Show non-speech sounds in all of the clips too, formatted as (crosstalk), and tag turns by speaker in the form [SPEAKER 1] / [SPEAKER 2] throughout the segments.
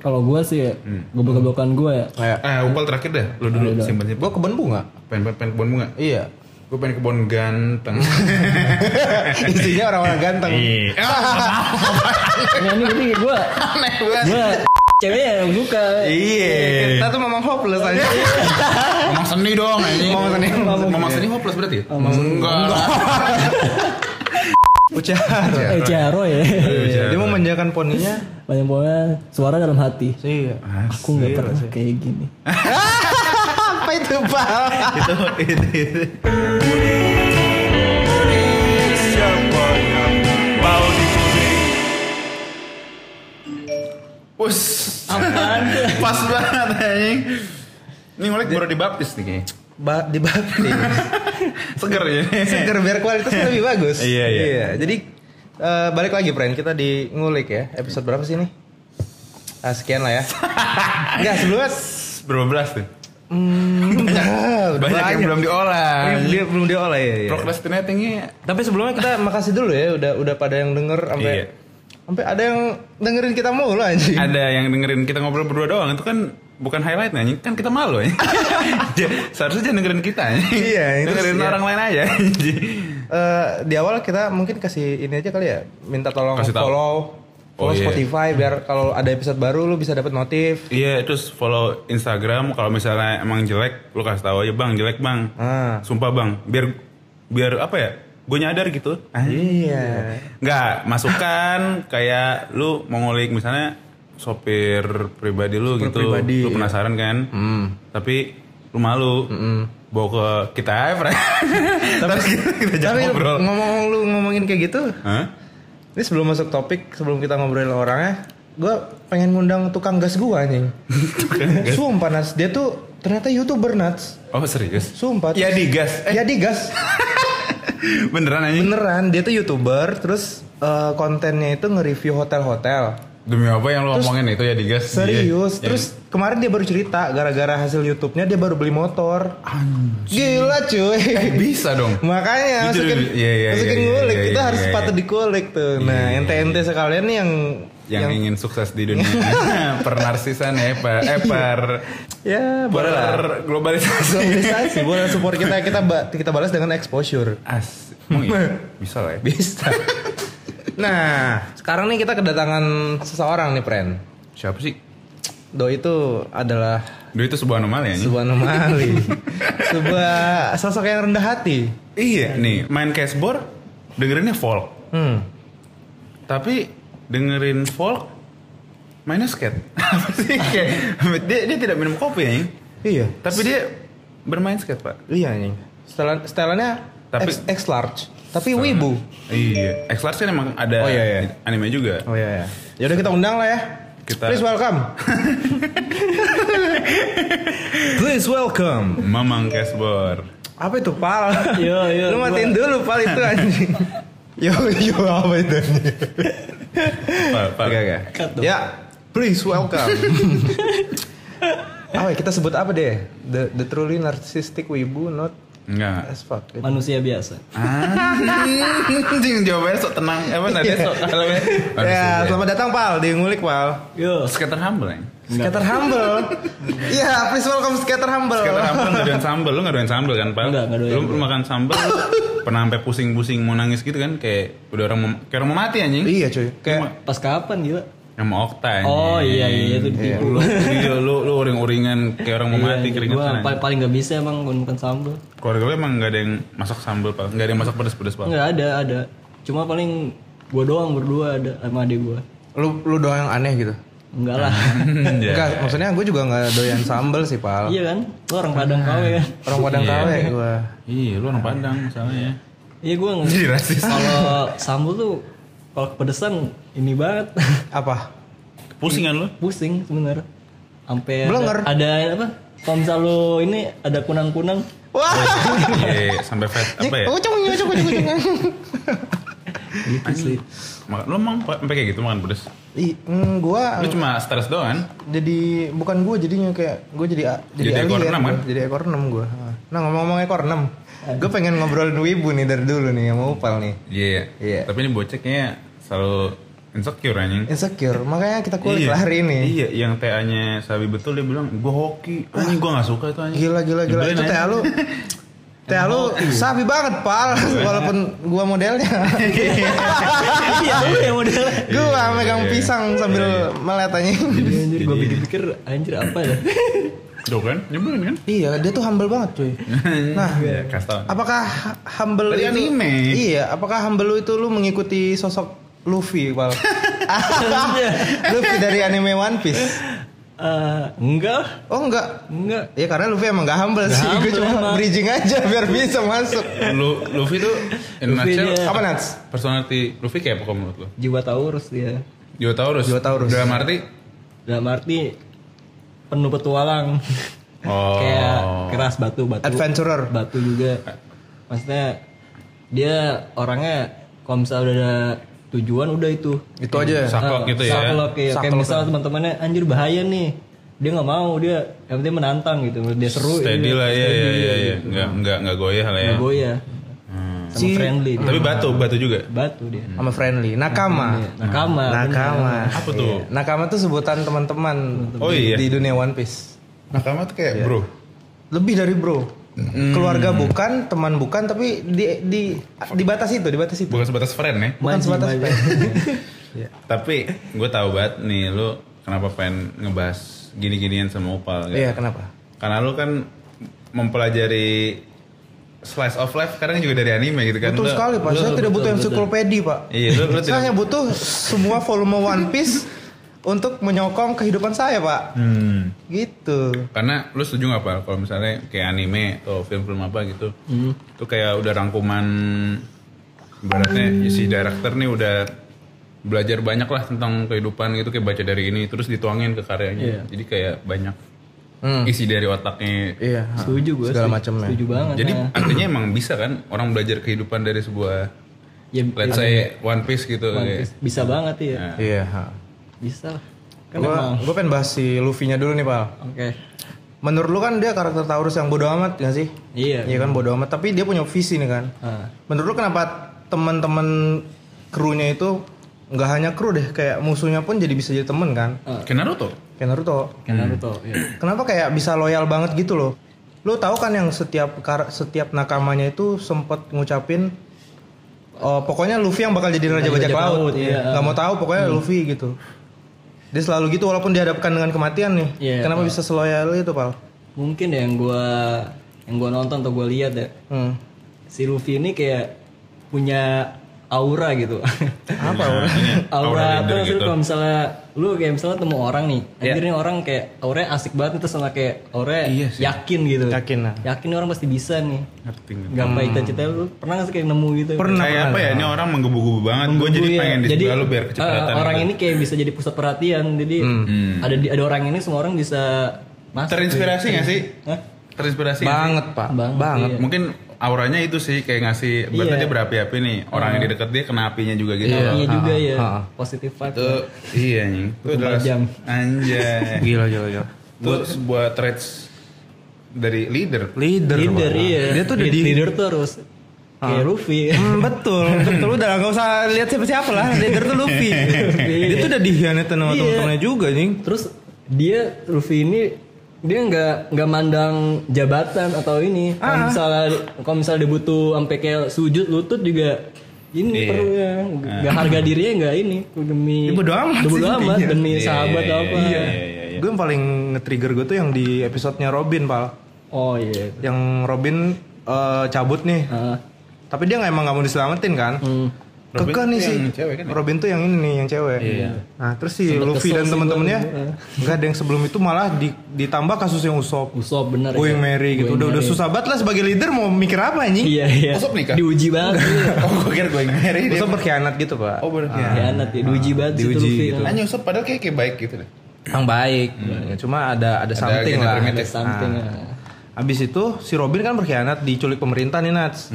[SPEAKER 1] Kalau gue sih ya,
[SPEAKER 2] Hmm.
[SPEAKER 1] goblok-goblokan gue ya.
[SPEAKER 3] Kayak
[SPEAKER 2] Eh, umpal terakhir deh. Lo dulu simpen simpen.
[SPEAKER 3] gua kebun bunga.
[SPEAKER 2] Pengen pengen kebun bunga.
[SPEAKER 3] Iya.
[SPEAKER 2] Gue pengen kebun ganteng.
[SPEAKER 3] (laughs) Isinya orang-orang ganteng.
[SPEAKER 2] Iya. (laughs) Ya.
[SPEAKER 1] Nah, ini jadi gue,
[SPEAKER 3] Aneh banget.
[SPEAKER 1] gue ceweknya yang suka.
[SPEAKER 3] Iya. Kita
[SPEAKER 2] Iya.
[SPEAKER 3] tuh memang hopeless
[SPEAKER 2] (laughs)
[SPEAKER 3] aja.
[SPEAKER 2] Ngomong seni dong anjing.
[SPEAKER 3] Ngomong seni.
[SPEAKER 2] Ngomong seni hopeless berarti ya?
[SPEAKER 3] (laughs)
[SPEAKER 2] Enggak.
[SPEAKER 3] Ucar.
[SPEAKER 1] Eh, Ciaro
[SPEAKER 2] (laughs)
[SPEAKER 1] ya.
[SPEAKER 3] Iya, Dia mau menjajakan poninya.
[SPEAKER 1] Banyak pokoknya suara dalam hati.
[SPEAKER 3] Iya.
[SPEAKER 1] Aku nggak pernah kayak gini.
[SPEAKER 3] Apa itu, Pak?
[SPEAKER 2] Itu itu itu.
[SPEAKER 4] Siapa yang mau dibully?
[SPEAKER 2] Us.
[SPEAKER 1] Apaan tuh?
[SPEAKER 2] Pas banget anjing. Ini mulai baru dibaptis nih
[SPEAKER 3] (laughs)
[SPEAKER 2] kayaknya.
[SPEAKER 3] Ba dibaptis.
[SPEAKER 2] Seger ya.
[SPEAKER 3] (laughs) Seger biar kualitasnya lebih bagus.
[SPEAKER 2] Iya, iya.
[SPEAKER 3] Jadi eh, balik lagi, friend. Kita di ngulik ya. Episode berapa sih ini? Ah, sekian
[SPEAKER 2] (laughs)
[SPEAKER 3] lah ya. Enggak, sebelumnya
[SPEAKER 2] Berapa belas tuh?
[SPEAKER 3] banyak,
[SPEAKER 2] Banyak yang belum diolah.
[SPEAKER 3] belum dia belum diolah ya.
[SPEAKER 2] Iya.
[SPEAKER 3] ya.
[SPEAKER 2] Procrastinatingnya
[SPEAKER 3] Tapi sebelumnya kita makasih dulu ya udah udah pada yang denger sampai
[SPEAKER 2] Iya.
[SPEAKER 3] sampai ada yang dengerin kita mulu anjing.
[SPEAKER 2] (laughs) ada yang dengerin kita ngobrol berdua doang itu kan bukan highlight anjing kan kita malu
[SPEAKER 3] (laughs)
[SPEAKER 2] ya seharusnya jangan dengerin kita anjing.
[SPEAKER 3] Iya, itu
[SPEAKER 2] dengerin
[SPEAKER 3] sih,
[SPEAKER 2] orang lain aja anjing.
[SPEAKER 3] Eh, di awal kita mungkin kasih ini aja kali ya, minta tolong
[SPEAKER 2] Kasih tahu.
[SPEAKER 3] follow
[SPEAKER 2] Oh,
[SPEAKER 3] follow
[SPEAKER 2] iya.
[SPEAKER 3] Spotify biar kalau ada episode baru lu bisa dapat notif.
[SPEAKER 2] iya terus follow Instagram kalau misalnya emang jelek lu kasih tahu aja bang jelek bang
[SPEAKER 3] Ah.
[SPEAKER 2] sumpah bang biar biar apa ya gue nyadar gitu
[SPEAKER 3] Iya.
[SPEAKER 2] nggak masukan kayak lu mau ngulik misalnya sopir pribadi lu gitu
[SPEAKER 3] pribadi, iya. Hmm.
[SPEAKER 2] lu penasaran kan tapi lu malu bawa ke kita aja,
[SPEAKER 3] (laughs)
[SPEAKER 2] Fran. tapi kita, kita jangan
[SPEAKER 3] Tapi
[SPEAKER 2] ngobrol
[SPEAKER 3] ngomong lu ngomongin kayak gitu,
[SPEAKER 2] Hah?
[SPEAKER 3] ini sebelum masuk topik, sebelum kita ngobrolin orangnya, gue pengen ngundang tukang gas gua anjing. Sumpah Nats, dia tuh ternyata youtuber Nats.
[SPEAKER 2] oh serius
[SPEAKER 3] Sumpah.
[SPEAKER 2] ya di gas eh
[SPEAKER 3] Ya di gas.
[SPEAKER 2] beneran aja
[SPEAKER 3] Beneran, dia tuh youtuber, terus eh, kontennya itu nge-review hotel-hotel.
[SPEAKER 2] demi apa yang lu ngomongin itu ya di gas
[SPEAKER 3] Serius,
[SPEAKER 2] Iya.
[SPEAKER 3] terus kemarin dia baru cerita gara-gara hasil YouTube-nya dia baru beli motor. Gila cuy.
[SPEAKER 2] Ya, bisa dong
[SPEAKER 3] Makanya
[SPEAKER 2] Jujur,
[SPEAKER 3] masukin,
[SPEAKER 2] iya, iya,
[SPEAKER 3] masukin
[SPEAKER 2] iya, iya,
[SPEAKER 3] ngulik,
[SPEAKER 2] iya,
[SPEAKER 3] kita
[SPEAKER 2] iya,
[SPEAKER 3] harus
[SPEAKER 2] iya,
[SPEAKER 3] patut
[SPEAKER 2] iya.
[SPEAKER 3] dikulik tuh. Nah,
[SPEAKER 2] Iya.
[SPEAKER 3] ente-ente sekalian nih yang
[SPEAKER 2] yang, ingin sukses di dunia
[SPEAKER 3] (laughs)
[SPEAKER 2] pernarsisan ya per eh per
[SPEAKER 3] ya Iya. boleh lah.
[SPEAKER 2] per globalisasi
[SPEAKER 3] Globalisasi, boleh support kita kita ba- kita balas dengan exposure.
[SPEAKER 2] as
[SPEAKER 3] (laughs)
[SPEAKER 2] emang iya? bisa lah ya
[SPEAKER 3] Bisa. nah, sekarang nih kita kedatangan seseorang nih, friend.
[SPEAKER 2] siapa sih
[SPEAKER 3] Do itu adalah
[SPEAKER 2] Doi itu sebuah anomali ya
[SPEAKER 3] sebuah
[SPEAKER 2] (laughs)
[SPEAKER 3] anomali, sebuah sosok yang rendah hati.
[SPEAKER 2] Iya nih main cashboard dengerinnya folk
[SPEAKER 3] Hmm.
[SPEAKER 2] tapi dengerin folk mainnya skate (laughs) apa sih kayak dia, dia tidak minum kopi ya Ying.
[SPEAKER 3] Iya.
[SPEAKER 2] tapi dia bermain skate pak
[SPEAKER 3] Iya nih. Setelan setelannya
[SPEAKER 2] Tapi-
[SPEAKER 3] X, X large, tapi wibu.
[SPEAKER 2] iya X Large kan emang ada
[SPEAKER 3] Oh, iya, iya.
[SPEAKER 2] anime juga
[SPEAKER 3] Oh iya ya. Ya udah kita undang lah ya.
[SPEAKER 2] Kita-
[SPEAKER 3] Please (laughs) welcome. Please welcome.
[SPEAKER 2] Mamang cashboard
[SPEAKER 3] Apa itu pal?
[SPEAKER 1] Yo, yo,
[SPEAKER 3] Lu matiin dulu pal itu anjing. (laughs) yo yo apa itu? anjing?
[SPEAKER 2] pak pak
[SPEAKER 3] Oke, oke.
[SPEAKER 1] Cut dong.
[SPEAKER 3] Ya, please welcome. Apa ya, kita sebut apa deh? The, the truly narcissistic wibu not
[SPEAKER 2] (laughs) enggak
[SPEAKER 3] as fuck.
[SPEAKER 1] Manusia biasa.
[SPEAKER 2] anjing jawabannya sok tenang apa nanti sok kalau
[SPEAKER 3] Ya, Iya. selamat datang Pal, di ngulik Pal.
[SPEAKER 1] Yo.
[SPEAKER 2] skater humble ya
[SPEAKER 3] Skater humble. Iya, please welcome skater humble.
[SPEAKER 2] Skater humble nggak doyan sambel, lu nggak doyan sambel kan pak?
[SPEAKER 1] Nggak, nggak doyan.
[SPEAKER 2] Lu, lu makan sambel lu pernah sampai pusing-pusing mau nangis gitu kan? Kayak udah orang mau, kayak orang mau mati anjing.
[SPEAKER 3] Iya cuy, kayak
[SPEAKER 2] Kayak
[SPEAKER 1] Pas kapan gila?
[SPEAKER 2] yang mau okta anjing.
[SPEAKER 1] Oh iya iya itu ditipu. Iya,
[SPEAKER 2] Lu, iya, lu, lu uring-uringan kayak orang mau mati
[SPEAKER 1] Gue
[SPEAKER 2] keringetan. ya? anjing.
[SPEAKER 1] Eh, paling nggak bisa emang bukan bukan sambel.
[SPEAKER 2] Keluarga lu emang nggak ada yang masak sambel pak, nggak ada yang masak pedes-pedes pak.
[SPEAKER 1] Nggak ada ada. Cuma paling gue doang berdua ada sama adik gue.
[SPEAKER 3] lu lu doang yang aneh gitu.
[SPEAKER 1] Enggak lah.
[SPEAKER 2] Iya.
[SPEAKER 3] Enggak, maksudnya gue juga nggak doyan sambel sih
[SPEAKER 2] Ah.
[SPEAKER 3] Pal.
[SPEAKER 1] iya kan? Lu orang Padang KW
[SPEAKER 2] (laughs)
[SPEAKER 1] kan?
[SPEAKER 3] Orang Padang ya
[SPEAKER 2] Iya.
[SPEAKER 3] KW gue.
[SPEAKER 2] Iya, lu orang Padang misalnya ya.
[SPEAKER 1] Iya gue
[SPEAKER 2] (laughs)
[SPEAKER 1] nggak.
[SPEAKER 2] Jadi rasis.
[SPEAKER 1] Kalau sambal tuh kalau kepedesan ini banget (laughs)
[SPEAKER 3] Apa?
[SPEAKER 2] Pusingan kan lu?
[SPEAKER 1] pusing sebenarnya. Sampai
[SPEAKER 3] Blenger.
[SPEAKER 1] ada, ada apa? Kalau misal lu ini ada (laughs) kunang-kunang
[SPEAKER 3] Wah.
[SPEAKER 2] Iya, sampai fat apa ya?
[SPEAKER 3] Ucung, ucung, ucung, ucung.
[SPEAKER 1] gitu sih.
[SPEAKER 2] Makan, lu emang pa- sampai kayak gitu makan pedes?
[SPEAKER 3] Ih, mm, gue
[SPEAKER 2] Lu cuma stres doang kan?
[SPEAKER 3] jadi bukan gue jadinya kayak gue jadi a-
[SPEAKER 2] Jadi ekor
[SPEAKER 3] alien
[SPEAKER 2] enam,
[SPEAKER 3] gua,
[SPEAKER 2] kan?
[SPEAKER 3] jadi ekor 6 gue nah ngomong-ngomong ekor 6 gue pengen ngobrolin wibu nih dari dulu nih sama Upal nih
[SPEAKER 2] Iya.
[SPEAKER 3] Iya.
[SPEAKER 2] Tapi ini boceknya selalu insecure anjing.
[SPEAKER 3] insecure makanya kita kulik lah hari ini
[SPEAKER 2] Iya, yang TA-nya Sabi betul dia bilang gue hoki. Anjing gue gak suka itu anjing.
[SPEAKER 3] gila gila gila
[SPEAKER 2] Nyebelin,
[SPEAKER 3] itu
[SPEAKER 2] anjing.
[SPEAKER 3] TA lu TA lu
[SPEAKER 2] Iya.
[SPEAKER 3] sapi banget pal walaupun gua modelnya
[SPEAKER 1] Iya, lu yang model.
[SPEAKER 3] gua megang
[SPEAKER 2] iya.
[SPEAKER 3] pisang sambil melihat anjing
[SPEAKER 1] Iya, anjir gue pikir-pikir anjir apa ya?
[SPEAKER 2] Tuh kan, nyebelin kan?
[SPEAKER 3] iya dia tuh humble banget cuy nah
[SPEAKER 2] (laughs) Iya, kasih tau.
[SPEAKER 3] apakah humble
[SPEAKER 2] Dari
[SPEAKER 3] itu
[SPEAKER 2] anime.
[SPEAKER 3] iya apakah humble lu itu lu mengikuti sosok Luffy
[SPEAKER 2] (laughs)
[SPEAKER 3] pal Luffy dari anime One Piece
[SPEAKER 1] (laughs) Eh, enggak,
[SPEAKER 3] oh enggak
[SPEAKER 1] enggak.
[SPEAKER 3] Ya karena Luffy emang gak humble sih,
[SPEAKER 1] humble
[SPEAKER 3] gue cuma
[SPEAKER 1] emang.
[SPEAKER 3] bridging aja biar bisa masuk.
[SPEAKER 2] Lu, Luffy tuh in
[SPEAKER 1] Luffy
[SPEAKER 2] nutshell,
[SPEAKER 1] dia-
[SPEAKER 3] Apa Nats?
[SPEAKER 2] personality Luffy kayak apa kalau menurut lu?
[SPEAKER 1] Jiwa Taurus dia.
[SPEAKER 2] Jotaurus.
[SPEAKER 3] Jotaurus.
[SPEAKER 2] Dalam arti
[SPEAKER 1] Dalam arti penuh petualang. (laughs)
[SPEAKER 2] Oh.
[SPEAKER 1] Kayak keras batu batu.
[SPEAKER 3] Adventurer.
[SPEAKER 1] Batu juga. Maksudnya dia orangnya kalau misalnya udah ada tujuan udah itu.
[SPEAKER 3] Itu aja.
[SPEAKER 2] saklek gitu ya.
[SPEAKER 1] Saklek, iya. Kayak
[SPEAKER 3] Saklek.
[SPEAKER 1] misalnya teman-temannya anjir bahaya nih. Dia nggak mau dia yang penting menantang gitu. Dia seru.
[SPEAKER 2] Steady
[SPEAKER 1] dia
[SPEAKER 2] lah, iya
[SPEAKER 1] steady,
[SPEAKER 2] iya iya. iya.
[SPEAKER 1] gitu.
[SPEAKER 2] Enggak enggak enggak goyah lah ya.
[SPEAKER 1] Nggak goyah. Sama
[SPEAKER 3] Si-
[SPEAKER 1] friendly. dia.
[SPEAKER 2] Tapi batu, batu juga.
[SPEAKER 1] batu dia. Iya,
[SPEAKER 3] Sama friendly, nakama.
[SPEAKER 1] Nakama.
[SPEAKER 3] Nah. Nakama. Iya.
[SPEAKER 2] Apa tuh?
[SPEAKER 3] Nakama tuh sebutan teman-teman
[SPEAKER 2] Oh iya.
[SPEAKER 3] di- di dunia One Piece.
[SPEAKER 2] Nakama tuh kayak bro.
[SPEAKER 3] Lebih dari bro.
[SPEAKER 2] Hmm.
[SPEAKER 3] Keluarga bukan, teman bukan, tapi di di di batas itu, di batas itu.
[SPEAKER 2] Bukan sebatas friend ya.
[SPEAKER 3] Bukan
[SPEAKER 1] Maji,
[SPEAKER 3] sebatas
[SPEAKER 1] maji.
[SPEAKER 2] Tapi gue tahu banget nih lu kenapa pengen ngebahas gini-ginian sama Opal kan?
[SPEAKER 3] Iya, kenapa?
[SPEAKER 2] Karena lu kan mempelajari slice of life sekarang juga dari anime gitu kan.
[SPEAKER 3] Betul
[SPEAKER 2] Lu-
[SPEAKER 3] sekali, Pak.
[SPEAKER 2] lu-
[SPEAKER 3] Saya tidak butuh ensiklopedia, Pak.
[SPEAKER 2] Iya, lu- lu
[SPEAKER 3] Saya
[SPEAKER 2] tidak-
[SPEAKER 3] hanya butuh semua volume One Piece untuk menyokong kehidupan saya, Pak.
[SPEAKER 2] Hmm.
[SPEAKER 3] Gitu.
[SPEAKER 2] Karena lu setuju nggak Pak kalau misalnya kayak anime atau film-film apa gitu.
[SPEAKER 3] Hmm.
[SPEAKER 2] Itu kayak udah rangkuman
[SPEAKER 3] Hmm.
[SPEAKER 2] ibaratnya si director nih udah belajar banyak lah tentang kehidupan gitu kayak baca dari ini terus dituangin ke karyanya.
[SPEAKER 1] Iya.
[SPEAKER 2] Jadi kayak banyak
[SPEAKER 3] Hmm.
[SPEAKER 2] isi dari otaknya
[SPEAKER 3] Iya.
[SPEAKER 1] (laughs) Setuju gue.
[SPEAKER 3] Segala
[SPEAKER 1] setuju-
[SPEAKER 3] macamnya.
[SPEAKER 1] Setuju banget.
[SPEAKER 2] Jadi
[SPEAKER 1] nah.
[SPEAKER 2] artinya emang bisa kan orang belajar kehidupan dari sebuah
[SPEAKER 1] ya,
[SPEAKER 2] let's say One Piece gitu
[SPEAKER 1] One
[SPEAKER 2] kayak.
[SPEAKER 1] Piece. bisa banget ya.
[SPEAKER 2] Nah.
[SPEAKER 3] Iya.
[SPEAKER 1] Bisa lah. Kan emang.
[SPEAKER 3] Gua, gua pengen bahas si Luffy-nya dulu nih, Pak.
[SPEAKER 1] Oke.
[SPEAKER 3] Menurut lu kan dia karakter Taurus yang bodoh amat gak sih?
[SPEAKER 1] Iya.
[SPEAKER 3] Iya kan bodoh amat, tapi dia punya visi nih kan.
[SPEAKER 1] Ah.
[SPEAKER 3] Menurut lu kenapa teman-teman krunya itu nggak hanya kru deh, kayak musuhnya pun jadi bisa jadi temen kan?
[SPEAKER 2] Kayak Naruto.
[SPEAKER 3] Kayak Naruto.
[SPEAKER 1] Kayak Naruto. ya.
[SPEAKER 3] Kenapa kayak bisa loyal banget gitu loh? Lu tahu kan yang setiap kar- setiap nakamanya itu sempet ngucapin "Oh, pokoknya Luffy yang bakal jadi raja
[SPEAKER 1] bajak
[SPEAKER 3] bajak, laut.
[SPEAKER 1] laut, iya.
[SPEAKER 3] Nggak mau tahu pokoknya Luffy gitu. Dia selalu gitu walaupun dihadapkan dengan kematian nih.
[SPEAKER 1] Iya,
[SPEAKER 3] Kenapa bisa seloyal itu, Pal?
[SPEAKER 1] Mungkin ya yang gua yang gua nonton atau gua lihat ya.
[SPEAKER 3] Hmm.
[SPEAKER 1] Si Luffy ini kayak punya aura gitu.
[SPEAKER 3] Apa?
[SPEAKER 2] Nah, ini
[SPEAKER 1] (laughs) (laughs) aura
[SPEAKER 2] leader
[SPEAKER 1] terus lu kalau misalnya lu kayak misalnya temu orang nih, anjir nih orang kayak auranya asik banget nih, terus sama kayak auranya yakin gitu.
[SPEAKER 3] Yakin, nah.
[SPEAKER 1] Yakin nih orang pasti bisa nih.
[SPEAKER 2] Ngerti nggak?
[SPEAKER 1] Gapai cita-cita lu pernah gak sih kayak nemu gitu?
[SPEAKER 2] Kayak apa ya? Ini orang menggebu-gebu banget. Gue jadi
[SPEAKER 1] Iya,
[SPEAKER 2] pengen di
[SPEAKER 1] jadi,
[SPEAKER 2] sebelah lu biar
[SPEAKER 1] eh,
[SPEAKER 2] kecepatan. gitu.
[SPEAKER 1] orang ini kayak bisa jadi pusat perhatian. Jadi ada di- ada orang ini semua orang bisa masuk.
[SPEAKER 2] Terinspirasi
[SPEAKER 1] gitu.
[SPEAKER 2] nggak sih?
[SPEAKER 1] Hah?
[SPEAKER 2] Terinspirasi. nggak sih?
[SPEAKER 3] Banget, Pak.
[SPEAKER 1] Banget,
[SPEAKER 3] Banget.
[SPEAKER 1] iya.
[SPEAKER 2] Mungkin auranya itu sih kayak ngasih berarti
[SPEAKER 1] Iya.
[SPEAKER 2] dia berapi-api nih. Orang yang di dekat dia kena apinya juga gitu.
[SPEAKER 1] Iya
[SPEAKER 2] loh.
[SPEAKER 1] juga ya.
[SPEAKER 3] ha, ha.
[SPEAKER 1] Positif vibe.
[SPEAKER 2] Itu iya nih. Itu adalah
[SPEAKER 1] Kepajam. (laughs)
[SPEAKER 2] anjay.
[SPEAKER 3] Gila, gila, gila.
[SPEAKER 2] Itu sebuah traits dari leader.
[SPEAKER 3] Leader,
[SPEAKER 1] Leader
[SPEAKER 3] Pak.
[SPEAKER 1] iya.
[SPEAKER 3] Dia tuh udah
[SPEAKER 1] Lead-
[SPEAKER 3] di
[SPEAKER 1] leader tuh harus kayak Luffy.
[SPEAKER 3] Hmm, betul, betul udah gak usah lihat siapa-siapa lah. Leader tuh Luffy. (laughs) dia tuh udah dihianatin sama
[SPEAKER 1] Iya.
[SPEAKER 3] temen-temennya juga, nih.
[SPEAKER 1] (laughs) Terus dia Luffy ini dia nggak nggak mandang jabatan atau ini.
[SPEAKER 3] Ah.
[SPEAKER 1] Kalau misalnya kalau misalnya dia butuh sampai kayak sujud lutut juga ini
[SPEAKER 2] Iya.
[SPEAKER 1] perlu ya. Nggak harga dirinya nggak ini demi
[SPEAKER 3] Dia Ah. Ya, bodo amat
[SPEAKER 1] dia bodo
[SPEAKER 3] sih
[SPEAKER 1] amat
[SPEAKER 3] intinya.
[SPEAKER 1] demi
[SPEAKER 2] Iya,
[SPEAKER 1] sahabat
[SPEAKER 2] iya,
[SPEAKER 1] atau
[SPEAKER 2] iya,
[SPEAKER 1] apa.
[SPEAKER 2] Iya, iya, iya, iya.
[SPEAKER 3] Gue yang paling nge-trigger gue tuh yang di episodenya Robin, Pal.
[SPEAKER 1] Oh iya.
[SPEAKER 3] Yang Robin eh, cabut nih.
[SPEAKER 1] Ah,
[SPEAKER 3] Tapi dia nggak emang nggak mau diselamatin kan?
[SPEAKER 1] hmm.
[SPEAKER 2] Robin
[SPEAKER 3] Kekeh
[SPEAKER 2] tuh
[SPEAKER 3] nih
[SPEAKER 2] yang
[SPEAKER 3] sih.
[SPEAKER 2] cewek kan ya?
[SPEAKER 3] Robin tuh yang ini nih, yang cewek. Nah, terus si Luffy
[SPEAKER 1] kesel
[SPEAKER 3] dan
[SPEAKER 1] sih
[SPEAKER 3] temen-temennya
[SPEAKER 1] gua juga.
[SPEAKER 3] nggak ada yang sebelum itu malah di- ditambah kasus yang Usop.
[SPEAKER 1] Usop bener. ya.
[SPEAKER 3] Going Mary gitu.
[SPEAKER 1] Going
[SPEAKER 3] Udah udah
[SPEAKER 1] Merry.
[SPEAKER 3] susah banget lah sebagai leader mau mikir apa anjing?
[SPEAKER 1] Iya iya.
[SPEAKER 2] Usop nikah?
[SPEAKER 1] Diuji
[SPEAKER 3] (laughs)
[SPEAKER 1] banget. iya.
[SPEAKER 2] Oh, gue kira gue yang married.
[SPEAKER 3] Usop berkhianat gitu, Pak.
[SPEAKER 2] Oh, berarti.
[SPEAKER 1] Khianat ya, diuji banget situ
[SPEAKER 3] diuji
[SPEAKER 1] Luffy.
[SPEAKER 3] gitu.
[SPEAKER 1] Kan.
[SPEAKER 2] Nanya Usop padahal kayak kayak baik gitu deh.
[SPEAKER 3] yang baik Ya, cuma ada ada, something
[SPEAKER 2] agenda
[SPEAKER 3] lah
[SPEAKER 2] primitif.
[SPEAKER 1] Ada something. ya.
[SPEAKER 3] Abis itu si Robin kan berkhianat diculik pemerintah nih Nats.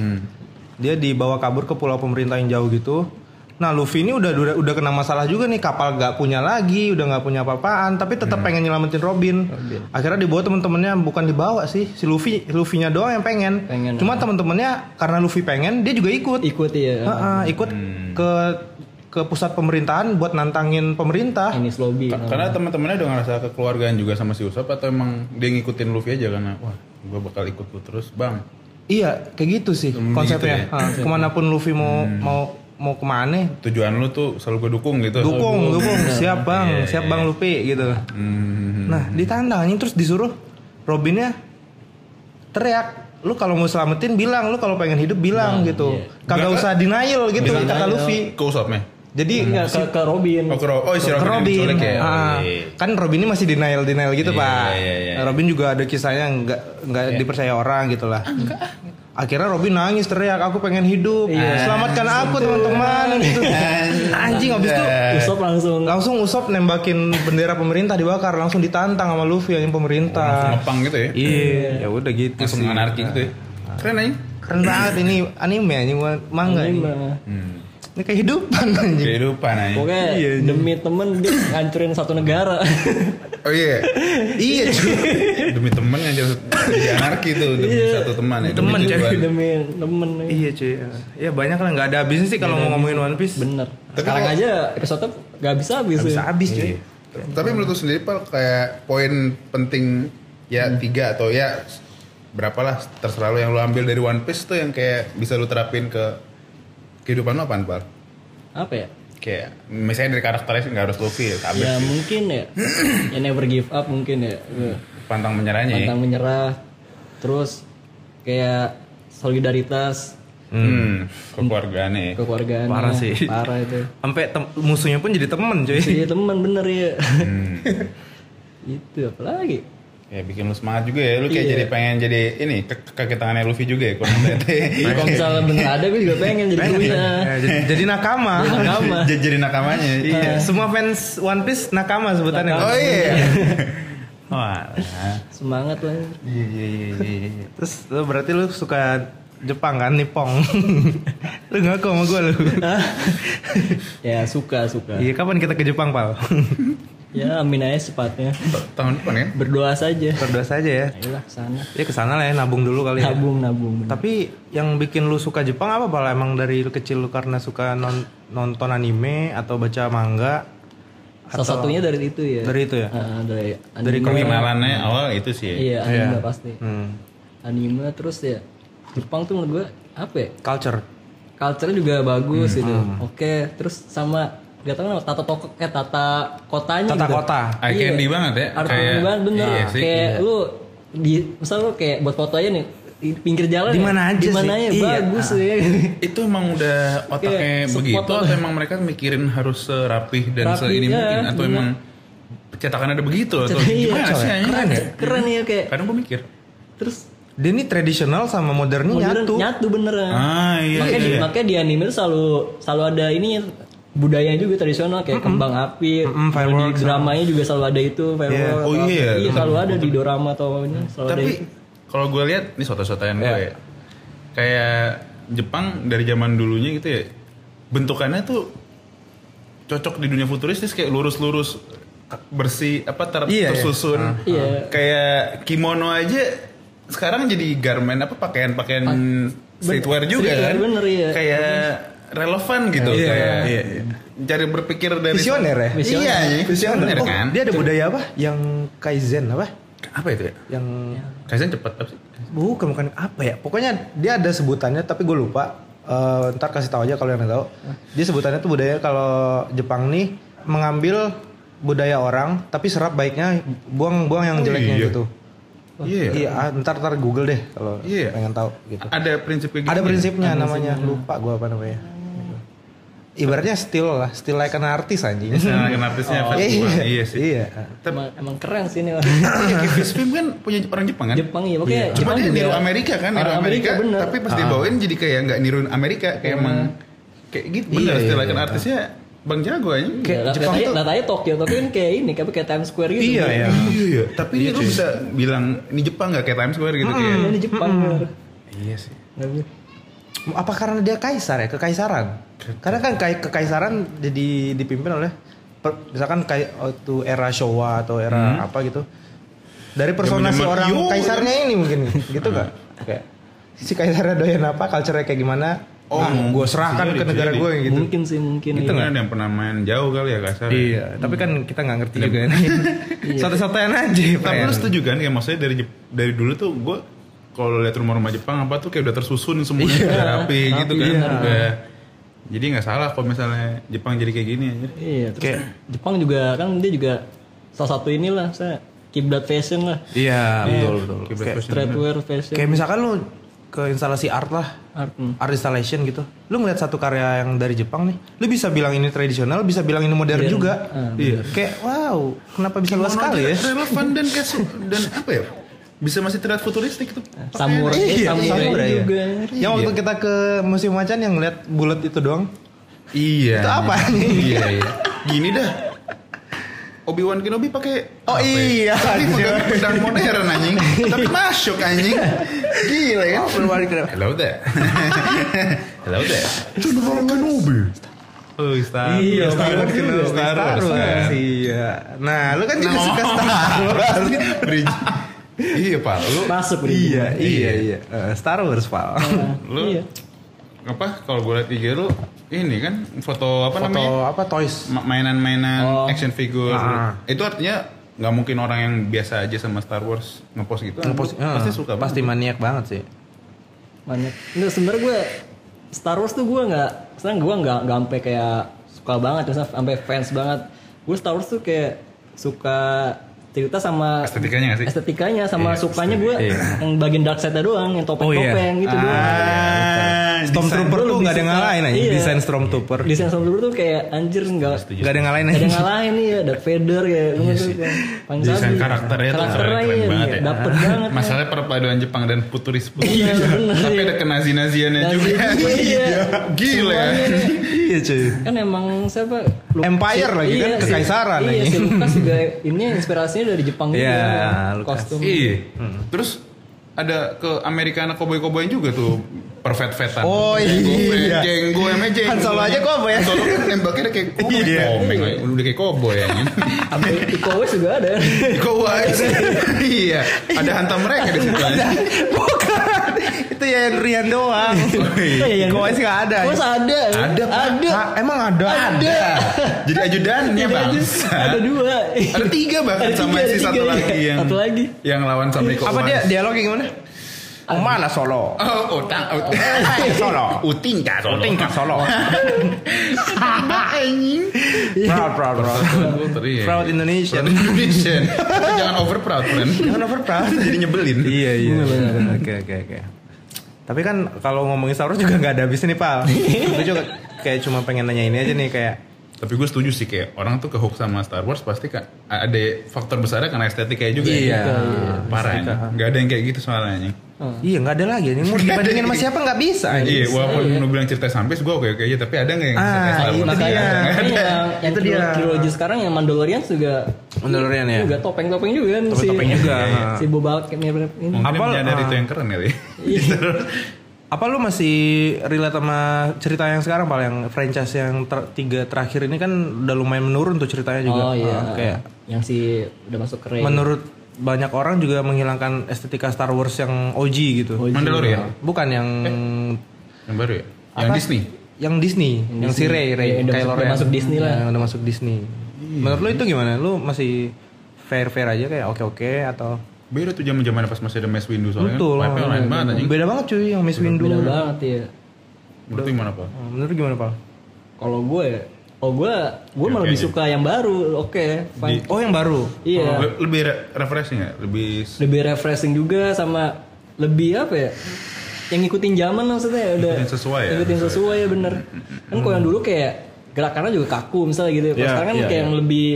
[SPEAKER 3] Dia dibawa kabur ke pulau pemerintah yang jauh gitu. Nah Luffy ini udah udah, udah kena masalah juga nih kapal gak punya lagi, udah nggak punya apa-apaan, tapi tetap pengen nyelamatin Robin. Akhirnya dibawa temen-temennya bukan dibawa sih, si Luffy Luffy-nya doang yang pengen.
[SPEAKER 1] Pengen, ah. ya.
[SPEAKER 3] Cuma temen-temennya karena Luffy pengen, dia juga ikut.
[SPEAKER 1] Ikut ya.
[SPEAKER 3] Heeh, ikut ke ke pusat pemerintahan buat nantangin pemerintah.
[SPEAKER 1] Ini lobby.
[SPEAKER 2] Ka- Karena teman-temannya udah ngerasa kekeluargaan juga sama si Usop atau emang dia ngikutin Luffy aja karena wah gue bakal ikut lu terus bang.
[SPEAKER 3] Iya, kayak gitu sih
[SPEAKER 2] gitu
[SPEAKER 3] konsepnya. Ah, kemanapun Luffy mau mau mau kemana,
[SPEAKER 2] Tujuan lu tuh selalu gue dukung gitu.
[SPEAKER 3] dukung, dukung, siap bang, siap bang Luffy gitu.
[SPEAKER 2] Hmm.
[SPEAKER 3] Nah ditantangin terus disuruh Robinnya teriak, lu kalau mau selamatin bilang, lu kalau pengen hidup bilang gitu, kagak usah denial gitu kata Luffy. Hmm.
[SPEAKER 2] Ke Usopnya.
[SPEAKER 3] Jadi
[SPEAKER 1] Enggak ke, ke Robin.
[SPEAKER 2] Oh, ke Ro- oh, si Robin,
[SPEAKER 3] ke
[SPEAKER 2] yang
[SPEAKER 3] Robin,
[SPEAKER 2] diculik ya.
[SPEAKER 3] Ah,
[SPEAKER 2] Oh, iya.
[SPEAKER 3] kan Robin ini masih denial denial gitu
[SPEAKER 2] Iya,
[SPEAKER 3] pak.
[SPEAKER 2] iya, iya, iya.
[SPEAKER 3] Robin juga ada kisahnya nggak nggak dipercaya orang gitulah. Akhirnya Robin nangis teriak, aku pengen hidup,
[SPEAKER 2] Iya.
[SPEAKER 3] selamatkan aku teman-teman. gitu. Anjing abis itu
[SPEAKER 2] Iya.
[SPEAKER 1] Usop langsung
[SPEAKER 3] langsung Usop nembakin bendera pemerintah dibakar, langsung ditantang sama Luffy yang
[SPEAKER 2] Langsung
[SPEAKER 3] pemerintah.
[SPEAKER 2] ngepang gitu ya.
[SPEAKER 3] Iya, Ah. ya udah gitu.
[SPEAKER 2] Langsung
[SPEAKER 3] sih.
[SPEAKER 2] anarki gitu ya. Keren aja.
[SPEAKER 3] Keren banget ini anime anjing manga ini.
[SPEAKER 1] Nah,
[SPEAKER 3] Hmm. Ini kehidupan (laughs) anjing.
[SPEAKER 2] Kehidupan aja.
[SPEAKER 1] Pokoknya
[SPEAKER 3] Iya, iya.
[SPEAKER 1] demi temen dia ngancurin satu negara.
[SPEAKER 2] Oh iya.
[SPEAKER 3] Iya, cuy. Iya.
[SPEAKER 2] demi temen aja jadi anarki tuh demi satu teman ya.
[SPEAKER 3] Temen,
[SPEAKER 2] tujuan.
[SPEAKER 3] jadi.
[SPEAKER 1] (laughs) demi temen.
[SPEAKER 3] Iya cuy. Ya banyak lah nggak ada habisnya sih kalau mau ngomongin One Piece.
[SPEAKER 1] Bener. Sekarang aja episode gak habis habis.
[SPEAKER 3] Bisa habis cuy.
[SPEAKER 5] Tapi menurut lu sendiri Pal, kayak poin penting ya tiga atau ya berapalah terserah lu yang lu ambil dari One Piece tuh yang kayak bisa lu terapin ke kehidupan lu apaan Pal?
[SPEAKER 1] Apa ya?
[SPEAKER 2] Kayak misalnya dari karakternya sih nggak harus Luffy ya. Kabeh.
[SPEAKER 1] Ya mungkin ya. ya never give up mungkin ya.
[SPEAKER 2] Pantang menyerahnya ya.
[SPEAKER 1] Pantang menyerah. Terus kayak solidaritas
[SPEAKER 2] Hmm. Kekeluargaannya ya.
[SPEAKER 1] kekeluargaan
[SPEAKER 3] Parah sih.
[SPEAKER 1] Parah itu.
[SPEAKER 3] Sampai tem- musuhnya pun jadi temen cuy. (laughs)
[SPEAKER 1] Jadi temen bener ya.
[SPEAKER 3] Hmm.
[SPEAKER 1] (laughs) itu apalagi.
[SPEAKER 2] Ya bikin lu semangat juga ya. Lu kayak jadi pengen jadi ini ke- kaki tangannya Luffy juga ya. Kurang tete.
[SPEAKER 3] Iya.
[SPEAKER 1] Kalau misalnya bener ada gue juga pengen jadi dunia.
[SPEAKER 3] Ya, jadi, jadi nakama.
[SPEAKER 1] Nakama.
[SPEAKER 2] (laughs) jadi, jadi nakamanya. (laughs)
[SPEAKER 3] iya. Semua fans One Piece nakama sebutannya.
[SPEAKER 1] Nakama.
[SPEAKER 3] Oh iya.
[SPEAKER 2] Wah.
[SPEAKER 1] Semangat
[SPEAKER 3] (laughs)
[SPEAKER 1] lah.
[SPEAKER 2] Iya iya iya iya. iya.
[SPEAKER 3] Terus lu berarti lu suka Jepang kan Nippon. (laughs) lu ngaku sama gue lu.
[SPEAKER 1] ya suka suka.
[SPEAKER 3] Iya kapan kita ke Jepang pal?
[SPEAKER 1] Ya amin aja sepatnya.
[SPEAKER 2] Tahun depan ya.
[SPEAKER 1] Berdoa saja.
[SPEAKER 3] Berdua saja ya.
[SPEAKER 1] Ayolah sana.
[SPEAKER 3] Ya kesana lah ya nabung dulu kali ya.
[SPEAKER 1] Nabung nabung.
[SPEAKER 3] Tapi yang bikin lu suka Jepang apa pal? Emang dari lu kecil lu karena suka non- nonton anime atau baca manga?
[SPEAKER 1] Salah satunya dari itu ya.
[SPEAKER 3] Dari itu ya?
[SPEAKER 1] Ah, dari anime.
[SPEAKER 3] Dari
[SPEAKER 2] Perkenalannya awal itu sih. ya.
[SPEAKER 1] Iya anime pasti.
[SPEAKER 3] Hmm.
[SPEAKER 1] Anime terus ya. Jepang tuh menurut gue apa ya?
[SPEAKER 3] Culture.
[SPEAKER 1] Culture juga bagus
[SPEAKER 3] Hmm,
[SPEAKER 1] gitu. Oke, terus sama gak tau kenapa, tata toko eh tata kotanya
[SPEAKER 3] Tata
[SPEAKER 1] gitu.
[SPEAKER 3] kota.
[SPEAKER 2] Eye candy banget ya.
[SPEAKER 1] Art
[SPEAKER 2] Kayak-
[SPEAKER 1] banget bener.
[SPEAKER 2] Iya sih.
[SPEAKER 1] kayak lu di misal lu kayak buat foto aja nih di pinggir jalan
[SPEAKER 3] Di mana
[SPEAKER 1] ya,
[SPEAKER 3] aja
[SPEAKER 1] di mana
[SPEAKER 3] sih?
[SPEAKER 1] aja
[SPEAKER 3] Iya.
[SPEAKER 1] bagus ya.
[SPEAKER 2] itu emang udah
[SPEAKER 1] Iya,
[SPEAKER 2] otaknya
[SPEAKER 1] Kayak
[SPEAKER 2] begitu
[SPEAKER 1] sepotong.
[SPEAKER 2] atau emang mereka mikirin harus serapih dan
[SPEAKER 1] Rapih,
[SPEAKER 2] seini
[SPEAKER 1] ya,
[SPEAKER 2] mungkin atau
[SPEAKER 1] bener.
[SPEAKER 2] emang cetakannya ada begitu atau
[SPEAKER 1] Iya,
[SPEAKER 2] gimana sih anjing?
[SPEAKER 1] keren ya keren ya kayak
[SPEAKER 2] kadang gue mikir
[SPEAKER 1] terus
[SPEAKER 3] Dia ini tradisional sama modernnya
[SPEAKER 1] modern
[SPEAKER 3] nyatu.
[SPEAKER 1] nyatu beneran
[SPEAKER 2] ah iya
[SPEAKER 1] makanya, Di,
[SPEAKER 2] iya
[SPEAKER 1] makanya di anime tuh selalu selalu ada ini budaya juga tradisional kayak kembang api, Kalau
[SPEAKER 3] Mm-mm,
[SPEAKER 1] di
[SPEAKER 3] fireworks.
[SPEAKER 1] dramanya juga selalu ada itu fireworks.
[SPEAKER 3] Yeah.
[SPEAKER 2] Oh,
[SPEAKER 1] atau apa.
[SPEAKER 2] iya.
[SPEAKER 1] selalu ada di dorama atau ini selalu ada.
[SPEAKER 2] tapi
[SPEAKER 1] itu.
[SPEAKER 2] kalau gue lihat ini soto-sotoan
[SPEAKER 3] Iya.
[SPEAKER 2] gue ya. kayak Jepang dari zaman dulunya gitu ya bentukannya tuh cocok di dunia futuristis kayak lurus-lurus bersih apa ter
[SPEAKER 3] Iya, iya.
[SPEAKER 2] tersusun
[SPEAKER 1] Iya.
[SPEAKER 2] kayak kimono aja sekarang jadi garment apa pakaian-pakaian streetwear juga
[SPEAKER 1] streetwear,
[SPEAKER 2] kan
[SPEAKER 1] bener, iya.
[SPEAKER 2] kayak relevan gitu
[SPEAKER 3] Iya,
[SPEAKER 2] kayak
[SPEAKER 3] iya, iya.
[SPEAKER 2] cari berpikir dari
[SPEAKER 3] Visioner ya?
[SPEAKER 1] Visioner.
[SPEAKER 2] iya iya. visioner
[SPEAKER 3] Oh,
[SPEAKER 2] kan
[SPEAKER 3] dia ada budaya apa? Yang kaizen apa?
[SPEAKER 2] apa itu ya
[SPEAKER 3] Yang
[SPEAKER 2] kaisan cepet apa sih
[SPEAKER 3] bukan bukan apa ya? Pokoknya dia ada sebutannya tapi gue lupa. Eh, ntar kasih tahu aja kalau yang tahu. Dia sebutannya tuh budaya kalau Jepang nih mengambil budaya orang tapi serap baiknya buang-buang yang
[SPEAKER 2] Oh,
[SPEAKER 3] jeleknya
[SPEAKER 2] iya.
[SPEAKER 3] gitu.
[SPEAKER 2] iya ya?
[SPEAKER 3] Iya, ah, ntar ntar Google deh kalau
[SPEAKER 2] Iya.
[SPEAKER 3] pengen tahu gitu.
[SPEAKER 2] ada prinsip kayak gitu
[SPEAKER 3] Ada
[SPEAKER 2] ya?
[SPEAKER 3] prinsipnya namanya, lupa gua apa namanya. Ibaratnya still lah, still like an artist anjing.
[SPEAKER 2] Nah, kan artisnya
[SPEAKER 1] Oh.
[SPEAKER 2] Fat Boy. Iya sih.
[SPEAKER 3] (laughs) Iya.
[SPEAKER 1] emang, emang keren sih ini. (laughs)
[SPEAKER 2] Iya, Kevin Spim kan punya orang Jepang kan?
[SPEAKER 1] Jepang ya, pokoknya
[SPEAKER 2] Cuma
[SPEAKER 1] Jepang
[SPEAKER 2] dia
[SPEAKER 1] juga-
[SPEAKER 2] niru Amerika kan, niru
[SPEAKER 1] Orang Amerika,
[SPEAKER 2] Amerika.
[SPEAKER 1] bener. Ah. Hmm.
[SPEAKER 2] tapi pas dibawain jadi kayak nggak niruin Amerika, kayak emang kayak gitu. Bener,
[SPEAKER 3] Iya,
[SPEAKER 2] istilah
[SPEAKER 3] iya,
[SPEAKER 2] kan artisnya Bang Jago aja.
[SPEAKER 1] Kayak
[SPEAKER 3] Jepang
[SPEAKER 1] katanya,
[SPEAKER 3] tuh-
[SPEAKER 1] katanya Tokyo, Tokyo kan kayak ini, kayak kayak Times Square gitu.
[SPEAKER 3] Iya, iya.
[SPEAKER 2] Iya, iya. Tapi ini lu bisa bilang ini Jepang nggak kayak Times Square gitu kayak.
[SPEAKER 1] Ini di Jepang.
[SPEAKER 2] Iya sih.
[SPEAKER 1] bener.
[SPEAKER 3] Apa karena dia kaisar ya, kekaisaran? Karena kan kai- kekaisaran jadi dipimpin oleh per- misalkan kayak waktu era Showa atau era apa gitu. Dari persona si
[SPEAKER 2] Zaman-zaman
[SPEAKER 3] orang
[SPEAKER 2] Yo.
[SPEAKER 3] kaisarnya ini mungkin gitu kan? Kayak si kaisarnya doyan apa, culture-nya kayak gimana,
[SPEAKER 5] Oh,
[SPEAKER 3] ah, gue serahkan
[SPEAKER 2] jadi,
[SPEAKER 3] ke negara
[SPEAKER 2] jadi.
[SPEAKER 3] gue gitu.
[SPEAKER 1] Mungkin sih mungkin.
[SPEAKER 2] Kita
[SPEAKER 1] iya.
[SPEAKER 2] nggak ada yang pernah main jauh kali ya kasar.
[SPEAKER 3] Iya, tapi kan kita nggak ngerti juga nih. Satu-satuan aja,
[SPEAKER 2] Tapi
[SPEAKER 3] Fren.
[SPEAKER 2] lu setuju kan kayak maksudnya dari Jep- dari dulu tuh gue kalau lihat rumah-rumah Jepang apa tuh kayak udah tersusun semuanya
[SPEAKER 3] Iya.
[SPEAKER 2] udah rapi gitu kan udah. Jadi nggak salah kalau misalnya Jepang jadi kayak gini anjir.
[SPEAKER 1] Iya, terus Jepang juga kan dia juga salah satu inilah saya kiblat fashion lah.
[SPEAKER 3] Iya, betul betul.
[SPEAKER 2] Kiblat
[SPEAKER 3] Kayak,
[SPEAKER 2] fashion.
[SPEAKER 1] Streetwear fashion.
[SPEAKER 3] kayak misalkan lu ke instalasi art lah,
[SPEAKER 1] Art. hmm.
[SPEAKER 3] art installation gitu. Lu ngeliat satu karya yang dari Jepang nih, lu bisa bilang ini tradisional, bisa bilang ini modern juga. iya. Kayak wow, kenapa bisa luas sekali ya?
[SPEAKER 5] Relevan dan kayak su-
[SPEAKER 3] (laughs)
[SPEAKER 5] dan apa ya? Bisa masih terlihat futuristik tuh.
[SPEAKER 1] Samurai, eh,
[SPEAKER 3] Iya,
[SPEAKER 1] samurai,
[SPEAKER 3] samurai ya.
[SPEAKER 1] juga.
[SPEAKER 3] Yang waktu kita ke musim macan yang ngeliat bulat itu doang.
[SPEAKER 5] Iya.
[SPEAKER 3] Itu apa nih?
[SPEAKER 5] Iya, iya. Gini dah. Obi Wan Kenobi pakai
[SPEAKER 3] Oh
[SPEAKER 2] ya?
[SPEAKER 3] iya,
[SPEAKER 5] tapi pegang pedang modern anjing. tapi masuk
[SPEAKER 3] (laughs)
[SPEAKER 5] anjing. Gila
[SPEAKER 2] Iya,
[SPEAKER 3] Oh.
[SPEAKER 5] kan? Hello there. Hello there. General Kenobi.
[SPEAKER 2] Oh, Star.
[SPEAKER 3] Iya, Star Wars
[SPEAKER 2] Star Wars,
[SPEAKER 3] Star Wars,
[SPEAKER 2] kan.
[SPEAKER 3] iya. Nah, lu kan juga suka Star
[SPEAKER 2] (laughs)
[SPEAKER 3] Wars.
[SPEAKER 5] Bridge. Iya, Pak. Lu
[SPEAKER 1] Masuk
[SPEAKER 3] iya, iya, iya. Eh, Star Wars, Pak.
[SPEAKER 2] Lu
[SPEAKER 1] Iya.
[SPEAKER 2] apa kalau gue lihat IG lu ini kan foto apa
[SPEAKER 3] Foto
[SPEAKER 2] namanya?
[SPEAKER 3] apa toys?
[SPEAKER 2] Ma- mainan-mainan
[SPEAKER 1] Oh.
[SPEAKER 2] action figure.
[SPEAKER 3] Ah.
[SPEAKER 2] Itu artinya nggak mungkin orang yang biasa aja sama Star Wars ngepost gitu.
[SPEAKER 3] Ngepost-
[SPEAKER 2] Lu pasti
[SPEAKER 3] eh,
[SPEAKER 2] suka.
[SPEAKER 3] Pasti
[SPEAKER 2] banget.
[SPEAKER 3] maniak banget sih.
[SPEAKER 1] Banyak. Nggak, sebenarnya gue Star Wars tuh gue nggak, sekarang gue nggak nggak sampai kayak suka banget, terus sampai fans banget. Gue Star Wars tuh kayak suka cerita sama
[SPEAKER 2] Estetikanya nggak sih?
[SPEAKER 1] estetikanya sama
[SPEAKER 2] Iya,
[SPEAKER 1] sukanya gue
[SPEAKER 2] estetik. Iya. Oh,
[SPEAKER 1] yang bagian dark side-nya doang, yang topeng-topeng gitu
[SPEAKER 3] iya,
[SPEAKER 1] doang.
[SPEAKER 2] Ah,
[SPEAKER 3] Stormtrooper
[SPEAKER 1] Desain
[SPEAKER 3] tuh
[SPEAKER 1] lu
[SPEAKER 3] nggak ada yang
[SPEAKER 1] bisa-
[SPEAKER 3] ngalahin aja.
[SPEAKER 1] iya.
[SPEAKER 3] Desain Stormtrooper.
[SPEAKER 1] Desain Stormtrooper tuh kayak anjir nggak
[SPEAKER 2] Iya.
[SPEAKER 3] Nggak ada yang ngalahin
[SPEAKER 1] ada yang
[SPEAKER 3] aja.
[SPEAKER 1] ngalahin nih ya Darth Vader ya iya sih. paling
[SPEAKER 2] Desain
[SPEAKER 1] sabi.
[SPEAKER 2] karakternya tuh
[SPEAKER 1] karakternya
[SPEAKER 2] keren
[SPEAKER 1] iya,
[SPEAKER 2] banget
[SPEAKER 1] iya,
[SPEAKER 2] ya.
[SPEAKER 1] dapet banget ya.
[SPEAKER 2] Masalahnya perpaduan Jepang dan futuris futuris.
[SPEAKER 1] Iya, bener.
[SPEAKER 2] Tapi ada kenazi-naziannya
[SPEAKER 1] Nazi-
[SPEAKER 2] juga.
[SPEAKER 1] (laughs) iya.
[SPEAKER 2] (laughs) Gila. ya.
[SPEAKER 1] Semuanya deh.
[SPEAKER 3] Iya, cuy.
[SPEAKER 1] kan emang siapa Lu-
[SPEAKER 3] Empire lagi kan,
[SPEAKER 1] si-
[SPEAKER 3] kekaisaran
[SPEAKER 1] iya,
[SPEAKER 3] lagi.
[SPEAKER 1] si Lucas
[SPEAKER 3] (laughs)
[SPEAKER 1] juga ini inspirasinya dari Jepang juga
[SPEAKER 3] Iya,
[SPEAKER 1] kan.
[SPEAKER 3] Lucas.
[SPEAKER 1] kostum
[SPEAKER 2] Iya. Terus ada ke Amerika anak koboi-koboin juga tuh perfet-fetan.
[SPEAKER 3] Oh, iya.
[SPEAKER 2] Jenggo emang jenggo.
[SPEAKER 3] Han Solo aja koboi ya.
[SPEAKER 2] Han Solo kan nembaknya kayak koboi.
[SPEAKER 3] (laughs) Iya.
[SPEAKER 2] Komeng, aja. udah kayak koboi ya.
[SPEAKER 1] sampai Iko Uwais juga ada
[SPEAKER 2] Koboi. Iya. Ada hantam mereka di situ.
[SPEAKER 3] Bukan. Itu ya yang Rian doang. Koes nggak iya. ada.
[SPEAKER 1] Koes Iya, ada
[SPEAKER 2] Ada, Pak.
[SPEAKER 1] ada
[SPEAKER 3] Ah, emang ada.
[SPEAKER 1] Ada.
[SPEAKER 2] Jadi ajudannya
[SPEAKER 1] Ada
[SPEAKER 2] bang.
[SPEAKER 1] aja. ada dua
[SPEAKER 2] Ada tiga bahkan
[SPEAKER 1] Ada
[SPEAKER 2] sama
[SPEAKER 1] tiga,
[SPEAKER 2] si
[SPEAKER 1] ada
[SPEAKER 2] satu
[SPEAKER 1] tiga, iya.
[SPEAKER 2] lagi yang
[SPEAKER 1] Satu lagi.
[SPEAKER 2] yang lawan sama Iko
[SPEAKER 3] Apa
[SPEAKER 2] Uwais.
[SPEAKER 3] dia dialognya gimana? Oh, mana Solo?
[SPEAKER 2] Oh, utang, utang.
[SPEAKER 3] (laughs) Hai, Solo.
[SPEAKER 2] Uting kah Solo?
[SPEAKER 3] Uting kah Solo? Iya. Proud, proud, proud. Proud Indonesian.
[SPEAKER 2] ya. Proud Indonesian. Tapi Jangan over proud, friend.
[SPEAKER 3] (laughs) Jangan over proud.
[SPEAKER 2] Jadi nyebelin.
[SPEAKER 3] Iya iya. Oke oke oke. Tapi kan kalau ngomongin Star Wars juga nggak ada habisnya nih pal. Gue juga kayak cuma pengen nanya ini aja nih kayak.
[SPEAKER 2] Tapi gue setuju sih kayak orang tuh kehook sama Star Wars pasti kan ada faktor besarnya karena estetikanya juga. ya.
[SPEAKER 3] Iya.
[SPEAKER 2] Parah. ya. Nggak ada yang kayak gitu soalnya. anjing.
[SPEAKER 3] Iya nggak ada lagi. Ini mau dibandingin sama siapa nggak bisa.
[SPEAKER 2] Iya, walaupun lu bilang cerita sampai gue oke oke aja, tapi ada nggak yang bisa kayak
[SPEAKER 3] Nah, gitu. Ah,
[SPEAKER 2] Star
[SPEAKER 1] Nah,
[SPEAKER 2] Wars?
[SPEAKER 3] itu
[SPEAKER 2] Iya.
[SPEAKER 1] makanya
[SPEAKER 3] dia.
[SPEAKER 1] makanya yang, yang
[SPEAKER 3] Itu dia.
[SPEAKER 1] trilo- trilogi sekarang yang Mandalorian juga
[SPEAKER 3] Mandalorian ya.
[SPEAKER 1] juga topeng-topeng juga kan si-
[SPEAKER 3] Topeng-topeng juga.
[SPEAKER 1] si Boba Fett mirip ini
[SPEAKER 2] Mungkin
[SPEAKER 3] Apa-
[SPEAKER 2] dia menyadari
[SPEAKER 3] ah. Iya.
[SPEAKER 2] itu yang keren kali. (laughs)
[SPEAKER 3] Apa lu masih relate sama cerita yang sekarang pal yang franchise yang ter- tiga terakhir ini kan udah lumayan menurun tuh ceritanya juga.
[SPEAKER 1] Oh iya.
[SPEAKER 3] Ah, kayak
[SPEAKER 1] yang si udah masuk keren.
[SPEAKER 3] menurut banyak orang juga menghilangkan estetika Star Wars yang OG gitu.
[SPEAKER 2] Mandalorian
[SPEAKER 3] Bukan yang
[SPEAKER 2] yang baru ya, yang Disney.
[SPEAKER 3] yang Disney, yang, si Ray, Ray,
[SPEAKER 1] Yang Iya, udah
[SPEAKER 3] Kylo
[SPEAKER 1] masuk- udah
[SPEAKER 3] Ren.
[SPEAKER 1] masuk Disney lah. Iya.
[SPEAKER 3] Yang udah masuk Disney. Menurut lu itu gimana? Lu masih fair fair aja kayak oke oke atau
[SPEAKER 2] Beda tuh zaman zaman pas masih ada Mass Windu soalnya.
[SPEAKER 3] betul?
[SPEAKER 2] kan. Vibe-nya lain banget anjing.
[SPEAKER 3] Beda banget cuy yang Miss Windu.
[SPEAKER 1] beda banget ya.
[SPEAKER 2] Menurut lu gimana, Pak?
[SPEAKER 3] Menurut lu gimana pal?
[SPEAKER 1] Kalau gue, oh gue, gue malah lebih suka yang baru. Oke, fine.
[SPEAKER 3] Oh yang baru.
[SPEAKER 1] Iya.
[SPEAKER 2] Le- Lebih re- refreshing ya? Lebih s-
[SPEAKER 1] Lebih refreshing juga sama lebih apa ya? Yang ngikutin zaman maksudnya ya, udah.
[SPEAKER 2] Ngikutin sesuai ya,
[SPEAKER 1] Ngikutin sesuai ya bener. Kan kalau yang dulu kayak gerakannya juga kaku misalnya gitu. ya. Kalau
[SPEAKER 3] Iya,
[SPEAKER 1] sekarang kan
[SPEAKER 3] iya,
[SPEAKER 1] kayak yang lebih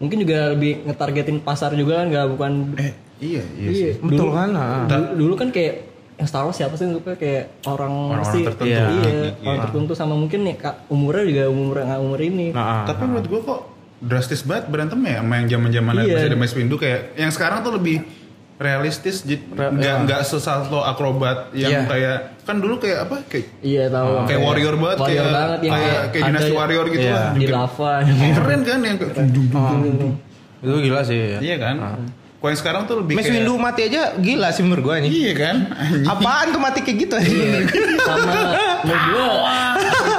[SPEAKER 1] mungkin juga lebih ngetargetin pasar juga kan nggak bukan
[SPEAKER 2] eh iya iya.
[SPEAKER 1] iya.
[SPEAKER 3] Betul kan? ah.
[SPEAKER 1] Dulu, dulu kan kayak yang Star Wars siapa sih yang suka kayak orang
[SPEAKER 2] Orang-orang
[SPEAKER 1] sih
[SPEAKER 2] tertentu.
[SPEAKER 1] iya,
[SPEAKER 2] Iya.
[SPEAKER 1] orang tertentu sama mungkin nih kak, umurnya juga umur nggak umur ini
[SPEAKER 3] Nah, ah.
[SPEAKER 2] Tapi menurut gua kok drastis banget berantem ya sama yang zaman zaman
[SPEAKER 1] Iya.
[SPEAKER 2] masih ada Mace Windu kayak yang sekarang tuh lebih realistis jadi nggak
[SPEAKER 1] iya.
[SPEAKER 2] nggak sesalto akrobat yang
[SPEAKER 3] Iya.
[SPEAKER 2] kayak kan dulu kayak apa kayak
[SPEAKER 1] iya tahu
[SPEAKER 2] Ah. kayak warrior banget
[SPEAKER 1] warrior
[SPEAKER 2] kayak
[SPEAKER 1] banget yang
[SPEAKER 2] kayak, kayak
[SPEAKER 1] ada Iya.
[SPEAKER 2] dinasti warrior gitu
[SPEAKER 3] Iya.
[SPEAKER 2] lah
[SPEAKER 1] di
[SPEAKER 2] Juga.
[SPEAKER 1] lava
[SPEAKER 2] keren kan yang kayak dung, dung, dung,
[SPEAKER 1] Iya.
[SPEAKER 2] dung, dung.
[SPEAKER 3] itu gila sih. ya.
[SPEAKER 2] iya kan
[SPEAKER 1] Ah.
[SPEAKER 2] kok yang sekarang tuh lebih
[SPEAKER 3] Miss
[SPEAKER 1] ya.
[SPEAKER 2] kayak-
[SPEAKER 3] Windu mati aja gila sih menurut gua ini.
[SPEAKER 2] iya kan Anjing.
[SPEAKER 3] Apaan tuh mati kayak gitu?
[SPEAKER 1] sama menurut gue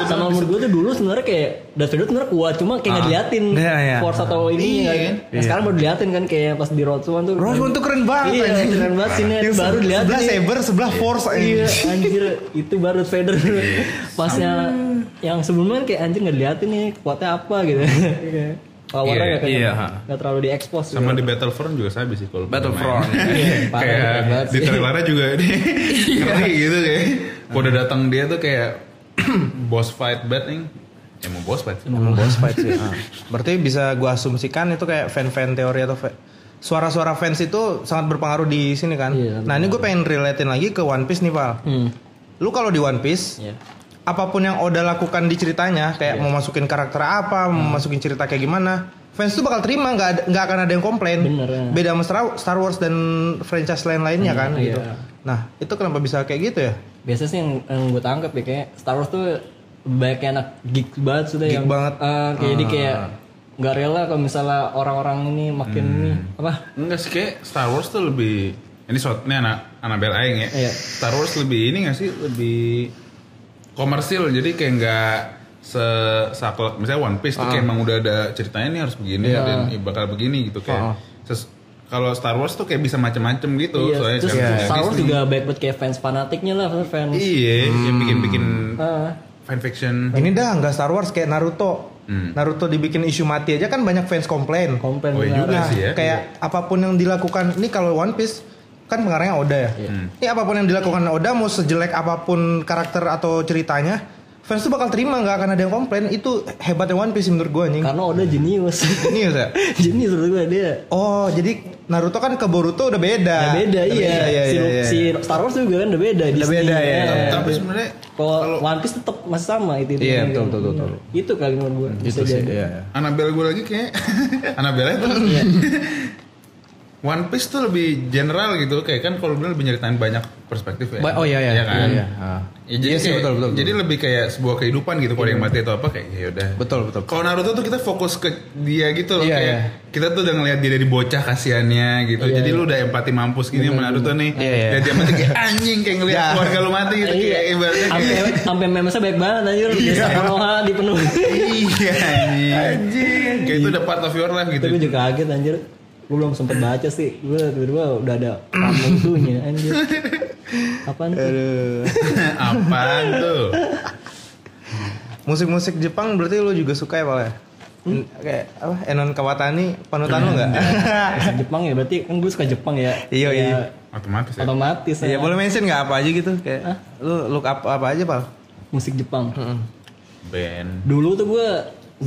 [SPEAKER 1] sama menurut gue tuh dulu sebenarnya kayak Darth Vader tuh sebenarnya kuat cuma kayak
[SPEAKER 2] Ah.
[SPEAKER 1] nggak diliatin
[SPEAKER 3] Iya, iya.
[SPEAKER 1] force atau ini
[SPEAKER 5] Iya,
[SPEAKER 1] nggak
[SPEAKER 5] kan?
[SPEAKER 1] Nah, sekarang baru diliatin kan kayak pas di Road One tuh
[SPEAKER 3] Rogue One tuh keren banget
[SPEAKER 1] iya
[SPEAKER 3] anjing.
[SPEAKER 1] keren banget sini
[SPEAKER 3] Yang
[SPEAKER 1] baru diliatin
[SPEAKER 3] Sebelah
[SPEAKER 1] nih.
[SPEAKER 3] saber, sebelah force anjing.
[SPEAKER 1] Iya anjir itu baru Darth Vader
[SPEAKER 3] Iya.
[SPEAKER 1] pas yang yang sebelumnya kan kayak anjir nggak diliatin nih kuatnya apa gitu kalau
[SPEAKER 2] Iya,
[SPEAKER 1] warna nggak kayak
[SPEAKER 2] iya.
[SPEAKER 1] nggak terlalu diekspos gitu.
[SPEAKER 2] (laughs) sama di Battlefront juga saya sih
[SPEAKER 1] (laughs)
[SPEAKER 2] kalau (laughs)
[SPEAKER 6] Battlefront.
[SPEAKER 1] Iya.
[SPEAKER 3] Iya,
[SPEAKER 1] Parah, keren banget
[SPEAKER 2] kayak di
[SPEAKER 1] sih. Iya.
[SPEAKER 2] trailernya juga
[SPEAKER 1] (laughs)
[SPEAKER 2] di ngeri gitu kayak Gua udah datang dia tuh kayak (clears throat) boss fight bat nih emang boss fight sih.
[SPEAKER 3] Emang boss fight sih. ah. Berarti bisa gua asumsikan itu kayak fan-fan teori atau fa- suara-suara fans itu sangat berpengaruh di sini kan.
[SPEAKER 1] Iya,
[SPEAKER 3] nah ini gue pengen relatein lagi ke One Piece nih Pal.
[SPEAKER 1] Hmm,
[SPEAKER 3] Lu kalau di One Piece,
[SPEAKER 1] iya.
[SPEAKER 3] apapun yang Oda lakukan di ceritanya, kayak mau masukin karakter
[SPEAKER 1] Hmm.
[SPEAKER 3] apa, mau masukin cerita kayak gimana, fans tuh bakal terima, nggak ada- nggak akan ada yang komplain.
[SPEAKER 1] Bener, ya.
[SPEAKER 3] Beda sama Star- Star Wars dan franchise lain lainnya kan gitu.
[SPEAKER 1] iya.
[SPEAKER 3] Nah itu kenapa bisa kayak gitu ya?
[SPEAKER 1] biasanya sih yang, yang gue tangkap ya kayak Star Wars tuh banyaknya anak geek banget sudah
[SPEAKER 3] Geek
[SPEAKER 1] yang
[SPEAKER 3] banget.
[SPEAKER 1] eh, kayak jadi kayak nggak rela kalau misalnya orang-orang ini makin ini apa
[SPEAKER 2] enggak sih kayak Star Wars tuh lebih ini shot ini anak Anabel Aing ya
[SPEAKER 1] Iya.
[SPEAKER 2] Star Wars lebih ini nggak sih lebih komersil jadi kayak nggak se saklek misalnya One Piece tuh
[SPEAKER 1] Ah.
[SPEAKER 2] kayak emang udah ada ceritanya nih harus begini
[SPEAKER 1] Iya.
[SPEAKER 2] dan bakal begini gitu kayak ses- kalau Star Wars tuh kayak bisa macem-macem gitu
[SPEAKER 1] Ah. iya
[SPEAKER 2] soalnya
[SPEAKER 1] terus
[SPEAKER 2] kayak
[SPEAKER 1] Star Wars
[SPEAKER 2] Disney.
[SPEAKER 1] juga Hmm. banyak banget kayak fans fanatiknya lah fans fans
[SPEAKER 2] Iya, yang bikin-bikin
[SPEAKER 1] Ah.
[SPEAKER 2] fanfiction.
[SPEAKER 3] Ini dah nggak Star Wars kayak Naruto. Naruto dibikin isu mati aja kan banyak fans komplain.
[SPEAKER 1] komplain
[SPEAKER 2] Oh,
[SPEAKER 1] banget.
[SPEAKER 2] iya juga.
[SPEAKER 3] Nah,
[SPEAKER 2] sih ya.
[SPEAKER 3] kayak apapun yang dilakukan ini kalau One Piece kan pengarangnya Oda ya.
[SPEAKER 6] Iya.
[SPEAKER 1] Hmm.
[SPEAKER 3] Ini apapun yang dilakukan Oda mau sejelek apapun karakter atau ceritanya, fans tuh bakal terima nggak akan ada yang komplain. Itu hebatnya One Piece menurut gua anjing.
[SPEAKER 1] karena udah jenius (laughs)
[SPEAKER 3] Ini ya.
[SPEAKER 1] jenius menurut gue dia
[SPEAKER 3] Oh, jadi Naruto kan ke Boruto udah beda.
[SPEAKER 1] udah beda iya, si, si Star Wars juga kan udah beda
[SPEAKER 3] Udah
[SPEAKER 1] Disney,
[SPEAKER 3] beda, ya.
[SPEAKER 1] eh.
[SPEAKER 2] iya. Tapi sebenarnya
[SPEAKER 1] kalau One Piece tetap masih sama itu itu
[SPEAKER 6] Iya,
[SPEAKER 1] kan.
[SPEAKER 6] betul, betul, betul,
[SPEAKER 1] itu kali menurut gue
[SPEAKER 6] Gitu sih, iya, iya.
[SPEAKER 2] Anabel gue lagi
[SPEAKER 6] (laughs)
[SPEAKER 2] kayak Anabel itu. (laughs) One Piece tuh lebih general gitu kayak kan kalau bener lebih nyeritain banyak perspektif ya.
[SPEAKER 6] Ba- oh, iya, iya. Iya,
[SPEAKER 2] kan?
[SPEAKER 6] iya. Ah.
[SPEAKER 2] Ya,
[SPEAKER 6] Iya
[SPEAKER 2] jadi
[SPEAKER 6] sih,
[SPEAKER 2] kayak-
[SPEAKER 6] betul, betul, betul.
[SPEAKER 2] Jadi lebih kayak sebuah kehidupan gitu kalau yang mati atau apa kayak ya udah.
[SPEAKER 6] Betul, betul.
[SPEAKER 2] Kalau Naruto tuh kita fokus ke dia gitu loh
[SPEAKER 6] Iya,
[SPEAKER 2] kayak
[SPEAKER 6] iya.
[SPEAKER 2] kita tuh udah ngelihat dia dari bocah kasihannya gitu. jadi lu udah empati mampus gini sama Naruto nih.
[SPEAKER 6] Iya, iya.
[SPEAKER 2] Dan dia mati
[SPEAKER 6] (laughs)
[SPEAKER 2] kayak anjing kayak ngelihat keluarga lu mati gitu
[SPEAKER 1] Iya.
[SPEAKER 2] kayak ibaratnya
[SPEAKER 1] sampai
[SPEAKER 2] kayak
[SPEAKER 1] sampai memesnya baik banget anjir
[SPEAKER 3] Iya.
[SPEAKER 1] desa Konoha dipenuhi
[SPEAKER 3] Gitu.
[SPEAKER 2] iya anjing. anjing. Kayak itu udah part of your life gitu.
[SPEAKER 1] tapi gue juga kaget anjir gue belum sempet baca sih gue tiba-tiba udah ada pramugdunya anjir apaan tuh
[SPEAKER 2] Apaan tuh?
[SPEAKER 3] Musik-musik Jepang berarti lu juga suka ya, Pak? ya?
[SPEAKER 1] Hmm?
[SPEAKER 3] N- Kayak apa? Enon Kawatani
[SPEAKER 6] (laughs)
[SPEAKER 3] panutan lu enggak?
[SPEAKER 6] Iya.
[SPEAKER 3] (laughs)
[SPEAKER 1] Jepang ya berarti kan gue suka Jepang ya
[SPEAKER 3] Iya,
[SPEAKER 1] Ya,
[SPEAKER 3] iya.
[SPEAKER 2] Otomatis ya.
[SPEAKER 1] otomatis
[SPEAKER 3] Iya,
[SPEAKER 1] ya
[SPEAKER 3] boleh mention nggak apa aja gitu kayak lu look up apa aja, Pak?
[SPEAKER 1] musik Jepang
[SPEAKER 2] Band.
[SPEAKER 1] dulu tuh gue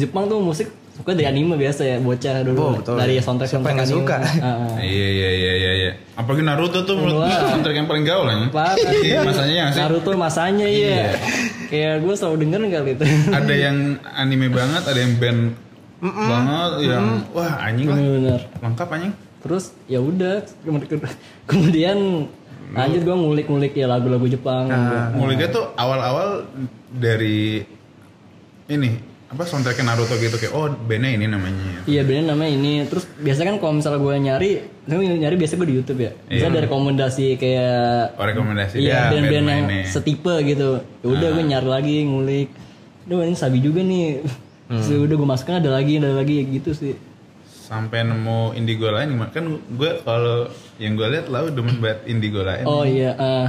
[SPEAKER 1] Jepang tuh musik suka dari anime biasa ya bocah dulu
[SPEAKER 3] Oh, betul.
[SPEAKER 1] dari soundtrack
[SPEAKER 3] Siapa yang
[SPEAKER 1] soundtrack anime.
[SPEAKER 3] nggak suka?
[SPEAKER 1] Ah, ah.
[SPEAKER 2] Iya iya iya iya iya. Apalagi Naruto tuh menurut gue
[SPEAKER 1] Wah.
[SPEAKER 2] soundtrack yang paling gaul lah.
[SPEAKER 1] Parah.
[SPEAKER 3] (laughs)
[SPEAKER 2] Iya, masanya ya sih.
[SPEAKER 1] Naruto masanya iya. Kayak gue selalu denger gitu? kali itu.
[SPEAKER 2] Ada yang anime banget, ada yang band banget, yang wah anjing lah.
[SPEAKER 1] Bener.
[SPEAKER 2] Lengkap anjing.
[SPEAKER 1] Terus ya udah kemudian- kemudian lanjut gue ngulik-ngulik ya lagu-lagu Jepang.
[SPEAKER 2] Mulai tuh awal-awal dari ini apa soundtracknya Naruto gitu kayak oh bandnya ini namanya.
[SPEAKER 1] Iya bener namanya ini. Terus biasanya kan kalau misalnya gue nyari, gue nyari biasa gue di YouTube ya. Bisa ada rekomendasi kayak
[SPEAKER 2] Oh Iya. rekomendasi
[SPEAKER 1] Iya,
[SPEAKER 2] dia Ah.
[SPEAKER 1] band-band yang
[SPEAKER 2] mainnya.
[SPEAKER 1] setipe gitu. Ya udah gue nyari lagi ngulik. Duh ini sabi juga nih.
[SPEAKER 2] Hmm.
[SPEAKER 1] Terus ya udah gue masukin ada lagi ada lagi gitu sih.
[SPEAKER 2] sampai nemu indigo lain gimana? kan gue kalau yang gue lihat lau demen banget indigo lain
[SPEAKER 1] Oh iya, eh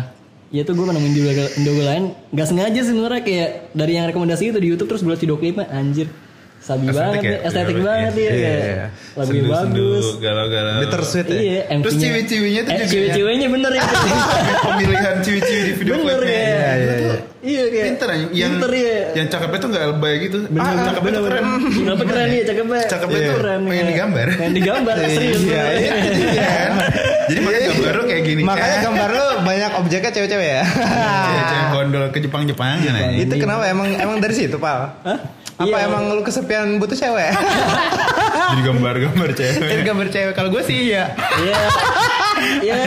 [SPEAKER 1] ya tuh gue nemuin di Indogo lain. Gak sengaja sih sebenarnya kayak dari yang rekomendasi itu di YouTube terus gue liat video klipnya anjir. Sabi
[SPEAKER 2] Estetik
[SPEAKER 1] banget
[SPEAKER 2] ya,
[SPEAKER 1] ya, estetik
[SPEAKER 2] video
[SPEAKER 1] banget ya.
[SPEAKER 2] klipnya.
[SPEAKER 1] kayak
[SPEAKER 2] Iya.
[SPEAKER 1] Lagunya bagus.
[SPEAKER 2] galau-galau
[SPEAKER 3] Bittersweet ya.
[SPEAKER 1] Iya, MV-nya.
[SPEAKER 2] terus ciwi-ciwinya tuh
[SPEAKER 1] Eh,
[SPEAKER 2] juga
[SPEAKER 1] ciwi-ciwinya bener
[SPEAKER 2] (laughs)
[SPEAKER 1] ya.
[SPEAKER 2] pemilihan ciwi-ciwi di video
[SPEAKER 1] bener
[SPEAKER 2] klipnya iya,
[SPEAKER 1] ya. Iya kayak.
[SPEAKER 2] pinter ya yang
[SPEAKER 1] Pinter ya.
[SPEAKER 2] yang cakepnya tuh nggak lebay gitu ah,
[SPEAKER 1] Bener,
[SPEAKER 2] cakepnya tuh
[SPEAKER 1] bener.
[SPEAKER 2] keren
[SPEAKER 1] Kenapa keren ya cakepnya?
[SPEAKER 2] Cakepnya tuh iya. pengen
[SPEAKER 1] ya.
[SPEAKER 2] digambar.
[SPEAKER 1] Pengen digambar, serius.
[SPEAKER 3] Iya,
[SPEAKER 1] bener.
[SPEAKER 3] iya.
[SPEAKER 2] Iya kan? jadi
[SPEAKER 1] Iya,
[SPEAKER 2] makanya gambar lu kayak gini
[SPEAKER 3] Makanya
[SPEAKER 2] Eh,
[SPEAKER 3] gambar lu banyak objeknya cewek-cewek ya.
[SPEAKER 2] iya, cewek gondol ke Jepang-Jepang ya Nay.
[SPEAKER 3] (laughs) itu kenapa emang emang dari situ, Pal? Apa
[SPEAKER 1] Iya.
[SPEAKER 3] emang lu kesepian butuh (laughs) cewek?
[SPEAKER 2] jadi gambar-gambar cewek
[SPEAKER 3] Jadi gambar cewek. Kalau gue sih iya.
[SPEAKER 1] Iya. Ya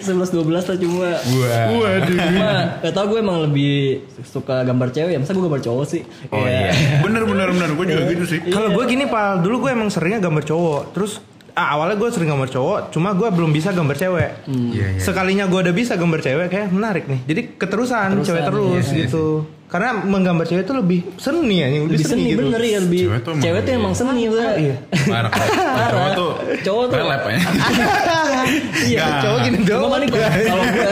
[SPEAKER 1] 11 12 lah cuma.
[SPEAKER 2] Wah.
[SPEAKER 1] Waduh. Cuma gak tau gue emang lebih suka gambar cewek ya. Masa gue gambar cowok sih?
[SPEAKER 2] oh
[SPEAKER 1] Kayak-
[SPEAKER 2] iya bener bener bener gue
[SPEAKER 1] Iya.
[SPEAKER 2] juga gitu sih
[SPEAKER 3] Kalau gue gini, Pal, dulu gue emang seringnya gambar cowok. Terus ah, awalnya gue sering gambar cowok, cuma gue belum bisa gambar cewek.
[SPEAKER 2] Iya, iya.
[SPEAKER 3] Sekalinya gue udah bisa gambar cewek kayak menarik nih. Jadi keterusan, cewek terus
[SPEAKER 1] iya, iya,
[SPEAKER 3] gitu. Karena menggambar cewek itu lebih seni ya, lebih,
[SPEAKER 1] lebih seni,
[SPEAKER 3] gitu.
[SPEAKER 1] bener ya lebih
[SPEAKER 2] Cewek tuh emang-
[SPEAKER 1] cewek tuh emang seni bener iya
[SPEAKER 2] Parah. Cowok tuh
[SPEAKER 1] Cowok tuh-
[SPEAKER 2] relep ya.
[SPEAKER 1] (laughs) iya
[SPEAKER 2] Nah.
[SPEAKER 3] Cowok gini
[SPEAKER 1] Cuma
[SPEAKER 3] doang. Iya.
[SPEAKER 1] paling kalau kalau gue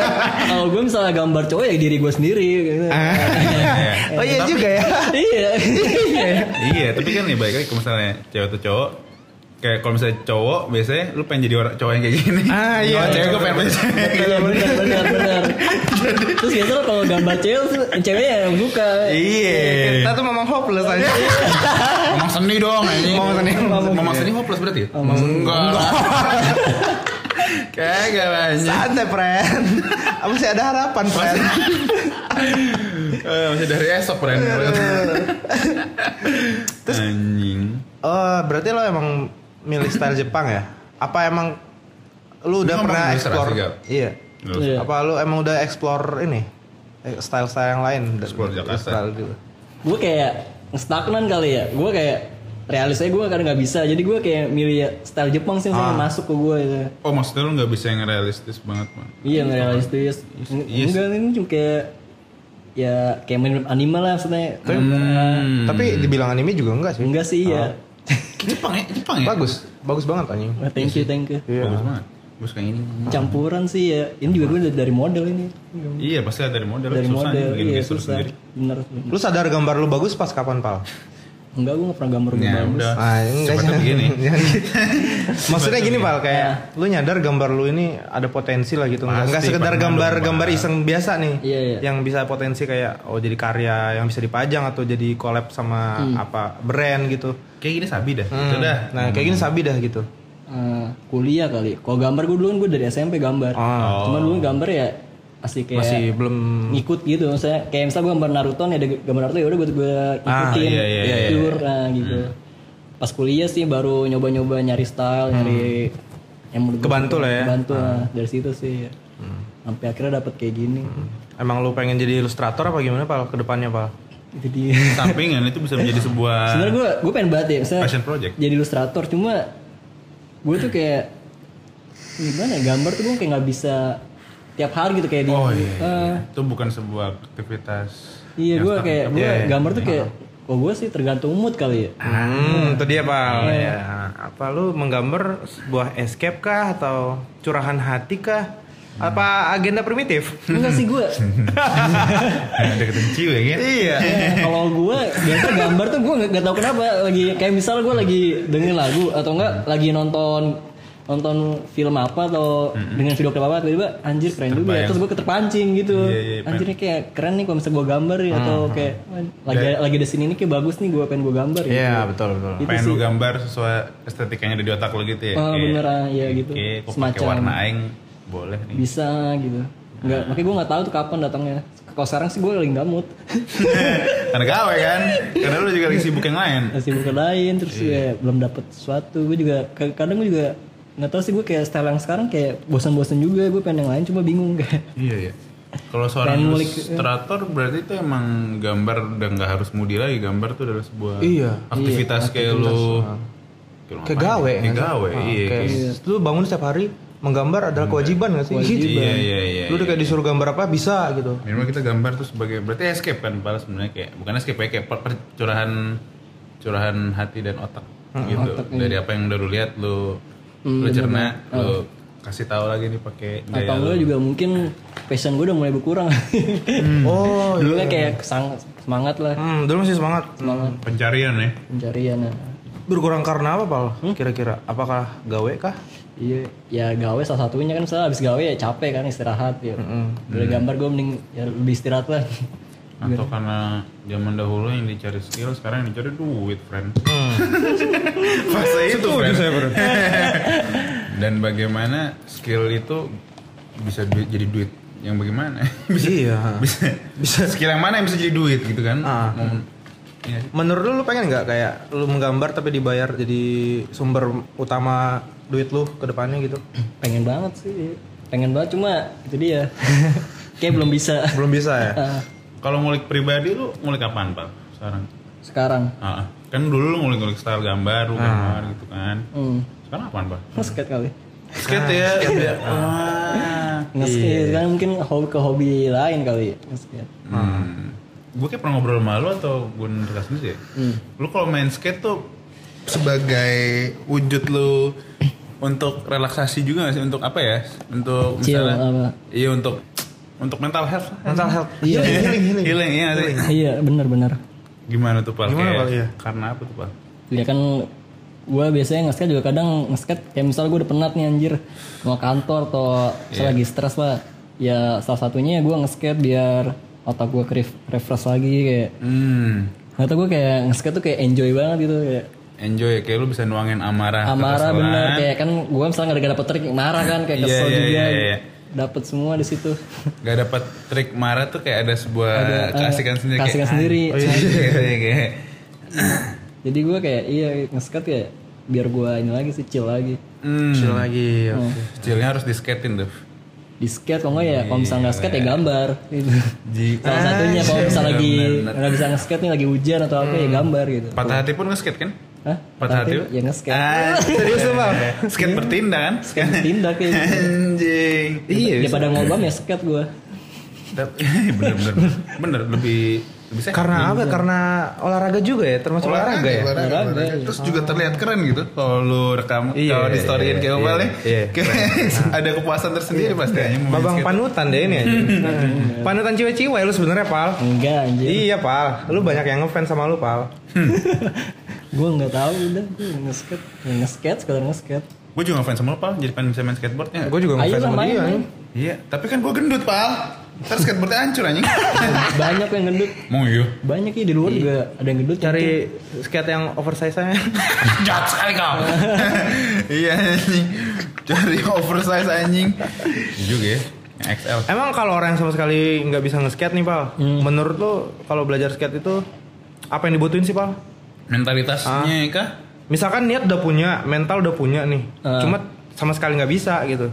[SPEAKER 1] kalau gue misalnya gambar cowok ya diri gue sendiri gitu.
[SPEAKER 3] Ah. (laughs) Oh iya juga ya.
[SPEAKER 1] iya
[SPEAKER 2] Iya, tapi kan nih baik lagi kalau misalnya cewek tuh cowok kayak kalau misalnya cowok biasanya lu pengen jadi orang cowok yang kayak gini.
[SPEAKER 3] Ah, iya.
[SPEAKER 2] Kalau cewek gue pengen jadi cewek.
[SPEAKER 1] Iya benar benar benar. Terus biasanya kalau gambar cewek tuh ceweknya yang suka.
[SPEAKER 3] (laughs)
[SPEAKER 2] Iya.
[SPEAKER 3] Kita tuh memang hopeless (laughs) aja.
[SPEAKER 2] Ngomong seni dong ini. Ngomong seni. Ngomong seni hopeless berarti ya? Enggak. (laughs) Kagak banyak.
[SPEAKER 3] Santai, friend. (laughs) Masih ada harapan, friend.
[SPEAKER 2] Eh, masih dari esok keren. anjing.
[SPEAKER 3] Oh, berarti lo emang milih style Jepang ya? Apa emang lu udah
[SPEAKER 2] ngomong
[SPEAKER 3] pernah
[SPEAKER 2] dulu,
[SPEAKER 3] explore?
[SPEAKER 2] serasi, Gal.
[SPEAKER 3] Iya.
[SPEAKER 2] Terus.
[SPEAKER 1] Iya.
[SPEAKER 3] Apa lu emang udah explore ini? Eh, Style-style yang lain dan-
[SPEAKER 2] Explore Jakarta.
[SPEAKER 3] style gitu.
[SPEAKER 1] Gue kayak stagnan kali ya. Gue kayak realisnya gue kadang nggak bisa. Jadi gue kayak milih style Jepang sih yang
[SPEAKER 3] Ah.
[SPEAKER 1] sering masuk ke gitu. gue itu.
[SPEAKER 2] Oh maksudnya lu nggak bisa yang realistis banget man?
[SPEAKER 1] Iya nggak realistis. Eng-
[SPEAKER 3] iya
[SPEAKER 2] Yes.
[SPEAKER 1] Enggak ini juga kayak ya kayak main anime lah sebenarnya.
[SPEAKER 2] Hmm.
[SPEAKER 3] Tapi dibilang anime juga enggak sih.
[SPEAKER 1] Enggak sih ya.
[SPEAKER 2] Jepang ya, Jepang ya.
[SPEAKER 3] Bagus, bagus banget anjing.
[SPEAKER 1] Nah, Thank you thank you.
[SPEAKER 3] Iya.
[SPEAKER 2] Bagus banget. Bagus kayak ini.
[SPEAKER 1] Campuran sih ya. Ini juga gue dari model ini.
[SPEAKER 2] Iya pasti ada dari model.
[SPEAKER 1] Dari
[SPEAKER 2] susah
[SPEAKER 1] model.
[SPEAKER 2] bikin
[SPEAKER 1] Iya
[SPEAKER 2] gestur
[SPEAKER 1] susah.
[SPEAKER 2] sendiri.
[SPEAKER 1] Bener. bener.
[SPEAKER 3] Lu sadar gambar lu bagus pas kapan, Pal?
[SPEAKER 1] Enggak gue nggak pernah gambar gue
[SPEAKER 2] Ya
[SPEAKER 1] bagus.
[SPEAKER 2] udah.
[SPEAKER 3] Ah, enggak
[SPEAKER 2] Seperti
[SPEAKER 3] jangan-
[SPEAKER 2] begini.
[SPEAKER 3] (laughs) jangan gitu. Maksudnya gini, Pal, kayak
[SPEAKER 1] Iya.
[SPEAKER 3] lu nyadar gambar lu ini ada potensi lah gitu. Enggak,
[SPEAKER 2] Pasti,
[SPEAKER 3] enggak sekedar
[SPEAKER 2] pernah
[SPEAKER 3] gambar
[SPEAKER 2] dong,
[SPEAKER 3] gambar
[SPEAKER 2] Pal.
[SPEAKER 3] iseng biasa nih.
[SPEAKER 1] Iya, iya.
[SPEAKER 3] Yang bisa potensi kayak oh jadi karya yang bisa dipajang atau jadi collab sama
[SPEAKER 1] Hmm.
[SPEAKER 3] apa brand gitu.
[SPEAKER 2] Kayak gini sabi dah.
[SPEAKER 3] Hmm.
[SPEAKER 2] Itu dah.
[SPEAKER 3] Nah, kayak gini sabi dah gitu.
[SPEAKER 1] Eh, kuliah kali. Kalau gambar gue dulu kan gue dari SMP gambar.
[SPEAKER 3] Ah.
[SPEAKER 1] Cuma dulu gambar ya masih kayak
[SPEAKER 3] Masih belum
[SPEAKER 2] Hmm.
[SPEAKER 1] ngikut gitu. Saya kayak misalnya gue gambar Naruto nih ada gambar Naruto ya udah gue gue ngikutin
[SPEAKER 2] iya, iya, iya, Hmm.
[SPEAKER 1] pure nah, gitu. Pas kuliah sih baru nyoba-nyoba nyari style, nyari
[SPEAKER 2] Hmm.
[SPEAKER 1] yang menurut gue-
[SPEAKER 3] Kebantu lah ya.
[SPEAKER 1] Kebantu lah.
[SPEAKER 2] Ah.
[SPEAKER 1] dari situ sih. Sampai akhirnya dapet kayak gini.
[SPEAKER 2] Hmm.
[SPEAKER 3] Emang lu pengen jadi ilustrator apa gimana, Pal, ke depannya, Pal?
[SPEAKER 1] Itu dia.
[SPEAKER 2] Sampingan kan, itu bisa menjadi sebuah
[SPEAKER 1] Sebenarnya gue gue pengen banget ya misalnya
[SPEAKER 2] passion project.
[SPEAKER 1] jadi ilustrator cuma gue tuh kayak gimana ya, gambar tuh gue kayak nggak bisa tiap hari gitu kayak di
[SPEAKER 2] Oh iya.
[SPEAKER 1] Eh,
[SPEAKER 2] Itu bukan sebuah aktivitas.
[SPEAKER 1] iya
[SPEAKER 2] yang
[SPEAKER 1] gue
[SPEAKER 2] stuck
[SPEAKER 1] kayak
[SPEAKER 2] di
[SPEAKER 1] gue
[SPEAKER 2] tempat.
[SPEAKER 1] gambar tuh
[SPEAKER 2] (laughs)
[SPEAKER 1] kayak
[SPEAKER 2] Iya.
[SPEAKER 1] kok gue sih tergantung mood kali ya
[SPEAKER 3] Hmm, itu dia, Pal.
[SPEAKER 1] Iya.
[SPEAKER 3] Ya. Apa lu menggambar sebuah escape kah atau curahan hati kah? Apa agenda primitif?
[SPEAKER 1] enggak sih (laughs) gue
[SPEAKER 2] Nah, deketin ciwe ya.
[SPEAKER 3] Iya.
[SPEAKER 1] Eh, kalau gue biasa gambar tuh gue nggak nggak tahu kenapa lagi kayak misal gue lagi dengerin lagu atau enggak lagi nonton nonton film apa atau dengan video klip apa tiba-tiba anjir keren juga ya.
[SPEAKER 2] Terbayang.
[SPEAKER 1] terus gue keterpancing gitu
[SPEAKER 2] Iya, iya, Mm-hmm. iya,
[SPEAKER 1] anjirnya kayak keren nih kalau misalnya gue gambar ya atau kayak "Wah, lagi lagi di sini ini kayak bagus nih gue pengen gue gambar ya
[SPEAKER 3] Iya, betul betul.
[SPEAKER 1] Itu
[SPEAKER 2] Pengen
[SPEAKER 1] sih.
[SPEAKER 2] lu gambar sesuai estetikanya ada di otak lu gitu ya.
[SPEAKER 1] Ah,
[SPEAKER 2] Kayak-
[SPEAKER 1] bener, ah, iya gitu.
[SPEAKER 2] Kayak kok pakai
[SPEAKER 1] Semacam.
[SPEAKER 2] warna aing boleh nih.
[SPEAKER 1] bisa gitu nggak makanya gue nggak tahu tuh kapan datangnya kalau sekarang sih gue lagi nggak mood
[SPEAKER 2] Karena gawe kan. Karena lu juga lagi sibuk yang lain.
[SPEAKER 1] masih buka lain terus ya belum dapet sesuatu gue juga ka- kadang gue juga nggak tahu sih gue kayak style yang sekarang kayak bosan-bosan juga gue pengen yang lain cuma bingung kayak
[SPEAKER 2] Iya iya. Kalau seorang
[SPEAKER 1] Pengen ngulik,
[SPEAKER 2] ilustrator berarti itu emang gambar udah nggak harus mudi lagi gambar tuh adalah sebuah
[SPEAKER 3] Iya.
[SPEAKER 2] aktivitas kayak lu
[SPEAKER 3] Ke gawe.
[SPEAKER 2] Ke
[SPEAKER 3] nggak sih?
[SPEAKER 2] gawe,
[SPEAKER 3] Ah,
[SPEAKER 2] iya.
[SPEAKER 3] kayak
[SPEAKER 2] kayak-
[SPEAKER 3] Lu bangun setiap hari menggambar adalah kewajiban gak sih? Gitu.
[SPEAKER 2] Iya iya iya.
[SPEAKER 3] Lu udah kayak disuruh gambar apa bisa gitu.
[SPEAKER 2] Minimal kita gambar tuh sebagai berarti escape kan pala sebenarnya kayak bukan escape ya kayak per- per- curahan curahan hati dan otak
[SPEAKER 3] Ah,
[SPEAKER 2] gitu
[SPEAKER 3] iya.
[SPEAKER 2] dari apa yang udah lu lihat lu
[SPEAKER 3] Hmm,
[SPEAKER 2] lu cerna
[SPEAKER 3] Ah.
[SPEAKER 2] lu kasih tahu lagi nih pakai
[SPEAKER 1] atau
[SPEAKER 2] gaya lu.
[SPEAKER 1] gue juga mungkin passion gue udah mulai berkurang (laughs)
[SPEAKER 3] Oh,
[SPEAKER 1] dulu kan kayak kesang- semangat lah
[SPEAKER 3] hmm, dulu masih semangat.
[SPEAKER 1] semangat
[SPEAKER 2] pencarian ya.
[SPEAKER 1] pencarian nah.
[SPEAKER 3] Berkurang karena apa, Pal? Kira-kira apakah gawe kah?
[SPEAKER 1] iya ya gawe salah satunya kan misalnya abis gawe ya capek kan istirahat ya dari gambar gue mending ya lebih istirahat lah (laughs)
[SPEAKER 2] Atau karena zaman dahulu yang dicari skill, sekarang yang dicari duit, friend. Hmm. (laughs) Fase itu, friend. (laughs) Dan bagaimana skill itu bisa duit- jadi duit yang (laughs) bagaimana? bisa,
[SPEAKER 3] Iya.
[SPEAKER 2] bisa, skill yang mana yang bisa jadi duit gitu kan?
[SPEAKER 3] Ah.
[SPEAKER 2] Momen- Iya.
[SPEAKER 3] Menurut lu lu pengen nggak kayak lu menggambar tapi dibayar jadi sumber utama duit lu ke depannya gitu?
[SPEAKER 1] pengen banget sih iya. pengen banget cuma itu dia kayak belum bisa (laughs)
[SPEAKER 3] Belum bisa ya?
[SPEAKER 1] Ah,
[SPEAKER 2] Kalau ngulik pribadi lu ngulik apaan, Pak? Sekarang.
[SPEAKER 1] sekarang
[SPEAKER 2] Ah, ah. kan dulu lu ngulik-ngulik style gambar, lu gambar gitu kan.
[SPEAKER 1] hmm.
[SPEAKER 2] Sekarang apaan, Pak?
[SPEAKER 1] Nge-skate kali
[SPEAKER 2] Skate ya. ya. Ah.
[SPEAKER 1] Nge-skate kan mungkin hobi ke hobi lain kali nge-skate
[SPEAKER 2] Hmm. gue kayak pernah ngobrol sama lu atau gue ngekas sendiri ya? Lu kalau main skate tuh sebagai wujud lu untuk relaksasi juga gak sih? Untuk apa ya? Untuk
[SPEAKER 1] Chill,
[SPEAKER 2] misalnya,
[SPEAKER 1] apa?
[SPEAKER 2] iya untuk untuk mental health.
[SPEAKER 3] mental health Hmm.
[SPEAKER 1] Iya.
[SPEAKER 3] healing healing, healing.
[SPEAKER 2] Healing, iya nggak sih?
[SPEAKER 1] iya benar-benar
[SPEAKER 2] Gimana tuh Pal?
[SPEAKER 3] Gimana,
[SPEAKER 2] Kayak-
[SPEAKER 3] Pal, iya?
[SPEAKER 2] Karena apa tuh Pal?
[SPEAKER 1] ya kan gue biasanya nge-skate juga kadang nge-skate kayak misal gue udah penat nih anjir mau kantor atau
[SPEAKER 2] Iya.
[SPEAKER 1] misal lagi stres lah ya salah satunya gue nge-skate biar otak gue kerif refresh lagi kayak
[SPEAKER 2] Hmm,
[SPEAKER 1] nggak tau gue kayak nge-skate tuh kayak enjoy banget gitu kayak
[SPEAKER 2] enjoy. Kayak lu bisa nuangin amarah.
[SPEAKER 1] amarah
[SPEAKER 2] kekesalan.
[SPEAKER 1] bener kayak kan gue misalnya nggak dapet trik marah kan kayak
[SPEAKER 2] Iya,
[SPEAKER 1] kesel
[SPEAKER 2] iya,
[SPEAKER 1] juga
[SPEAKER 2] iya, iya.
[SPEAKER 1] dapet semua di situ
[SPEAKER 2] Gak dapat trik marah tuh kayak ada sebuah
[SPEAKER 1] Ada, eh,
[SPEAKER 2] keasikan sendiri. kayak,
[SPEAKER 1] keasikan sendiri.
[SPEAKER 2] "Ah, oh (laughs) iya, iya, iya."
[SPEAKER 1] jadi gue kayak iya nge-skate kayak biar gue ini lagi sih chill lagi
[SPEAKER 2] Hmm.
[SPEAKER 3] Chill lagi ya.
[SPEAKER 2] Skillnya harus disketin tuh.
[SPEAKER 1] di skate kalau nggak ya kalau misalnya nggak skate ya gambar gitu. salah
[SPEAKER 3] Ah,
[SPEAKER 1] satunya kalau
[SPEAKER 3] iya,
[SPEAKER 1] misalnya lagi
[SPEAKER 2] bener-bener.
[SPEAKER 1] nggak bisa nge-skate nih lagi hujan atau apa
[SPEAKER 3] Hmm.
[SPEAKER 1] ya gambar gitu
[SPEAKER 2] Patah hati pun nge-skate kan?
[SPEAKER 1] Hah?
[SPEAKER 2] Patah hati?
[SPEAKER 1] ya nge-skate
[SPEAKER 2] Ah, serius tuh Bang? Skate bertindak kan?
[SPEAKER 1] bertindak ya gitu.
[SPEAKER 2] Anjing. Iya.
[SPEAKER 1] ya pada ngobam ya skate gue
[SPEAKER 2] bener bener bener lebih lebih sehat.
[SPEAKER 3] karena apa karena olahraga juga ya termasuk Iya, olahraga, ya
[SPEAKER 5] olahraga, olahraga.
[SPEAKER 2] Terus juga terlihat keren gitu kalau lu rekam
[SPEAKER 3] Iya,
[SPEAKER 2] kalau di
[SPEAKER 3] iya,
[SPEAKER 2] storyin
[SPEAKER 3] iya,
[SPEAKER 2] kayak
[SPEAKER 3] iya,
[SPEAKER 2] Opal ya.
[SPEAKER 3] iya.
[SPEAKER 2] (laughs) Kayak ada kepuasan tersendiri pasti aja mau Nah. Iya, main
[SPEAKER 3] babang
[SPEAKER 2] skate.
[SPEAKER 3] panutan deh (laughs) ini aja panutan ciwe-ciwe lu sebenarnya pal
[SPEAKER 1] enggak anjir (laughs)
[SPEAKER 3] iya pal lu banyak yang ngefans sama lu pal
[SPEAKER 1] gue nggak tahu udah gue nge-skate ya, nge-skate sekedar nge-skate
[SPEAKER 2] Gue juga ngefans sama lu Pal, jadi pengen bisa main skateboard ya.
[SPEAKER 3] gue juga
[SPEAKER 1] ayo
[SPEAKER 3] ngefans
[SPEAKER 1] lah
[SPEAKER 3] sama
[SPEAKER 1] main,
[SPEAKER 3] dia
[SPEAKER 1] main.
[SPEAKER 2] Iya, tapi kan gue gendut Pal. Terus skateboardnya hancur anjing.
[SPEAKER 1] banyak yang gendut
[SPEAKER 2] Mau iya.
[SPEAKER 1] banyak ya di luar juga ada yang gendut
[SPEAKER 3] cari
[SPEAKER 1] Gitu.
[SPEAKER 3] skate yang oversize nya
[SPEAKER 2] Jahat sekali kau. (laughs) iya anjing. Cari oversize anjing. Iya Juga ya. Yang XL.
[SPEAKER 3] (laughs) emang kalau orang yang sama sekali nggak bisa nge-skate nih pal
[SPEAKER 1] Hmm.
[SPEAKER 3] menurut lu kalau belajar skate itu apa yang dibutuhin sih pal
[SPEAKER 2] Mentalitasnya ya kah?
[SPEAKER 3] misalkan niat udah punya mental udah punya nih
[SPEAKER 1] Ah.
[SPEAKER 3] cuma sama sekali nggak bisa gitu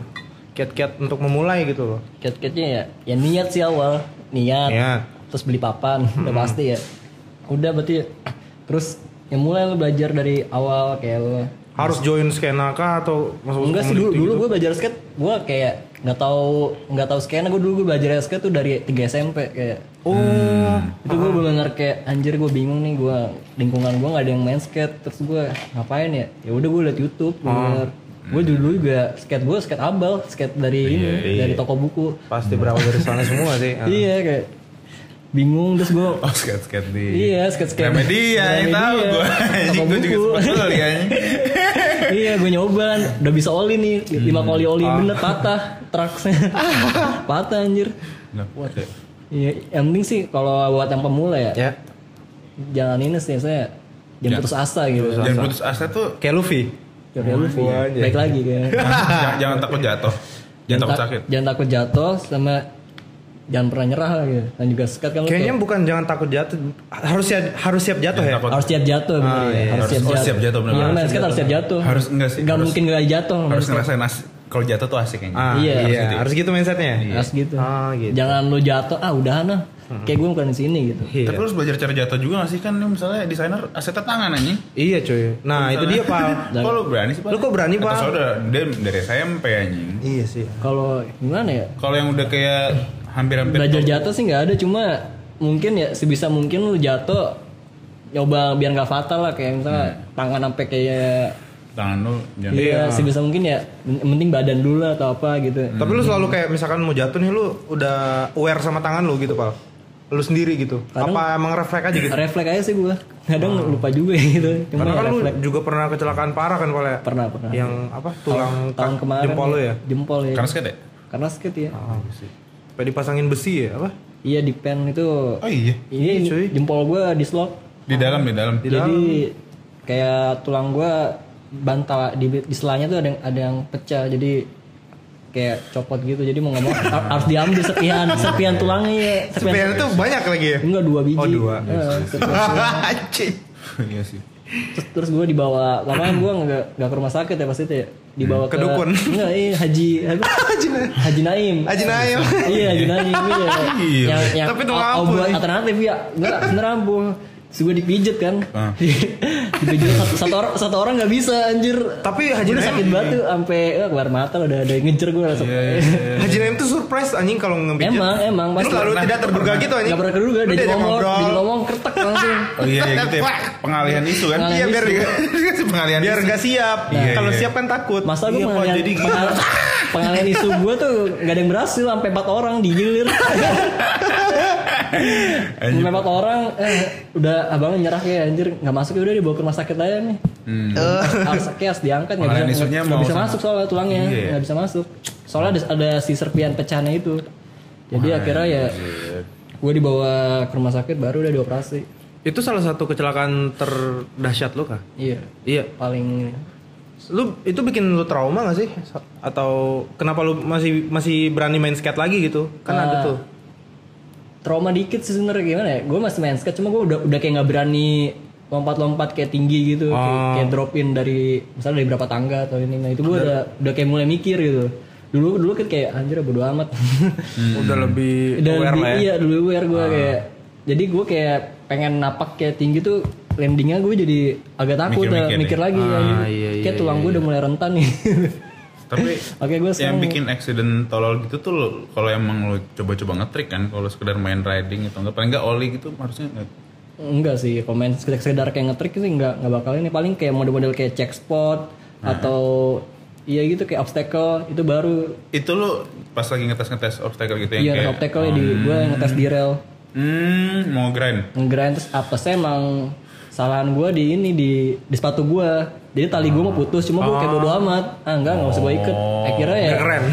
[SPEAKER 3] kiat-kiat untuk memulai gitu loh Iya.
[SPEAKER 1] cat-catnya ya ya niat sih awal niat
[SPEAKER 3] Niat.
[SPEAKER 1] terus beli papan (laughs) udah
[SPEAKER 3] Hmm.
[SPEAKER 1] pasti ya udah berarti terus yang mulai lo belajar dari awal kayak lo
[SPEAKER 3] harus join skena kah atau masuk
[SPEAKER 1] enggak sih dulu
[SPEAKER 3] gitu.
[SPEAKER 1] dulu gue belajar skate gue kayak nggak tahu nggak tahu skena gue dulu gue belajar skate tuh dari 3 SMP kayak Hmm.
[SPEAKER 3] oh
[SPEAKER 1] itu gue benar kayak anjir gue bingung nih gue lingkungan gue nggak ada yang main skate terus gue ngapain ya ya udah gue liat YouTube
[SPEAKER 3] Oh.
[SPEAKER 1] bener gue dulu juga skate gue skate abal skate dari ini dari toko buku
[SPEAKER 3] pasti berawal dari sana semua
[SPEAKER 1] (laughs)
[SPEAKER 3] sih Iya, Ah.
[SPEAKER 1] iya kayak bingung terus gue
[SPEAKER 2] Oh skate skate di.
[SPEAKER 1] Iya, skate-skate.
[SPEAKER 2] Remedia, ya, yang tahu
[SPEAKER 1] ya.
[SPEAKER 2] gue. (laughs) Anjing gue juga sempat dulu ya.
[SPEAKER 1] (laughs)
[SPEAKER 2] (laughs)
[SPEAKER 1] iya, gue nyoba kan. Udah bisa oli nih. Lima
[SPEAKER 2] Hmm.
[SPEAKER 1] kali oli
[SPEAKER 2] Ah.
[SPEAKER 1] bener patah
[SPEAKER 2] (laughs)
[SPEAKER 1] trucksnya. patah anjir.
[SPEAKER 2] Nggak kuat ya.
[SPEAKER 1] Iya, yang penting sih kalau buat yang pemula ya,
[SPEAKER 3] ya
[SPEAKER 1] jalan ini sih saya jangan putus asa gitu.
[SPEAKER 2] Dan putus Ya. asa tuh
[SPEAKER 3] kayak Luffy
[SPEAKER 1] Ya, kayak Luffy ya. Baik lagi kayak.
[SPEAKER 2] jangan, jangan takut jatuh. (laughs) Jangan takut
[SPEAKER 1] ta-
[SPEAKER 2] sakit.
[SPEAKER 1] Jangan takut jatuh sama jangan pernah nyerah lah gitu. Dan juga sekat kan lu
[SPEAKER 3] kayaknya
[SPEAKER 1] kayak,
[SPEAKER 3] bukan jangan takut jatuh harus siap harus siap jatuh
[SPEAKER 2] Jangan
[SPEAKER 3] ya
[SPEAKER 2] takut.
[SPEAKER 1] harus siap jatuh bener
[SPEAKER 3] Ah,
[SPEAKER 1] ya.
[SPEAKER 3] iya.
[SPEAKER 1] Harus, siap
[SPEAKER 2] Harus-
[SPEAKER 1] jatuh.
[SPEAKER 2] harus Oh, siap jatuh,
[SPEAKER 1] Iya,
[SPEAKER 2] bener-bener.
[SPEAKER 1] main
[SPEAKER 2] Harus
[SPEAKER 1] skate harus siap jatuh.
[SPEAKER 2] Harus enggak sih?
[SPEAKER 1] Gak
[SPEAKER 2] Harus-
[SPEAKER 1] mungkin gak jatuh.
[SPEAKER 2] Harus ngerasain as kalau jatuh tuh asik kayaknya.
[SPEAKER 3] Ah,
[SPEAKER 1] Iya.
[SPEAKER 3] iya, harus gitu mindsetnya
[SPEAKER 1] Harus gitu.
[SPEAKER 3] Ah, gitu.
[SPEAKER 1] Jangan lu jatuh, ah udahan lah. Kayak gue bukan di sini gitu.
[SPEAKER 3] Iya.
[SPEAKER 2] Tapi lu harus belajar cara jatuh juga gak sih kan ini misalnya desainer asetnya tangan anjing.
[SPEAKER 3] iya cuy nah itu
[SPEAKER 1] (laughs)
[SPEAKER 3] dia pal
[SPEAKER 2] (laughs) Kok lu berani sih, Pak?
[SPEAKER 3] Lu kok berani, Pak?
[SPEAKER 2] Atau saudara, dia dari SMP anjing.
[SPEAKER 3] iya sih
[SPEAKER 1] Kalau gimana ya?
[SPEAKER 2] Kalau yang udah kayak hampir-hampir
[SPEAKER 1] Belajar
[SPEAKER 2] top-
[SPEAKER 1] jatuh sih nggak ada, cuma mungkin ya sebisa mungkin lu jatuh nyoba biar nggak fatal lah kayak misalnya
[SPEAKER 3] Hmm.
[SPEAKER 1] tangan sampai kayak
[SPEAKER 2] tangan lu jangan
[SPEAKER 1] iya sebisa mungkin ya men- mending badan dulu lah atau apa gitu.
[SPEAKER 3] Tapi lu selalu kayak misalkan mau jatuh nih lu udah aware sama tangan lu gitu, Pal. Lu sendiri gitu.
[SPEAKER 1] Kadang-
[SPEAKER 3] Apa emang refleks aja gitu?
[SPEAKER 1] Refleks aja sih gua. Kadang lupa juga (laughs) gitu. Cuma
[SPEAKER 3] Hmm. Karena kan lu
[SPEAKER 1] refleks
[SPEAKER 3] juga pernah kecelakaan parah kan, Pal ya?
[SPEAKER 1] pernah pernah.
[SPEAKER 3] Yang apa? Tulang
[SPEAKER 1] tahun
[SPEAKER 3] ka-
[SPEAKER 1] kemarin
[SPEAKER 3] jempol lu ya. Ah, gitu.
[SPEAKER 1] Jempol ya.
[SPEAKER 2] Karena skate ya?
[SPEAKER 1] Karena skate ya.
[SPEAKER 3] Sampai dipasangin besi ya, apa?
[SPEAKER 1] Iya di pen itu.
[SPEAKER 2] Oh iya.
[SPEAKER 1] ini
[SPEAKER 3] cuy.
[SPEAKER 1] jempol gua dislok.
[SPEAKER 2] Di dalam di dalam.
[SPEAKER 1] Jadi kayak tulang gua bantal di, di selanya tuh ada yang ada yang pecah jadi kayak copot gitu jadi mau ngomong harus diambil sepian sepian tulangnya ya sepian
[SPEAKER 3] Sepian itu banyak lagi ya.
[SPEAKER 1] enggak dua biji
[SPEAKER 3] Oh, dua.
[SPEAKER 1] Eh, sepian.
[SPEAKER 3] (laughs) Anjing.
[SPEAKER 2] (laughs) iya sih.
[SPEAKER 1] terus, terus gue dibawa lama kan gue nggak nggak ke rumah sakit ya pasti itu ya dibawa
[SPEAKER 3] Hmm, Ke dukun.
[SPEAKER 1] enggak iya haji
[SPEAKER 3] (laughs)
[SPEAKER 1] apa? haji naim
[SPEAKER 3] Haji Naim. (laughs)
[SPEAKER 1] iya haji naim iya
[SPEAKER 2] Gila.
[SPEAKER 1] yang yang
[SPEAKER 3] Tapi itu
[SPEAKER 1] au- iya.
[SPEAKER 3] mampu,
[SPEAKER 1] obat
[SPEAKER 3] nih.
[SPEAKER 1] alternatif ya enggak bener ampuh Terus gue dipijet kan.
[SPEAKER 2] Ah.
[SPEAKER 1] (laughs) dipijet satu, satu orang satu orang nggak bisa anjir.
[SPEAKER 3] Tapi Haji
[SPEAKER 1] Jadi
[SPEAKER 3] Naim, Iya,
[SPEAKER 1] sakit banget tuh sampai eh, keluar mata udah ada yang ngejer gue
[SPEAKER 2] Iya,
[SPEAKER 1] langsung.
[SPEAKER 3] Haji Naim tuh surprise anjing kalau ngebijak.
[SPEAKER 1] Emang, emang,
[SPEAKER 3] Lu
[SPEAKER 1] pasti.
[SPEAKER 3] selalu
[SPEAKER 1] Pernah,
[SPEAKER 3] tidak terduga gitu anjing.
[SPEAKER 1] Gak pernah keduga,
[SPEAKER 3] Lu
[SPEAKER 1] dia
[SPEAKER 3] diajak
[SPEAKER 1] ngomong,
[SPEAKER 3] ngobrol.
[SPEAKER 1] dia ngomong kertek langsung.
[SPEAKER 2] Oh iya, iya
[SPEAKER 1] (laughs)
[SPEAKER 2] gitu ya.
[SPEAKER 5] Wah.
[SPEAKER 2] Pengalihan isu kan?
[SPEAKER 1] Pengalihan
[SPEAKER 2] Iya, biar
[SPEAKER 1] isu.
[SPEAKER 2] dikasih (laughs) pengalihan
[SPEAKER 3] Biar
[SPEAKER 2] isu.
[SPEAKER 3] nggak siap.
[SPEAKER 2] Iya,
[SPEAKER 3] kalau
[SPEAKER 2] iya.
[SPEAKER 3] siap kan takut.
[SPEAKER 1] Masa gue
[SPEAKER 3] Iya, Pak,
[SPEAKER 1] pengalian,
[SPEAKER 3] jadi gini.
[SPEAKER 1] pengal- pengalian isu gue tuh gak ada yang berhasil, sampai empat orang digilir. Sampai empat orang, eh, udah abang nyerah kayak anjir gak masuk ya udah dibawa ke rumah sakit aja nih. Harus kias diangkat nggak
[SPEAKER 2] Pengalian
[SPEAKER 1] bisa,
[SPEAKER 2] isunya
[SPEAKER 1] nggak-
[SPEAKER 2] mau
[SPEAKER 1] nggak bisa
[SPEAKER 2] sama-
[SPEAKER 1] masuk soalnya tulangnya
[SPEAKER 2] Iya.
[SPEAKER 1] nggak bisa masuk. Soalnya ada, ada si serpian pecahnya itu. Jadi akhirnya ya gue dibawa ke rumah sakit baru udah dioperasi.
[SPEAKER 3] Itu salah satu kecelakaan terdahsyat lu kah?
[SPEAKER 1] Iya.
[SPEAKER 3] Iya.
[SPEAKER 1] Paling
[SPEAKER 3] Lu itu bikin lu trauma gak sih? Atau kenapa lu masih masih berani main skate lagi gitu? Kan ada tuh.
[SPEAKER 1] trauma dikit sih sebenarnya gimana ya gue masih main skate cuma gue udah udah kayak nggak berani lompat-lompat kayak tinggi gitu kayak,
[SPEAKER 3] Ah.
[SPEAKER 1] kayak drop in dari misalnya dari berapa tangga atau ini nah itu gue udah udah kayak mulai mikir gitu dulu dulu kan kayak anjir bodo
[SPEAKER 3] (laughs)
[SPEAKER 1] amat
[SPEAKER 3] Udah lebih
[SPEAKER 1] dan
[SPEAKER 3] aware lah ya.
[SPEAKER 1] iya dulu aware gue kayak jadi gue kayak pengen napak kayak tinggi tuh landingnya gue jadi agak takut
[SPEAKER 2] Mikir-mikir
[SPEAKER 1] mikir,
[SPEAKER 2] nih.
[SPEAKER 1] mikir lagi
[SPEAKER 3] Ah,
[SPEAKER 1] ya, gitu.
[SPEAKER 3] iya,
[SPEAKER 1] kayak tulang gue udah mulai rentan nih (laughs)
[SPEAKER 2] Tapi
[SPEAKER 1] oke gue
[SPEAKER 2] yang
[SPEAKER 1] sekarang
[SPEAKER 2] bikin accident tolol gitu tuh lo- kalau emang lo coba-coba ngetrik kan kalau sekedar main riding atau enggak paling enggak oli gitu harusnya nggak-
[SPEAKER 1] Enggak sih, komen sekedar, sekedar kayak ngetrik sih enggak enggak bakal ini paling kayak model-model kayak check spot atau iya gitu kayak obstacle itu baru
[SPEAKER 2] itu lo pas lagi ngetes-ngetes obstacle gitu yang
[SPEAKER 1] iya
[SPEAKER 2] kayak
[SPEAKER 1] obstacle ya di gue ngetes di rel
[SPEAKER 2] hmm mau grind
[SPEAKER 1] ngegrind terus apa sih emang kesalahan gue di ini di di sepatu gue jadi tali gue mau putus cuma gue kayak bodo amat ah enggak enggak usah gue ikut akhirnya ya
[SPEAKER 3] Keren.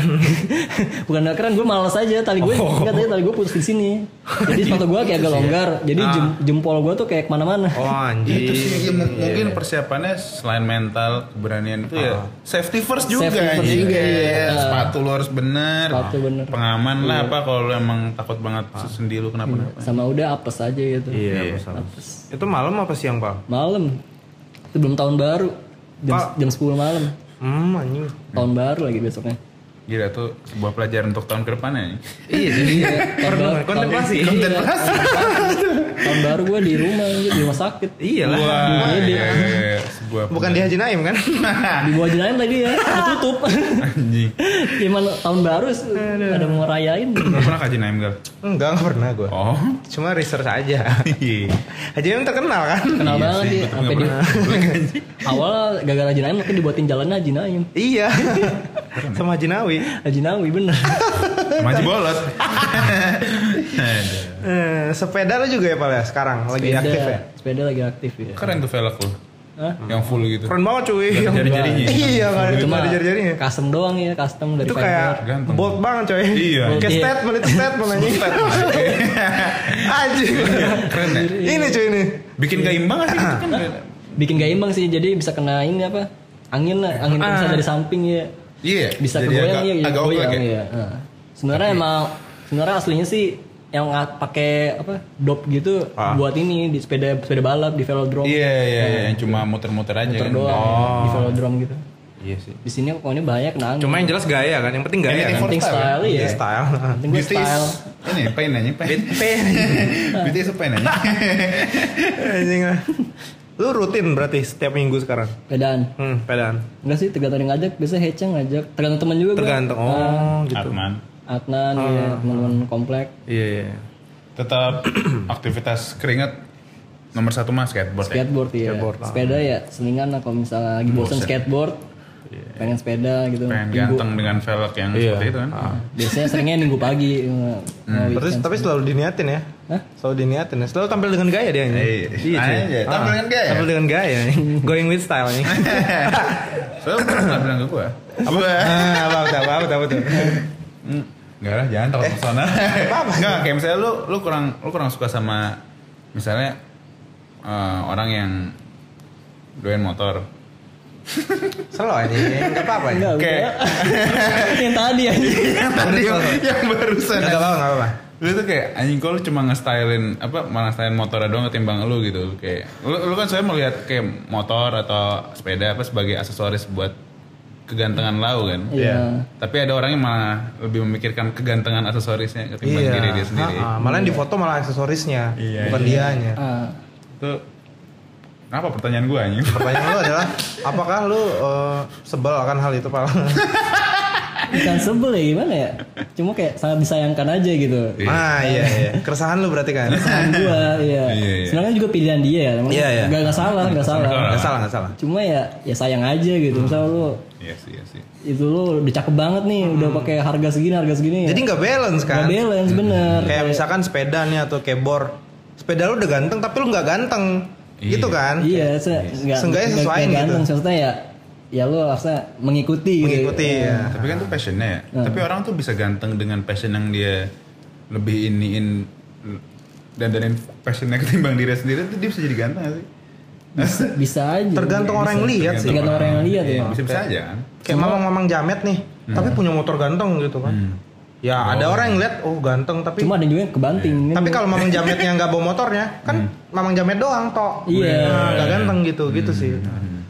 [SPEAKER 1] (laughs) bukan enggak keren gue males aja tali gue enggak tadi tali gue putus di sini jadi sepatu gue kayak agak longgar jadi jem- jempol gue tuh kayak kemana-mana
[SPEAKER 3] Oh anjir.
[SPEAKER 1] Gitu
[SPEAKER 2] itu sih ya, m- mungkin persiapannya selain mental keberanian itu ya safety first
[SPEAKER 1] Iya.
[SPEAKER 2] juga
[SPEAKER 1] Safety first
[SPEAKER 2] anjing.
[SPEAKER 1] juga, iya.
[SPEAKER 2] Iya, sepatu lo harus bener
[SPEAKER 1] Sepatu bener. Iya. Ah.
[SPEAKER 2] pengaman lah apa kalau lo emang takut banget sendi lo kenapa-napa
[SPEAKER 1] sama udah apes aja gitu
[SPEAKER 3] Iya, masalah. Itu malam apa siang, Pak?
[SPEAKER 1] Malam. Itu belum tahun baru. Jam, jam 10 malam.
[SPEAKER 3] Hmm, anjing.
[SPEAKER 1] Tahun baru lagi besoknya.
[SPEAKER 2] gila tuh sebuah pelajaran untuk tahun
[SPEAKER 1] (laughs)
[SPEAKER 2] kedepannya
[SPEAKER 1] Iya, tahun baru.
[SPEAKER 3] Kontemplasi.
[SPEAKER 1] Tahun, iya, tahun baru gue di rumah gitu, di rumah sakit.
[SPEAKER 3] Iya lah.
[SPEAKER 2] Wah,
[SPEAKER 1] Iya,
[SPEAKER 2] iya,
[SPEAKER 1] dia.
[SPEAKER 2] iya, sebuah
[SPEAKER 3] Bukan di Haji Naim kan?
[SPEAKER 1] Di bawah jenayah tadi ya, ditutup. (laughs)
[SPEAKER 2] anjing.
[SPEAKER 1] Gimana tahun baru ada mau ngerayain.
[SPEAKER 2] Lu pernah kaji Naim Gal?
[SPEAKER 3] (laughs) Enggak, enggak pernah gue.
[SPEAKER 2] Oh.
[SPEAKER 3] Cuma research (laughs) aja.
[SPEAKER 2] Iya.
[SPEAKER 3] Haji Naim terkenal kan?
[SPEAKER 1] Kenal
[SPEAKER 2] Iya
[SPEAKER 1] banget
[SPEAKER 2] sih,
[SPEAKER 1] sih,
[SPEAKER 2] betul
[SPEAKER 1] sampai di
[SPEAKER 2] nggak
[SPEAKER 1] awal gagal Haji Naim mungkin dibuatin jalannya Haji Naim.
[SPEAKER 3] iya. (laughs) Sama Haji Nawi.
[SPEAKER 1] Haji Nawi Ah, bener.
[SPEAKER 2] Maji
[SPEAKER 1] (laughs)
[SPEAKER 2] bolot. Ada.
[SPEAKER 3] Eh, sepeda lu juga ya Pak ya sekarang lagi
[SPEAKER 1] Sepeda-
[SPEAKER 3] aktif ya. Kan
[SPEAKER 1] Sepeda lagi aktif ya.
[SPEAKER 2] Keren tuh velg lu.
[SPEAKER 1] Hah?
[SPEAKER 2] Yang full gitu.
[SPEAKER 3] Keren banget cuy.
[SPEAKER 2] Gak ada jari-jarinya.
[SPEAKER 3] Iya, enggak ada cuma ada jari-jarinya.
[SPEAKER 1] custom doang ya, custom dari
[SPEAKER 3] Itu
[SPEAKER 1] vendor.
[SPEAKER 3] kayak
[SPEAKER 2] Ganteng.
[SPEAKER 3] bold banget coy.
[SPEAKER 2] Iya.
[SPEAKER 3] Kayak
[SPEAKER 1] Iya.
[SPEAKER 3] statement itu statement (laughs) anjing. Anjing.
[SPEAKER 2] Keren ya.
[SPEAKER 3] Ini cuy ini.
[SPEAKER 2] Bikin
[SPEAKER 1] Iya.
[SPEAKER 2] gak imbang gak sih
[SPEAKER 1] (laughs)
[SPEAKER 2] itu kan.
[SPEAKER 1] bikin gak imbang sih jadi bisa kena ini apa angin lah angin bisa dari samping ya
[SPEAKER 2] Iya.
[SPEAKER 1] bisa
[SPEAKER 2] jadi
[SPEAKER 1] kegoyang
[SPEAKER 2] agak-
[SPEAKER 1] ya
[SPEAKER 2] Agak oblak ya.
[SPEAKER 1] ya Nah, sebenarnya emang sebenarnya aslinya sih yang ngat- pakai apa dop gitu buat ini di sepeda sepeda balap di velodrome
[SPEAKER 2] Ah. Iya, iya, iya, yang cuma muter-muter aja
[SPEAKER 1] Muter
[SPEAKER 2] kan.
[SPEAKER 1] doang ya, di velodrome gitu
[SPEAKER 2] Iya sih.
[SPEAKER 1] di sini pokoknya banyak kena angin
[SPEAKER 3] Cuma yang jelas gaya kan, yang penting gaya
[SPEAKER 2] Anything
[SPEAKER 3] kan.
[SPEAKER 2] for
[SPEAKER 1] penting style ya
[SPEAKER 3] Iya, style.
[SPEAKER 1] penting gue
[SPEAKER 2] Beauty is-
[SPEAKER 1] style
[SPEAKER 2] Ini pain nanya, pain. (laughs) Beauty is a
[SPEAKER 1] (laughs)
[SPEAKER 2] pain nanya.
[SPEAKER 3] Anjing lah. Lu rutin berarti setiap minggu sekarang.
[SPEAKER 1] sepedaan
[SPEAKER 3] Hmm, pedaan.
[SPEAKER 1] enggak sih tergantung yang ngajak biasanya Hecha ngajak tergantung temen juga gua.
[SPEAKER 3] Tergantung. Oh, gitu.
[SPEAKER 2] Atman.
[SPEAKER 1] Adnan ya teman-teman komplek
[SPEAKER 3] Iya, iya.
[SPEAKER 1] (clears throat)
[SPEAKER 2] Tetap aktivitas keringat nomor satu mas skateboard ya.
[SPEAKER 1] skateboard ya
[SPEAKER 3] Skateboard, ah.
[SPEAKER 1] sepeda ya selingan lah kalau misalnya lagi bosen skateboard
[SPEAKER 3] Iya.
[SPEAKER 1] pengen sepeda gitu
[SPEAKER 2] Pengen
[SPEAKER 1] Minggu- Iya. Ah.
[SPEAKER 2] ganteng dengan velg yang seperti itu kan.
[SPEAKER 1] biasanya seringnya minggu pagi nge- nge-
[SPEAKER 3] Berarti
[SPEAKER 1] weekend.
[SPEAKER 3] tapi selalu diniatin ya.
[SPEAKER 1] Hah?
[SPEAKER 3] Selalu diniatin ya. Selalu tampil dengan gaya dia ini.
[SPEAKER 2] Iya.
[SPEAKER 1] Ah.
[SPEAKER 2] kan, Anjay, tampil dengan gaya.
[SPEAKER 3] Ah. Tampil dengan (laughs) gaya. nih. Going with style nih.
[SPEAKER 2] Soalnya lu pernah bilang ke gue.
[SPEAKER 3] apa? Ah, apa apa apa apa tuh.
[SPEAKER 2] Enggak lah, jangan takut pesona. Enggak, kayak misalnya lu lu kurang lu kurang suka sama misalnya eh, orang yang doyan motor.
[SPEAKER 3] Selo aja. Enggak apa-apa.
[SPEAKER 1] Enggak,
[SPEAKER 3] ya.
[SPEAKER 1] (laughs)
[SPEAKER 2] Oke.
[SPEAKER 1] udah. yang tadi aja
[SPEAKER 2] yang tadi
[SPEAKER 3] Iya,
[SPEAKER 2] yang barusan.
[SPEAKER 3] Enggak apa-apa, enggak apa-apa.
[SPEAKER 2] Lu tuh kayak anjing kok lu cuma nge-stylein apa malah stylein motor doang ketimbang lu gitu. Kayak lu, lu kan saya melihat kayak motor atau sepeda apa sebagai aksesoris buat kegantengan lau kan.
[SPEAKER 1] Iya.
[SPEAKER 2] Tapi ada orang yang malah lebih memikirkan kegantengan
[SPEAKER 3] Iya.
[SPEAKER 2] aksesorisnya ketimbang diri dia sendiri.
[SPEAKER 3] Ah, ah. Malahan di foto malah aksesorisnya, bukan dianya.
[SPEAKER 1] Ah,
[SPEAKER 2] Itu apa pertanyaan gue anjing?
[SPEAKER 3] Pertanyaan lu adalah apakah lu eh, sebel akan hal itu Pak?
[SPEAKER 1] bukan sebel ya gimana ya cuma kayak sangat disayangkan aja gitu
[SPEAKER 3] ah iya iya. Keresahan lu berarti kan?
[SPEAKER 1] Saran gua iya
[SPEAKER 2] Iya, iya.
[SPEAKER 1] sebenarnya juga pilihan dia ya emang
[SPEAKER 3] Iya, iya.
[SPEAKER 1] nggak nggak salah nggak salah
[SPEAKER 3] Enggak salah, enggak salah.
[SPEAKER 1] cuma ya ya sayang aja gitu misal lu
[SPEAKER 2] Iya sih, iya sih.
[SPEAKER 1] itu lu udah cakep banget nih udah pakai harga segini harga segini ya.
[SPEAKER 3] Hmm. Jadi Iya. nggak balance
[SPEAKER 1] nggak
[SPEAKER 3] kan?
[SPEAKER 1] balance bener
[SPEAKER 3] Kayak misalkan sepeda nih atau kebor. Sepeda lu udah ganteng tapi lu nggak ganteng.
[SPEAKER 2] Iya.
[SPEAKER 3] Gitu kan?
[SPEAKER 1] iya se nggak
[SPEAKER 3] Seenggaknya
[SPEAKER 1] nggak-
[SPEAKER 3] sesuaiin
[SPEAKER 1] nggak
[SPEAKER 3] gitu.
[SPEAKER 1] ganteng, maksudnya ya ya lu harusnya mengikuti gitu.
[SPEAKER 3] Mengikuti ya.
[SPEAKER 2] Tapi kan itu passionnya ya.
[SPEAKER 1] Iya.
[SPEAKER 2] Tapi orang tuh bisa ganteng dengan passion yang dia lebih iniin dan danin passionnya ketimbang diri sendiri itu dia bisa jadi ganteng gak sih?
[SPEAKER 1] bisa aja
[SPEAKER 3] Tergantung orang yang lihat sih.
[SPEAKER 1] Tergantung orang yang lihat ya.
[SPEAKER 2] Bisa bisa aja kan.
[SPEAKER 3] Kayak mamang-mamang jamet nih,
[SPEAKER 2] Hmm.
[SPEAKER 3] tapi punya motor ganteng gitu kan.
[SPEAKER 1] Hmm.
[SPEAKER 3] Ya, ada orang yang lihat oh ganteng tapi
[SPEAKER 1] cuma ada juga yang kebanting Kan
[SPEAKER 3] Iya. tapi
[SPEAKER 1] gua-
[SPEAKER 3] kalau mamang jametnya nggak bawa motornya, kan
[SPEAKER 2] Hmm.
[SPEAKER 3] mamang jamet doang tok.
[SPEAKER 1] Iya.
[SPEAKER 3] Nah, nggak ganteng gitu, gitu sih.
[SPEAKER 2] Hmm.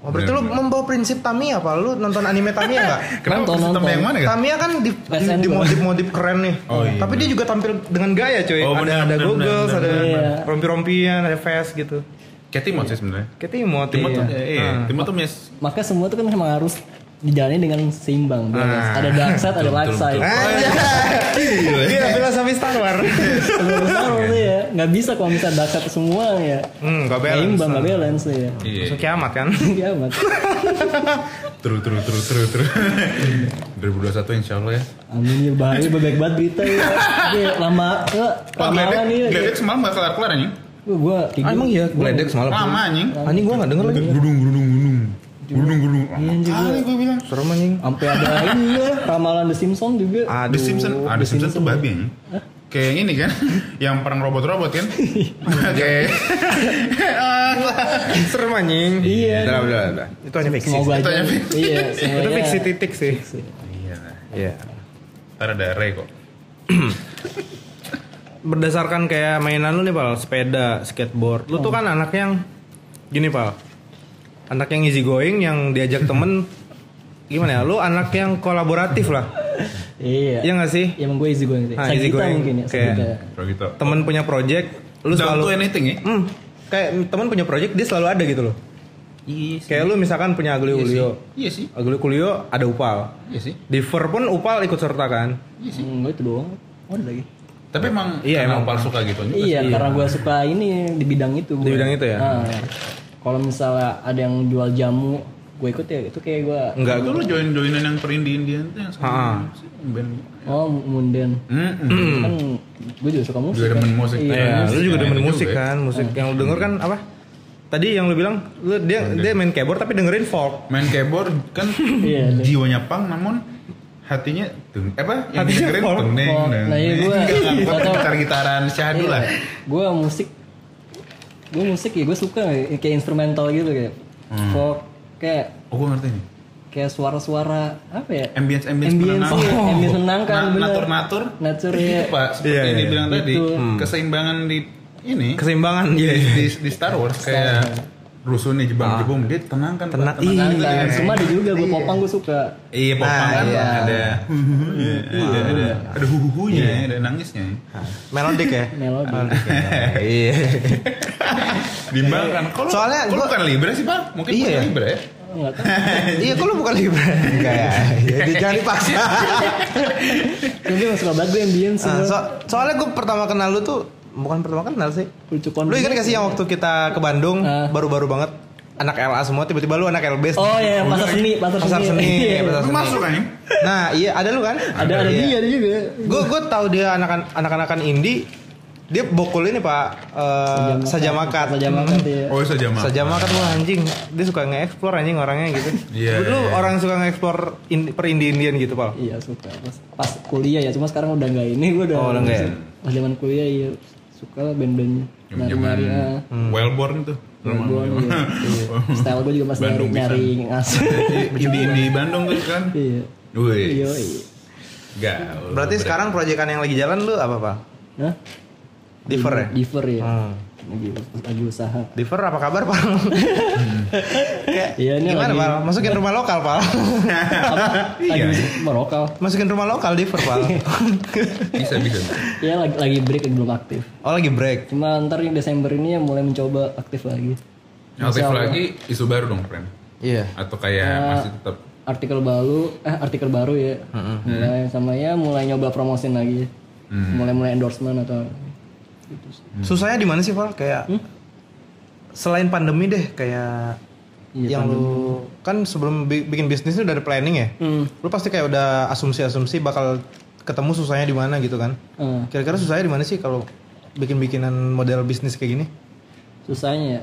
[SPEAKER 3] Oh, berarti lu membawa prinsip Tamiya apa? Lu nonton anime Tamiya nggak?
[SPEAKER 2] Kenapa
[SPEAKER 1] Nonton,
[SPEAKER 2] sistem
[SPEAKER 1] nonton.
[SPEAKER 2] (laughs) yang mana kan?
[SPEAKER 3] Tamiya kan di,
[SPEAKER 1] Wes End tuh.
[SPEAKER 3] modif modif keren nih.
[SPEAKER 2] Oh, iya,
[SPEAKER 3] Tapi dia juga tampil dengan gaya cuy.
[SPEAKER 2] Oh,
[SPEAKER 3] ada
[SPEAKER 2] benar,
[SPEAKER 3] ada
[SPEAKER 2] benar,
[SPEAKER 3] goggles,
[SPEAKER 2] benar,
[SPEAKER 3] ada
[SPEAKER 1] benar. Iya.
[SPEAKER 3] rompi-rompian, ada vest gitu.
[SPEAKER 2] Kayak Timot sih sebenarnya.
[SPEAKER 3] Kayak Timot,
[SPEAKER 2] Timot
[SPEAKER 3] iya.
[SPEAKER 2] tuh, eh,
[SPEAKER 1] Ah.
[SPEAKER 2] iya. Timot tuh miss.
[SPEAKER 1] maka semua itu kan memang harus dijalani dengan seimbang
[SPEAKER 3] Nah.
[SPEAKER 1] balance. ada dark side ada light
[SPEAKER 2] betul,
[SPEAKER 1] side
[SPEAKER 2] Iya.
[SPEAKER 3] Anjay. Gila, filosofi Iya, Star Wars.
[SPEAKER 2] (laughs)
[SPEAKER 1] Bener banget ya nggak bisa kalau misalnya dark side semua ya
[SPEAKER 3] Hmm, nggak
[SPEAKER 1] nggak
[SPEAKER 3] balance.
[SPEAKER 1] imbang nggak balance ya (laughs)
[SPEAKER 2] Iya.
[SPEAKER 3] Langsung kiamat kan?
[SPEAKER 1] kiamat
[SPEAKER 2] Terus terus terus terus terus.
[SPEAKER 1] Hmm.
[SPEAKER 2] (laughs) 2021 insya Allah ya.
[SPEAKER 1] amin ya bahaya bebek banget berita ya Oke, lama ke ya.
[SPEAKER 2] Wah,
[SPEAKER 1] lama
[SPEAKER 2] Gledek,
[SPEAKER 1] lama nih
[SPEAKER 2] Gledek semalam gak kelar-kelar anjing.
[SPEAKER 1] gue tiga
[SPEAKER 3] iya, gledek semalam.
[SPEAKER 2] Lama anjing.
[SPEAKER 3] Anjing gua enggak denger lagi.
[SPEAKER 2] Gudung gudung gudung. Gudung gudung.
[SPEAKER 3] Iya,
[SPEAKER 2] Kali gue bilang.
[SPEAKER 3] Serem anjing.
[SPEAKER 1] sampai ada ini lah ramalan The Simpsons juga
[SPEAKER 3] Aduh.
[SPEAKER 2] The Simpsons, ah, The Simpsons tuh babi anjing. Kayak ini kan, (laughs) yang perang robot-robot
[SPEAKER 3] (laughs)
[SPEAKER 2] kan. Kayak
[SPEAKER 3] Serem anjing.
[SPEAKER 1] Iya.
[SPEAKER 3] Udah, udah, udah. Itu hanya fiksi.
[SPEAKER 1] semoga
[SPEAKER 2] Itu
[SPEAKER 1] aja
[SPEAKER 2] aja fiksi.
[SPEAKER 3] (laughs)
[SPEAKER 1] iya
[SPEAKER 3] Itu
[SPEAKER 1] semuanya
[SPEAKER 3] fiksi titik sih.
[SPEAKER 2] Iya.
[SPEAKER 3] Iya.
[SPEAKER 2] Ntar ada Ray kok.
[SPEAKER 3] Berdasarkan kayak mainan lu nih, Pal, sepeda, skateboard.
[SPEAKER 1] Oh.
[SPEAKER 3] Lu tuh kan anak yang gini, Pal. Anak yang easy going yang
[SPEAKER 1] (laughs)
[SPEAKER 3] diajak temen gimana ya? Lu anak yang kolaboratif lah.
[SPEAKER 1] iya
[SPEAKER 3] Iya nggak sih?
[SPEAKER 1] ya emang gue easy going sih
[SPEAKER 3] Ah,
[SPEAKER 1] Sakita
[SPEAKER 3] easy going.
[SPEAKER 1] mungkin ya
[SPEAKER 3] Kayak- Iya
[SPEAKER 1] Sakita.
[SPEAKER 2] Kalau gitu.
[SPEAKER 3] Temen punya project, lu
[SPEAKER 2] Down to
[SPEAKER 3] selalu
[SPEAKER 2] anything ya.
[SPEAKER 3] Hmm, kayak temen punya project dia selalu ada gitu loh.
[SPEAKER 2] Iya
[SPEAKER 3] Kayak lu misalkan punya Agli Ulio.
[SPEAKER 2] Iya sih.
[SPEAKER 3] Agli Ulio ada Upal.
[SPEAKER 2] Iya sih.
[SPEAKER 3] Di Ver pun Upal ikut serta kan.
[SPEAKER 1] Hmm, gue itu doang Oh, ada lagi
[SPEAKER 2] Tapi emang
[SPEAKER 3] Iya,
[SPEAKER 2] karena
[SPEAKER 3] emang.
[SPEAKER 2] Opal suka gitu juga.
[SPEAKER 1] Iya, karena gue suka ini di bidang itu.
[SPEAKER 3] Di
[SPEAKER 1] gua.
[SPEAKER 3] bidang itu ya?
[SPEAKER 1] Nah, kalau misalnya ada yang jual jamu, gue ikut ya. Itu kayak gue.
[SPEAKER 3] Enggak.
[SPEAKER 2] Itu lu join joinan yang per Indian Indian tuh yang sama
[SPEAKER 3] Ha-ha.
[SPEAKER 2] apa sih, yang band.
[SPEAKER 1] Oh, munden.
[SPEAKER 2] Mm-mm.
[SPEAKER 3] Hmm.
[SPEAKER 1] Kan gue juga suka musik.
[SPEAKER 2] Juga
[SPEAKER 1] kan?
[SPEAKER 2] demen musik.
[SPEAKER 1] Iya.
[SPEAKER 3] Iya, lu juga
[SPEAKER 2] Nah,
[SPEAKER 3] demen
[SPEAKER 2] itu
[SPEAKER 3] musik
[SPEAKER 2] juga ya.
[SPEAKER 3] kan, musik yang lu denger kan apa? Tadi yang lu bilang lu dia dia main keyboard tapi dengerin folk.
[SPEAKER 2] Main keyboard kan
[SPEAKER 1] Iya, (laughs) iya.
[SPEAKER 2] jiwanya pang namun hatinya tung apa yang
[SPEAKER 3] Hatinya
[SPEAKER 2] dengerin
[SPEAKER 3] folk,
[SPEAKER 2] tung neng
[SPEAKER 1] folk.
[SPEAKER 2] neng.
[SPEAKER 1] Nah, iya, gua- atau-
[SPEAKER 2] kan? gitar gitaran syahdu
[SPEAKER 1] Iya.
[SPEAKER 2] lah.
[SPEAKER 1] Gue musik. Gue musik ya, gue suka ya, kayak instrumental gitu kayak
[SPEAKER 3] Hmm.
[SPEAKER 1] folk, kayak
[SPEAKER 2] Oh gue ngerti nih.
[SPEAKER 1] kayak suara-suara apa ya?
[SPEAKER 2] Ambience ambience
[SPEAKER 1] Ambience, iya, ambience menenangkan, bener.
[SPEAKER 2] Natur natur.
[SPEAKER 1] Natur, iya. gitu.
[SPEAKER 2] Itu pak seperti
[SPEAKER 3] Iya,
[SPEAKER 2] yang
[SPEAKER 3] iya.
[SPEAKER 2] dibilang tadi
[SPEAKER 1] Betul.
[SPEAKER 2] keseimbangan di ini
[SPEAKER 3] Keseimbangan
[SPEAKER 2] di,
[SPEAKER 3] iya. Ah.
[SPEAKER 2] di, di Star Wars kayak rusuh nih jebang jebung dia tenangkan Pak,
[SPEAKER 3] Tenang.
[SPEAKER 2] tenangkan.
[SPEAKER 1] Nah,
[SPEAKER 3] Iya.
[SPEAKER 1] cuma ada juga gue popang gue suka.
[SPEAKER 2] Iya, popang
[SPEAKER 3] Nah,
[SPEAKER 2] kan
[SPEAKER 3] iya.
[SPEAKER 2] (laughs) ada huhuhunya, ada ada ada huhuhunya,
[SPEAKER 3] Iya.
[SPEAKER 2] ada nangisnya.
[SPEAKER 3] Melodik ya.
[SPEAKER 1] Melodi.
[SPEAKER 3] Iya.
[SPEAKER 1] Iya.
[SPEAKER 2] Bimbangkan. kan? Kalau
[SPEAKER 3] Soalnya
[SPEAKER 2] kalau
[SPEAKER 3] gua-
[SPEAKER 2] bukan Libra sih, Pak. Mungkin
[SPEAKER 3] Iya,
[SPEAKER 2] bukan
[SPEAKER 3] ya.
[SPEAKER 2] Libra ya.
[SPEAKER 1] Enggak tahu.
[SPEAKER 3] Iya, kok lu bukan Libra? Enggak ya. Jadi jangan (laughs) dipaksa.
[SPEAKER 1] Tapi emang suka banget gue ambience.
[SPEAKER 3] Nah,
[SPEAKER 1] gua.
[SPEAKER 3] so- soalnya gue pertama kenal lu tuh bukan pertama kenal sih.
[SPEAKER 1] Lucu
[SPEAKER 3] Lu
[SPEAKER 1] banget.
[SPEAKER 3] ingat gak sih yang waktu kita ke Bandung
[SPEAKER 1] Ah.
[SPEAKER 3] baru-baru banget anak LA semua tiba-tiba lu anak LB.
[SPEAKER 1] Oh iya, pasar seni, pasar,
[SPEAKER 3] Pasar seni,
[SPEAKER 1] Iya.
[SPEAKER 3] pasar
[SPEAKER 2] Lu
[SPEAKER 3] seni.
[SPEAKER 2] masuk kan?
[SPEAKER 3] Nah, iya ada lu kan?
[SPEAKER 1] Ada ada
[SPEAKER 3] Iya.
[SPEAKER 1] dia ada juga.
[SPEAKER 3] gue gue tahu dia anak anak anakan indie dia bokul ini pak eh, Hmm. sajamakat
[SPEAKER 1] Saja makan ya.
[SPEAKER 2] Oh, saja mah.
[SPEAKER 1] kan
[SPEAKER 3] sajamakat wah anjing dia suka nge-explore anjing orangnya gitu
[SPEAKER 2] Iya,
[SPEAKER 3] lu
[SPEAKER 2] iya, iya.
[SPEAKER 3] orang suka nge-explore in, per indie indian gitu pak
[SPEAKER 1] Iya suka. Pas, pas kuliah ya, cuma sekarang udah nggak ini gue udah.
[SPEAKER 3] Oh, udah nggak ya?
[SPEAKER 1] Pas zaman kuliah iya suka lah band-bandnya.
[SPEAKER 2] Zaman Hmm.
[SPEAKER 1] Nyari-nyari, ah.
[SPEAKER 2] Wellborn tuh.
[SPEAKER 1] Bandung, iya. Iya.
[SPEAKER 2] (laughs)
[SPEAKER 1] Style gue juga pas nyari
[SPEAKER 2] Bandung
[SPEAKER 1] nyari
[SPEAKER 2] (laughs)
[SPEAKER 1] ngasih.
[SPEAKER 2] Ini di Bandung tuh kan.
[SPEAKER 1] Iya.
[SPEAKER 2] Wih.
[SPEAKER 1] Iya. iya.
[SPEAKER 2] Gaul.
[SPEAKER 3] berarti sekarang proyekan yang lagi jalan lu apa pak
[SPEAKER 1] Hah?
[SPEAKER 3] Differ ya
[SPEAKER 1] Differ ya.
[SPEAKER 3] Hmm.
[SPEAKER 1] lagi lagi usaha
[SPEAKER 3] Diver apa kabar Pak? Kayak
[SPEAKER 1] Iya, ini
[SPEAKER 3] gimana
[SPEAKER 1] lagi-
[SPEAKER 3] Pak? Iya. Masukin rumah lokal Pak.
[SPEAKER 1] lagi usaha merokal
[SPEAKER 3] (laughs) Masukin rumah lokal Diver Pak.
[SPEAKER 1] Iya.
[SPEAKER 2] bisa bisa
[SPEAKER 1] ya lagi, lagi break lagi belum aktif
[SPEAKER 3] oh lagi break.
[SPEAKER 1] cuma ntar yang Desember ini ya mulai mencoba aktif lagi
[SPEAKER 2] aktif lagi isu baru dong friend
[SPEAKER 3] Iya.
[SPEAKER 2] atau kayak
[SPEAKER 1] Eh,
[SPEAKER 2] masih tetap
[SPEAKER 1] artikel baru eh artikel baru ya mulai
[SPEAKER 3] Iya.
[SPEAKER 1] sama ya mulai nyoba promosin lagi
[SPEAKER 3] Hmm.
[SPEAKER 1] mulai mulai endorsement atau gitu sih.
[SPEAKER 3] Susahnya di mana sih Pak? Kayak
[SPEAKER 1] Hmm?
[SPEAKER 3] selain pandemi deh kayak
[SPEAKER 1] Iya,
[SPEAKER 3] yang lu kan sebelum bi- bikin bisnis itu udah ada planning ya.
[SPEAKER 1] Hmm.
[SPEAKER 3] Lu pasti kayak udah asumsi-asumsi bakal ketemu susahnya di mana gitu kan.
[SPEAKER 1] Eh,
[SPEAKER 3] Kira-kira susahnya di mana sih kalau bikin-bikinan model bisnis kayak gini?
[SPEAKER 1] susahnya ya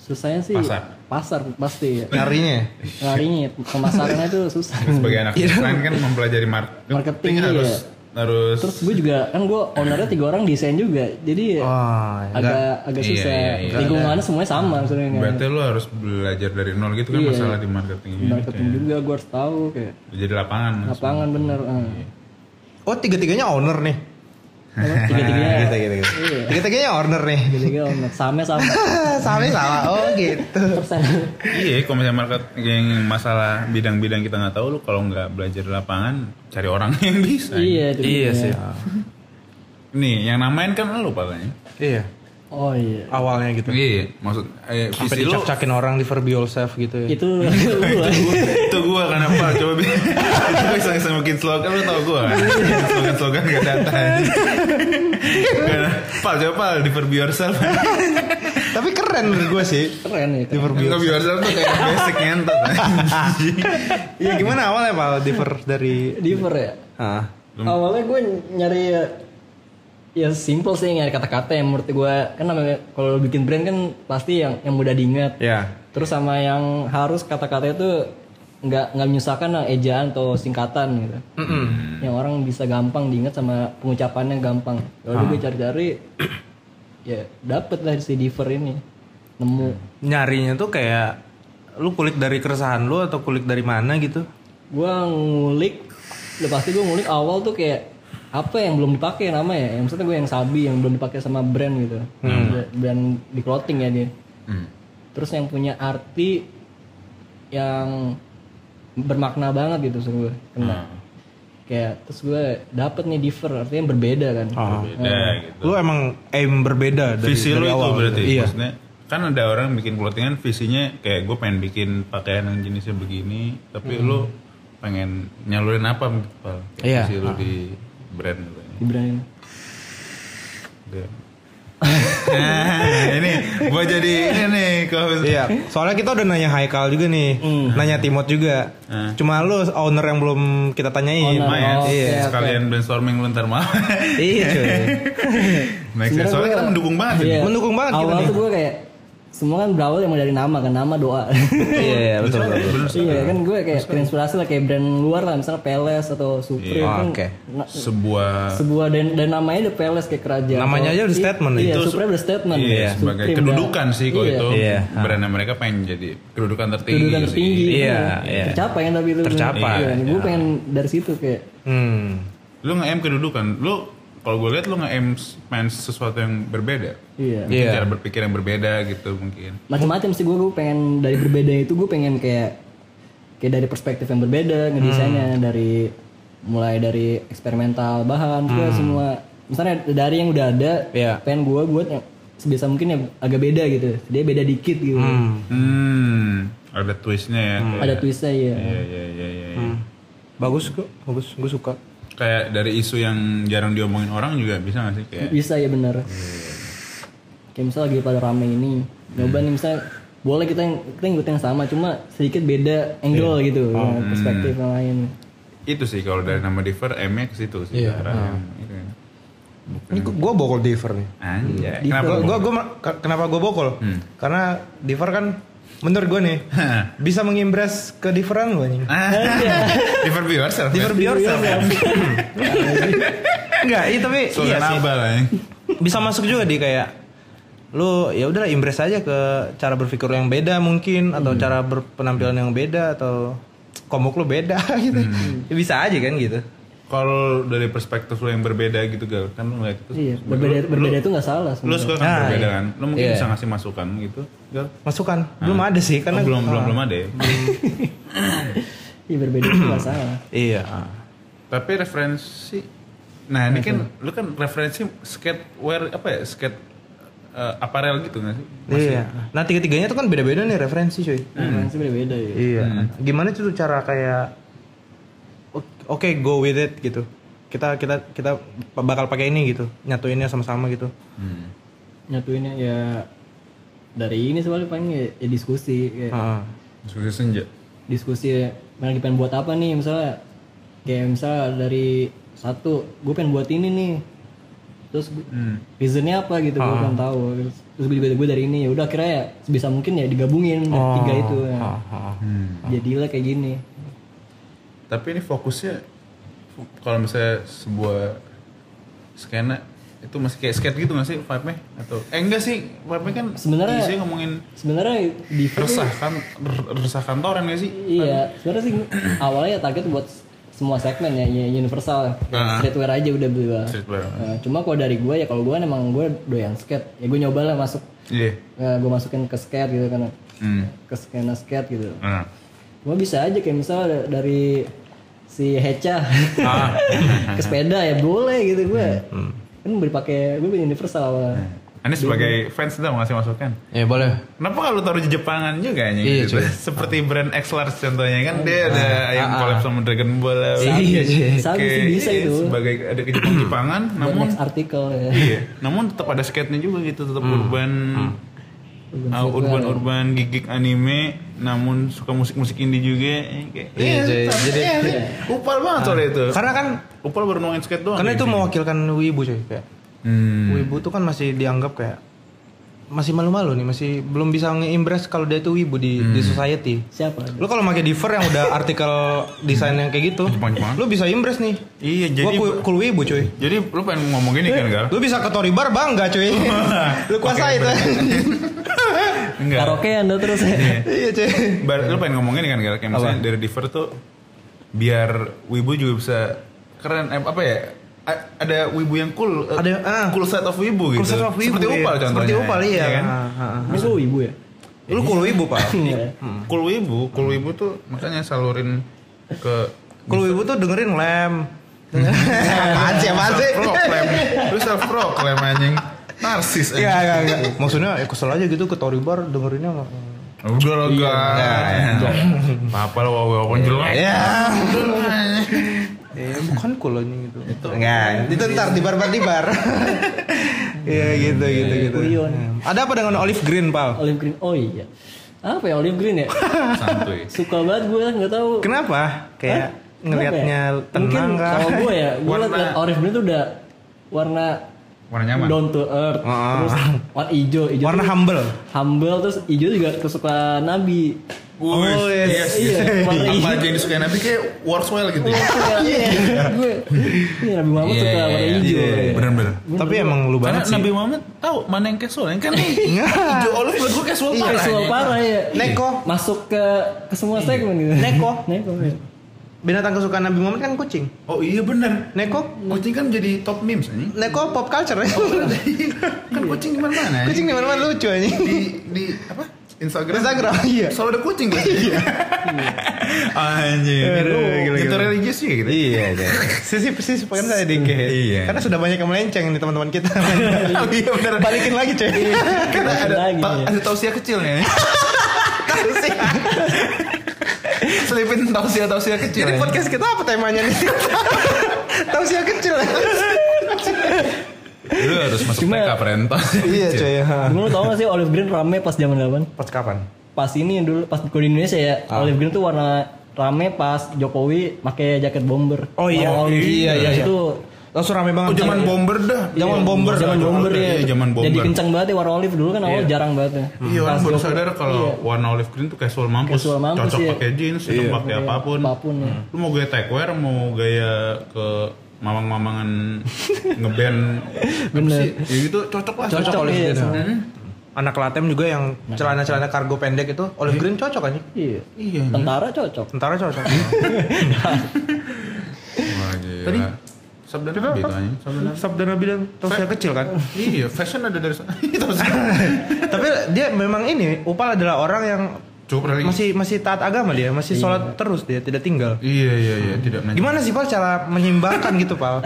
[SPEAKER 1] susahnya sih
[SPEAKER 2] Pasar.
[SPEAKER 1] pasar pasti
[SPEAKER 3] (laughs)
[SPEAKER 1] ya
[SPEAKER 3] Nyarinya ya?
[SPEAKER 1] larinya pemasarannya itu susah
[SPEAKER 2] sebagai anak desain kan mempelajari marketing,
[SPEAKER 1] iya. Marketing, iya.
[SPEAKER 2] harus harus
[SPEAKER 1] terus gue juga kan gue ownernya tiga orang desain juga jadi ya
[SPEAKER 3] Oh, Wah,
[SPEAKER 1] agak agak
[SPEAKER 2] Iya,
[SPEAKER 1] susah
[SPEAKER 2] iya, iya.
[SPEAKER 1] lingkungannya semuanya sama maksudnya kan.
[SPEAKER 2] berarti lu harus belajar dari nol gitu kan
[SPEAKER 1] Iya.
[SPEAKER 2] masalah di marketing
[SPEAKER 1] marketing juga gue harus tahu kayak
[SPEAKER 2] jadi lapangan langsung.
[SPEAKER 1] lapangan bener eh.
[SPEAKER 3] Oh tiga-tiganya owner nih.
[SPEAKER 1] Apa? tiga-tiganya
[SPEAKER 3] gitu.
[SPEAKER 1] Iya.
[SPEAKER 3] Tiga-tiganya owner
[SPEAKER 1] (laughs)
[SPEAKER 3] nih.
[SPEAKER 1] tiga-tiga owner sama sama
[SPEAKER 3] Sama sama. Oh gitu.
[SPEAKER 1] persen
[SPEAKER 2] Iya, kalau misalnya market yang masalah bidang-bidang kita nggak tahu, lu kalau nggak belajar di lapangan, cari orang (laughs) yang bisa.
[SPEAKER 1] iya itu
[SPEAKER 3] Iya
[SPEAKER 1] dia.
[SPEAKER 3] sih.
[SPEAKER 2] Nih, yang namain kan lu palanya.
[SPEAKER 3] Iya.
[SPEAKER 1] oh iya
[SPEAKER 3] Awalnya gitu.
[SPEAKER 2] Iya, maksud eh,
[SPEAKER 3] Sampai
[SPEAKER 2] visi lu
[SPEAKER 3] dicak-cakin orang di Verbi Yourself gitu ya.
[SPEAKER 1] itu (laughs) gua.
[SPEAKER 2] itu gua kenapa? Coba bi- (laughs) itu gua iseng iseng bikin slogan lu tau gua. slogan slogan gak data. Karena, pal coba pal di for be yourself.
[SPEAKER 3] Tapi keren menurut gue sih.
[SPEAKER 1] keren ya
[SPEAKER 3] Di
[SPEAKER 1] keren.
[SPEAKER 3] Verbi
[SPEAKER 2] Nggak be yourself tuh kayak basic ngentot. kan? anjing.
[SPEAKER 3] Iya gimana awalnya Pak Diver dari
[SPEAKER 1] diver ya
[SPEAKER 3] Ah.
[SPEAKER 1] awalnya gue nyari ya- ya simple sih nyari kata-kata yang menurut gue kan namanya kalau bikin brand kan pasti yang yang mudah diingat
[SPEAKER 3] Ya.
[SPEAKER 1] terus sama yang harus kata-kata itu nggak nggak menyusahkan lah, ejaan atau singkatan gitu yang orang bisa gampang diingat sama pengucapannya gampang lalu gue cari-cari (clears throat) ya dapet lah si diver ini nemu
[SPEAKER 3] Nyarinya tuh kayak lu kulik dari keresahan lu atau kulik dari mana gitu?
[SPEAKER 1] gue ngulik udah pasti gue ngulik awal tuh kayak apa yang belum dipakai nama ya yang maksudnya gue yang sabi yang belum dipakai sama brand gitu Bra- brand di clothing ya dia terus yang punya arti yang bermakna banget gitu sungguh kena
[SPEAKER 3] Hmm.
[SPEAKER 1] kayak terus gue dapet nih differ artinya berbeda kan
[SPEAKER 3] Oh.
[SPEAKER 2] Beda gitu.
[SPEAKER 3] Ah. Lu emang aim berbeda dari
[SPEAKER 2] Visi lu
[SPEAKER 3] dari
[SPEAKER 2] itu
[SPEAKER 3] awal.
[SPEAKER 2] berarti
[SPEAKER 3] Iya.
[SPEAKER 2] maksudnya kan ada orang bikin clothingan visinya kayak gue pengen bikin pakaian yang jenisnya begini tapi lu pengen nyalurin apa gitu Pal? Kayak
[SPEAKER 3] Iya.
[SPEAKER 2] visi lu di brand gitu ya.
[SPEAKER 1] di brand ini.
[SPEAKER 2] Udah. Nah, ini gua jadi ini nih kalau
[SPEAKER 3] Iya, soalnya kita udah nanya Haikal juga nih, nanya Timot juga.
[SPEAKER 2] Hmm.
[SPEAKER 3] Cuma lu owner yang belum kita tanyain.
[SPEAKER 1] Owner.
[SPEAKER 2] lumayan
[SPEAKER 1] Oh, oke,
[SPEAKER 2] Nah, ya. Iya, sekalian brainstorming lu ntar malam
[SPEAKER 3] Iya, (laughs) cuy.
[SPEAKER 2] (laughs) Next ya. soalnya
[SPEAKER 1] Sebenarnya
[SPEAKER 2] kita
[SPEAKER 1] gua-
[SPEAKER 2] mendukung banget
[SPEAKER 1] Iya.
[SPEAKER 3] Mendukung banget kita
[SPEAKER 1] awal
[SPEAKER 3] nih.
[SPEAKER 1] tuh gue kayak semua kan berawal yang dari nama kan nama
[SPEAKER 3] (laughs)
[SPEAKER 1] doa
[SPEAKER 3] Iya, iya, betul.
[SPEAKER 2] Bener,
[SPEAKER 3] betul.
[SPEAKER 2] bener.
[SPEAKER 1] Iya kan gue kayak terinspirasi lah kayak brand luar lah misalnya Peles atau Supreme
[SPEAKER 3] Iya.
[SPEAKER 1] kan
[SPEAKER 3] Oke.
[SPEAKER 1] na-
[SPEAKER 2] sebuah
[SPEAKER 1] sebuah dan, dan namanya udah Peles kayak kerajaan.
[SPEAKER 3] Namanya
[SPEAKER 1] Kalau-
[SPEAKER 3] aja udah
[SPEAKER 1] i-
[SPEAKER 3] statement
[SPEAKER 1] Iya,
[SPEAKER 3] itu.
[SPEAKER 1] Supreme udah statement.
[SPEAKER 2] Iya,
[SPEAKER 1] Supreme
[SPEAKER 2] sebagai
[SPEAKER 1] udah-
[SPEAKER 2] kedudukan sih kalau
[SPEAKER 1] iya,
[SPEAKER 2] itu
[SPEAKER 3] Iya.
[SPEAKER 2] brandnya mereka pengen jadi kedudukan tertinggi
[SPEAKER 1] Kedudukan
[SPEAKER 2] sih.
[SPEAKER 1] tertinggi.
[SPEAKER 3] Iya,
[SPEAKER 1] kan.
[SPEAKER 3] iya.
[SPEAKER 1] Tercapai kan tapi itu.
[SPEAKER 3] Tercapai,
[SPEAKER 1] Iya, gue pengen dari situ kayak
[SPEAKER 3] Hmm.
[SPEAKER 2] lu nge-aim kedudukan lu kalau gue lihat lu nge-aim s- main sesuatu yang berbeda
[SPEAKER 1] iya.
[SPEAKER 2] mungkin
[SPEAKER 3] Iya.
[SPEAKER 2] cara berpikir yang berbeda gitu mungkin
[SPEAKER 1] Macam-macam sih gue gue pengen dari berbeda itu gue pengen kayak kayak dari perspektif yang berbeda
[SPEAKER 3] Hmm.
[SPEAKER 1] ngedesainnya dari mulai dari eksperimental bahan ke semua misalnya dari yang udah ada
[SPEAKER 3] Hmm. Iya.
[SPEAKER 1] pengen gue buat yang sebisa mungkin yang agak beda gitu dia beda dikit gitu
[SPEAKER 2] hmm ada twistnya ya
[SPEAKER 3] Hmm.
[SPEAKER 1] ada twistnya ya
[SPEAKER 2] Iya, iya, iya, iya, iya.
[SPEAKER 3] Bagus kok, bagus. Gue suka.
[SPEAKER 2] kayak dari isu yang jarang diomongin orang juga bisa gak sih kayak
[SPEAKER 1] bisa ya bener
[SPEAKER 2] Iya,
[SPEAKER 1] kayak misalnya lagi pada rame ini nyoba nih misalnya boleh kita yang kita ngikut yang sama cuma sedikit beda
[SPEAKER 2] Iya.
[SPEAKER 1] angle gitu ya,
[SPEAKER 2] Oh.
[SPEAKER 1] perspektif yang lain
[SPEAKER 2] itu sih kalau dari nama Diver M-nya ke situ sih
[SPEAKER 3] Iya,
[SPEAKER 2] arah yang itu ya.
[SPEAKER 3] Ini gue bokol Diver nih.
[SPEAKER 2] anjay kenapa
[SPEAKER 3] Kenapa gue
[SPEAKER 2] gua
[SPEAKER 3] gue kenapa gue bokol?
[SPEAKER 2] Hmm.
[SPEAKER 3] Karena Diver kan menurut gue nih bisa mengimpress ke Diveran lu anjing.
[SPEAKER 2] Ah, (laughs) Diver be yourself ya?
[SPEAKER 3] Diver be yourself. (laughs) Enggak, iya tapi iya
[SPEAKER 2] slogan
[SPEAKER 3] sih.
[SPEAKER 2] apa lah ya
[SPEAKER 3] Bisa masuk juga di kayak lu ya udahlah impress aja ke cara berpikir lu yang beda mungkin atau
[SPEAKER 2] Hmm.
[SPEAKER 3] cara (laughs)
[SPEAKER 2] Hmm.
[SPEAKER 3] berpenampilan yang beda atau komuk lu beda gitu. Ya bisa aja kan gitu.
[SPEAKER 2] kalau dari perspektif lo yang berbeda gitu gal kan lo ngeliat itu
[SPEAKER 1] Iya, berbeda
[SPEAKER 2] Lu-
[SPEAKER 1] berbeda
[SPEAKER 2] lu-
[SPEAKER 1] itu nggak salah
[SPEAKER 2] lu
[SPEAKER 1] sebenarnya.
[SPEAKER 2] suka kan
[SPEAKER 3] Nah,
[SPEAKER 2] berbeda kan lo mungkin
[SPEAKER 1] Iya.
[SPEAKER 2] bisa ngasih masukan gitu gal
[SPEAKER 3] Masukan belum ada sih karena
[SPEAKER 2] Oh, belum belum
[SPEAKER 3] Ah,
[SPEAKER 2] belum ada ya
[SPEAKER 1] Iya, berbeda itu
[SPEAKER 2] (clears throat)
[SPEAKER 1] nggak salah.
[SPEAKER 3] Iya.
[SPEAKER 2] tapi referensi nah ini kan lu kan referensi skateware apa ya skate eh, apparel gitu nggak sih
[SPEAKER 3] Iya. Nah tiga-tiganya tuh kan beda-beda nih referensi cuy.
[SPEAKER 2] Hmm.
[SPEAKER 1] Referensi beda-beda ya.
[SPEAKER 3] Iya. Gimana tuh cara kayak o- oke go with it gitu. Kita kita kita bakal pakai ini gitu. Nyatuinnya sama-sama gitu.
[SPEAKER 2] Hmm.
[SPEAKER 1] Nyatuinnya ya dari ini soalnya paling ya, ya diskusi kayak
[SPEAKER 2] Ah.
[SPEAKER 3] Heeh.
[SPEAKER 2] sudah senja
[SPEAKER 1] diskusi ya, lagi pengen buat apa nih misalnya kayak misalnya dari satu gue pengen buat ini nih terus gua-
[SPEAKER 2] Hmm.
[SPEAKER 1] reasonnya apa gitu gue pengen tahu terus gue juga gue dari ini ya udah akhirnya ya sebisa mungkin ya digabungin dari tiga itu ya.
[SPEAKER 3] Ah, ah.
[SPEAKER 2] Hmm.
[SPEAKER 1] jadilah kayak gini
[SPEAKER 2] tapi ini fokusnya fo- kalau misalnya sebuah skena itu masih kayak skate gitu nggak sih vibe-nya atau eh enggak sih vibe-nya kan
[SPEAKER 1] Sebenarnya-
[SPEAKER 2] isinya ngomongin
[SPEAKER 1] sebenarnya di
[SPEAKER 2] resah kan r- resah kantoran gak sih
[SPEAKER 1] Iya, sebenarnya sih (clears throat) awalnya target buat semua segmen ya, ya universal. Streetwear aja udah beli gua.
[SPEAKER 2] Streetwear.
[SPEAKER 1] Nah, cuma kalau dari gue ya kalau gue emang gue doyan skate. Ya gue nyoba lah masuk
[SPEAKER 2] iya
[SPEAKER 1] gue masukin ke skate gitu kan
[SPEAKER 2] hmm.
[SPEAKER 1] ke skena skate gitu.
[SPEAKER 2] nah.
[SPEAKER 1] Cuma bisa aja kayak misalnya da- dari si Hecha
[SPEAKER 3] Ah.
[SPEAKER 1] (laughs) ke sepeda ya boleh gitu gue.
[SPEAKER 3] Hmm,
[SPEAKER 1] Kan beri pakai gue beli universal awalnya.
[SPEAKER 2] Ini sebagai fans udah mau ngasih masukan
[SPEAKER 3] Iya boleh.
[SPEAKER 2] Kenapa kalau taruh di Jepangan juga anjing
[SPEAKER 3] Iya,
[SPEAKER 2] gitu? (laughs)
[SPEAKER 3] cuy. Ah,
[SPEAKER 2] Seperti brand X large contohnya kan dia ada yang collab sama Dragon Ball lah.
[SPEAKER 3] Iya, iya.
[SPEAKER 1] Sabi
[SPEAKER 2] Oke,
[SPEAKER 1] sih bisa
[SPEAKER 2] iya,
[SPEAKER 1] itu.
[SPEAKER 2] Sebagai ada ke
[SPEAKER 3] (clears throat)
[SPEAKER 2] Jepang Jepangan,
[SPEAKER 1] Buat
[SPEAKER 2] namun
[SPEAKER 1] next artikel ya.
[SPEAKER 2] iya, namun tetap ada skate-nya juga gitu, tetap
[SPEAKER 3] Hmm.
[SPEAKER 2] urban ah, urban urban gigik anime, namun suka musik-musik indie juga. eh, kayak-
[SPEAKER 3] Iya, cuy.
[SPEAKER 2] tetap,
[SPEAKER 3] Jadi-
[SPEAKER 2] iya, iya. upal banget soalnya itu.
[SPEAKER 3] Karena kan
[SPEAKER 2] upal baru nuangin skate doang.
[SPEAKER 3] karena
[SPEAKER 2] ya,
[SPEAKER 3] itu
[SPEAKER 2] sih.
[SPEAKER 3] mewakilkan wibu cuy kayak.
[SPEAKER 2] Hmm.
[SPEAKER 3] Wibu tuh kan masih dianggap kayak masih malu-malu nih, masih belum bisa nge-impress kalau dia tuh wibu di di society.
[SPEAKER 1] Siapa?
[SPEAKER 3] Lu kalau pakai diver yang udah artikel desain yang kayak gitu,
[SPEAKER 2] Jepang-Jepang.
[SPEAKER 3] lu bisa impress nih.
[SPEAKER 2] Iya,
[SPEAKER 3] Gua
[SPEAKER 2] jadi
[SPEAKER 3] ku- cool wibu cuy.
[SPEAKER 2] jadi lu pengen ngomong gini kan, Gal?
[SPEAKER 3] Lu bisa ke Toribar bangga (laughs) cuy. lu kuasai itu. Eh,
[SPEAKER 2] Enggak.
[SPEAKER 1] Karaokean tuh terus.
[SPEAKER 3] (laughs)
[SPEAKER 1] (laughs)
[SPEAKER 3] iya cuy.
[SPEAKER 2] Bar, lu pengen ngomongin kan Gal? kayak misalnya dari Diver tuh biar wibu juga bisa keren eh, apa ya? A- ada wibu yang cool, eh,
[SPEAKER 3] Ada yang- ah.
[SPEAKER 2] cool side of wibu gitu.
[SPEAKER 3] Cool side of wibu,
[SPEAKER 2] Seperti
[SPEAKER 3] iya.
[SPEAKER 2] Upal contohnya.
[SPEAKER 3] Seperti Upal, iya.
[SPEAKER 2] kan?
[SPEAKER 3] Ah, ah,
[SPEAKER 1] Ini gue ibu ya.
[SPEAKER 3] Lu cool wibu, Pak. (laughs)
[SPEAKER 1] Iya.
[SPEAKER 3] Hmm.
[SPEAKER 2] Cool wibu, cool wibu tuh makanya salurin ke
[SPEAKER 3] Cool wibu tuh dengerin lem. Apaan sih, apaan sih?
[SPEAKER 2] Self-proclaim. Lu self-proclaim anjing. Narsis
[SPEAKER 3] Iya,
[SPEAKER 2] anjing.
[SPEAKER 3] iya, iya. Maksudnya ya kesel aja gitu ke Toribar dengerinnya sama-
[SPEAKER 2] Udah lah
[SPEAKER 3] Iya.
[SPEAKER 2] Gal. Apa lo wawon jelek.
[SPEAKER 3] Ya.
[SPEAKER 2] Udah lah, anjing.
[SPEAKER 3] Eh, bukan cool anjing gitu. Enggak, itu ntar di bar-bar di bar. (laughs) Iya gitu gitu gitu.
[SPEAKER 1] Kuyon.
[SPEAKER 3] Ada apa dengan olive green, Pal?
[SPEAKER 1] Olive Green. Oh iya. Apa ya Olive Green
[SPEAKER 3] (laughs)
[SPEAKER 1] ya?
[SPEAKER 2] Santuy.
[SPEAKER 1] Suka banget gue nggak tahu.
[SPEAKER 3] Kenapa?
[SPEAKER 1] Hah?
[SPEAKER 3] Kayak
[SPEAKER 1] Kenapa
[SPEAKER 3] ngelihatnya
[SPEAKER 1] ya?
[SPEAKER 3] tenang
[SPEAKER 1] Mungkin
[SPEAKER 3] kah?
[SPEAKER 1] Kalau gue ya, gue
[SPEAKER 2] Warna-
[SPEAKER 1] liat Olive Green tuh udah warna
[SPEAKER 2] Warna nyaman.
[SPEAKER 1] down to earth.
[SPEAKER 3] Ah.
[SPEAKER 1] Terus warna hijau, hijau.
[SPEAKER 3] Warna
[SPEAKER 1] tuh
[SPEAKER 3] humble.
[SPEAKER 1] humble terus hijau juga kesukaan Nabi.
[SPEAKER 2] Oh,
[SPEAKER 3] yes.
[SPEAKER 1] Iya, warna
[SPEAKER 2] Apa
[SPEAKER 1] hijau.
[SPEAKER 2] aja yang disukai Nabi kayak Warswell gitu ya.
[SPEAKER 1] Iya, gue. Iya, Nabi Muhammad
[SPEAKER 2] Iya,
[SPEAKER 1] suka
[SPEAKER 2] iya,
[SPEAKER 1] warna
[SPEAKER 2] iya.
[SPEAKER 1] hijau.
[SPEAKER 2] Iya, iya. Bener-bener.
[SPEAKER 3] Tapi emang lu
[SPEAKER 2] Karena
[SPEAKER 3] banget sih. Iya.
[SPEAKER 2] Nabi Muhammad tahu mana yang casual, yang kan nih hijau olive buat gue casual
[SPEAKER 1] Iya,
[SPEAKER 2] parah.
[SPEAKER 1] casual
[SPEAKER 2] anjing.
[SPEAKER 1] parah ya.
[SPEAKER 3] Neko.
[SPEAKER 1] Masuk ke ke semua
[SPEAKER 2] Iya.
[SPEAKER 1] segmen gitu.
[SPEAKER 3] Neko.
[SPEAKER 1] (laughs) Neko. iya.
[SPEAKER 3] Binatang kesukaan Nabi Muhammad kan kucing.
[SPEAKER 2] Oh iya bener.
[SPEAKER 3] Neko,
[SPEAKER 2] Kucing kan jadi top memes anjing.
[SPEAKER 3] neko pop culture. iya. (laughs)
[SPEAKER 2] kan kucing di mana-mana. anjing.
[SPEAKER 3] kucing di mana lucu anjing.
[SPEAKER 2] di di apa? Instagram.
[SPEAKER 3] Instagram, iya.
[SPEAKER 2] Selalu ada kucing gitu. Iya. Anjing.
[SPEAKER 3] Aduh, gila,
[SPEAKER 2] Gitu
[SPEAKER 3] gila.
[SPEAKER 2] religius sih gitu.
[SPEAKER 3] Iya, iya. Sisi sisi pengen saya (laughs) dikit.
[SPEAKER 2] Iya.
[SPEAKER 3] Karena sudah banyak yang melenceng nih teman-teman (laughs) kita.
[SPEAKER 2] Oh, iya bener.
[SPEAKER 3] Balikin lagi, cuy.
[SPEAKER 2] Karena
[SPEAKER 3] (laughs)
[SPEAKER 2] Kan ada
[SPEAKER 1] Lagi,
[SPEAKER 2] ta-
[SPEAKER 1] iya.
[SPEAKER 2] ada tausiah kecil nih. Selipin tausiah-tausiah kecil.
[SPEAKER 3] Jadi
[SPEAKER 2] anjing.
[SPEAKER 3] podcast kita apa temanya (laughs) nih? Tahu sih kecil.
[SPEAKER 7] Lu harus masuk
[SPEAKER 1] Cuma-
[SPEAKER 7] TK parental.
[SPEAKER 3] Iya, cuy. ha.
[SPEAKER 1] Dulu tau gak sih Olive Green rame pas zaman kapan?
[SPEAKER 3] Pas kapan?
[SPEAKER 1] pas ini dulu pas gue di Indonesia ya
[SPEAKER 2] Ah.
[SPEAKER 1] olive green tuh warna rame pas Jokowi pakai jaket bomber
[SPEAKER 3] Oh iya.
[SPEAKER 1] Warna olive.
[SPEAKER 3] Iya, iya, iya.
[SPEAKER 1] itu iya,
[SPEAKER 3] Langsung rame banget.
[SPEAKER 2] Oh zaman bomber dah.
[SPEAKER 3] Zaman bomber.
[SPEAKER 1] zaman bomber ya
[SPEAKER 2] Iya, zaman bomber.
[SPEAKER 1] jadi kencang banget ya warna olive dulu kan awal jarang banget ya
[SPEAKER 2] Iya, orang
[SPEAKER 1] Pas
[SPEAKER 2] baru
[SPEAKER 1] Jokowi- Iya.
[SPEAKER 2] sadar kalau warna olive green tuh casual mampus.
[SPEAKER 1] Casual mampus,
[SPEAKER 2] Cocok
[SPEAKER 1] iya.
[SPEAKER 2] pakai jeans, cocok pakai apapun.
[SPEAKER 1] apapun ya
[SPEAKER 2] Lu mau gaya techwear, mau gaya ke
[SPEAKER 1] (laughs)
[SPEAKER 2] mamang-mamangan ngeband. apa
[SPEAKER 1] Bener.
[SPEAKER 2] sih? Ya gitu cocok lah.
[SPEAKER 1] cocok
[SPEAKER 3] olive
[SPEAKER 1] iya
[SPEAKER 3] green,
[SPEAKER 1] semua.
[SPEAKER 2] Hmm?
[SPEAKER 3] Anak Latem juga yang celana-celana kargo pendek itu olive green cocok kan, aja.
[SPEAKER 1] iya
[SPEAKER 3] Mhm.
[SPEAKER 2] Iya.
[SPEAKER 1] tentara cocok
[SPEAKER 3] Tentara cocok.
[SPEAKER 2] Wah, gila. Tadi sabda
[SPEAKER 3] Kenapa?
[SPEAKER 2] Nabi tanya.
[SPEAKER 3] Sabda Nabi dan Tausia kecil
[SPEAKER 1] (laughs)
[SPEAKER 3] kan.
[SPEAKER 2] Iya, fashion ada dari sana. (laughs) Itu
[SPEAKER 3] Tapi dia memang ini Upal adalah orang yang
[SPEAKER 2] Cukup lagi.
[SPEAKER 3] masih masih taat agama dia, masih sholat terus dia, tidak tinggal.
[SPEAKER 2] Iya, iya, iya, tidak menanyakan.
[SPEAKER 3] Gimana sih Pal cara menyeimbangkan gitu Pal?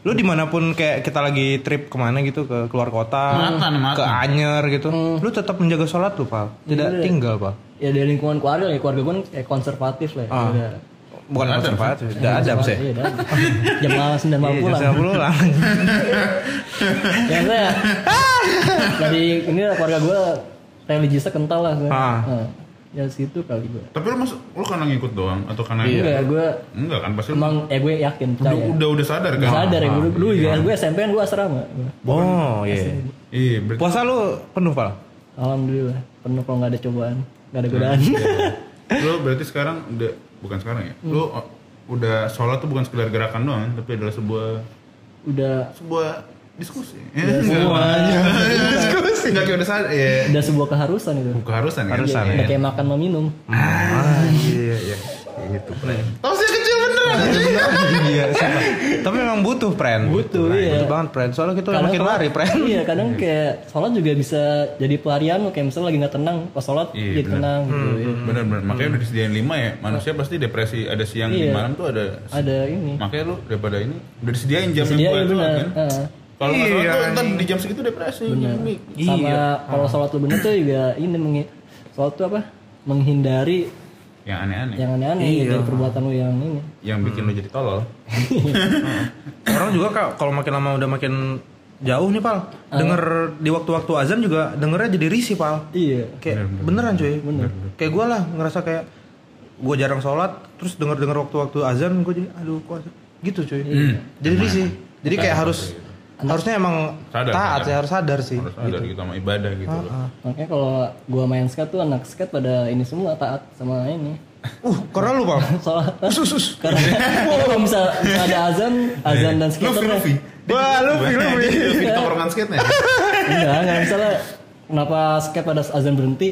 [SPEAKER 3] Lu dimanapun kayak kita lagi trip kemana gitu ke keluar kota,
[SPEAKER 2] Makan, makan.
[SPEAKER 3] ke Anyer gitu, lu tetap menjaga sholat lu Pal, tidak
[SPEAKER 1] Iya.
[SPEAKER 3] tinggal Pal.
[SPEAKER 1] ya dari lingkungan keluarga ya keluarga gue kan kayak konservatif lah ya.
[SPEAKER 3] Ah.
[SPEAKER 1] Udah.
[SPEAKER 3] Bukan
[SPEAKER 2] Nggak ada,
[SPEAKER 3] konservatif, tidak ada sih.
[SPEAKER 1] Iya, udah. (laughs) jam malam sembilan malam
[SPEAKER 3] Iya,
[SPEAKER 1] pulang
[SPEAKER 3] jam 10 pulang.
[SPEAKER 1] ya
[SPEAKER 3] (laughs)
[SPEAKER 1] saya dari ini lah keluarga gue religiusnya kental lah gue
[SPEAKER 3] Ah.
[SPEAKER 1] Nah, ya situ kali gue
[SPEAKER 2] Tapi lu masuk lu karena ngikut doang atau karena
[SPEAKER 3] Iya.
[SPEAKER 1] enggak gue
[SPEAKER 2] Enggak kan pasti lu
[SPEAKER 1] emang eh gue yakin
[SPEAKER 2] udah,
[SPEAKER 1] percaya
[SPEAKER 2] udah udah sadar kan.
[SPEAKER 1] sadar ya gue dulu
[SPEAKER 3] Iya.
[SPEAKER 1] juga gue SMP kan gue asrama
[SPEAKER 3] Oh, iya.
[SPEAKER 2] Iya, berarti
[SPEAKER 3] Puasa lu penuh Pal?
[SPEAKER 1] alhamdulillah penuh kalau nggak ada cobaan nggak ada godaan
[SPEAKER 3] Hmm.
[SPEAKER 2] lu berarti sekarang udah bukan sekarang ya. Lu
[SPEAKER 1] Hmm.
[SPEAKER 2] o- udah sholat tuh bukan sekedar gerakan doang, tapi adalah sebuah
[SPEAKER 1] (laughs) udah
[SPEAKER 2] sebuah diskusi. Ya,
[SPEAKER 1] Iya,
[SPEAKER 2] sebuah
[SPEAKER 3] Iya.
[SPEAKER 2] diskusi. Enggak kayak udah sadar. Ya,
[SPEAKER 1] udah sebuah keharusan itu
[SPEAKER 2] (laughs) keharusan ya.
[SPEAKER 3] Keharusan,
[SPEAKER 2] Iya,
[SPEAKER 1] udah
[SPEAKER 2] iya.
[SPEAKER 1] kayak makan meminum
[SPEAKER 3] Ah, iya iya. Gitu, friend. (laughs) iya, sumpah. Tapi memang butuh, friend.
[SPEAKER 1] Butuh,
[SPEAKER 3] friend.
[SPEAKER 1] iya.
[SPEAKER 3] Butuh banget, friend. Soalnya kita
[SPEAKER 1] Kadang
[SPEAKER 3] makin
[SPEAKER 1] kalau-
[SPEAKER 3] lari, friend.
[SPEAKER 1] (laughs) iya kadang kayak sholat juga bisa jadi pelarian lo kayak misalnya lagi nggak tenang pas sholat
[SPEAKER 2] Iya,
[SPEAKER 1] jadi
[SPEAKER 2] bener.
[SPEAKER 1] tenang gitu ya.
[SPEAKER 2] Bener bener. Hmm. Makanya udah disediain lima ya. Manusia pasti depresi ada siang di
[SPEAKER 1] Iya.
[SPEAKER 2] malam tuh ada.
[SPEAKER 1] ada ini
[SPEAKER 2] Makanya lu daripada ini udah disediain jam
[SPEAKER 1] Jadi
[SPEAKER 2] yang
[SPEAKER 1] iya
[SPEAKER 2] hmm. Nah, buat
[SPEAKER 1] benar.
[SPEAKER 2] sholat kan.
[SPEAKER 1] Heeh.
[SPEAKER 2] Kalau nggak sholat
[SPEAKER 3] Iya,
[SPEAKER 2] tuh ntar di jam segitu depresi.
[SPEAKER 1] Benar.
[SPEAKER 2] gini.
[SPEAKER 1] Sama
[SPEAKER 2] Ah.
[SPEAKER 1] kalau sholat lu bener tuh juga ini mengi- sholat tuh apa? Menghindari
[SPEAKER 2] Yang aneh-aneh.
[SPEAKER 1] yang aneh-aneh
[SPEAKER 2] Iya.
[SPEAKER 1] gitu, dari perbuatan lu yang ini.
[SPEAKER 2] yang bikin
[SPEAKER 3] Hmm.
[SPEAKER 2] lo jadi tolol.
[SPEAKER 3] Orang juga Kak, kalau makin lama udah makin jauh nih, Pal.
[SPEAKER 1] Ah.
[SPEAKER 3] Denger di waktu-waktu azan juga dengernya jadi risih, Pal.
[SPEAKER 1] Iya.
[SPEAKER 3] Kayak beneran cuy. Kayak gue lah ngerasa kayak gue jarang sholat, terus denger-denger waktu-waktu azan gue jadi aduh kok azan?" gitu cuy.
[SPEAKER 1] Iya.
[SPEAKER 3] Jadi risih. Jadi kayak harus harusnya emang
[SPEAKER 2] Sadar,
[SPEAKER 3] taat
[SPEAKER 2] sadar.
[SPEAKER 3] sih, harus sadar
[SPEAKER 1] Iya,
[SPEAKER 3] sih.
[SPEAKER 2] Harus ada gitu sama ibadah gitu loh.
[SPEAKER 1] Ah, Makanya kalau gua main skate tuh anak skate pada ini semua taat sama ini.
[SPEAKER 3] Uh, karena (laughs) lu, Pal.
[SPEAKER 1] Sholat. (laughs)
[SPEAKER 2] (laughs)
[SPEAKER 1] Karena karena kalau bisa, bisa ada azan,
[SPEAKER 2] Iya.
[SPEAKER 1] azan dan skater.
[SPEAKER 2] Luffy, Luffy.
[SPEAKER 3] Wah, lu film (laughs)
[SPEAKER 2] Jadi Luffy di tongkrongan ya? skate nih.
[SPEAKER 1] Enggak, enggak misalnya kenapa skate pada azan berhenti?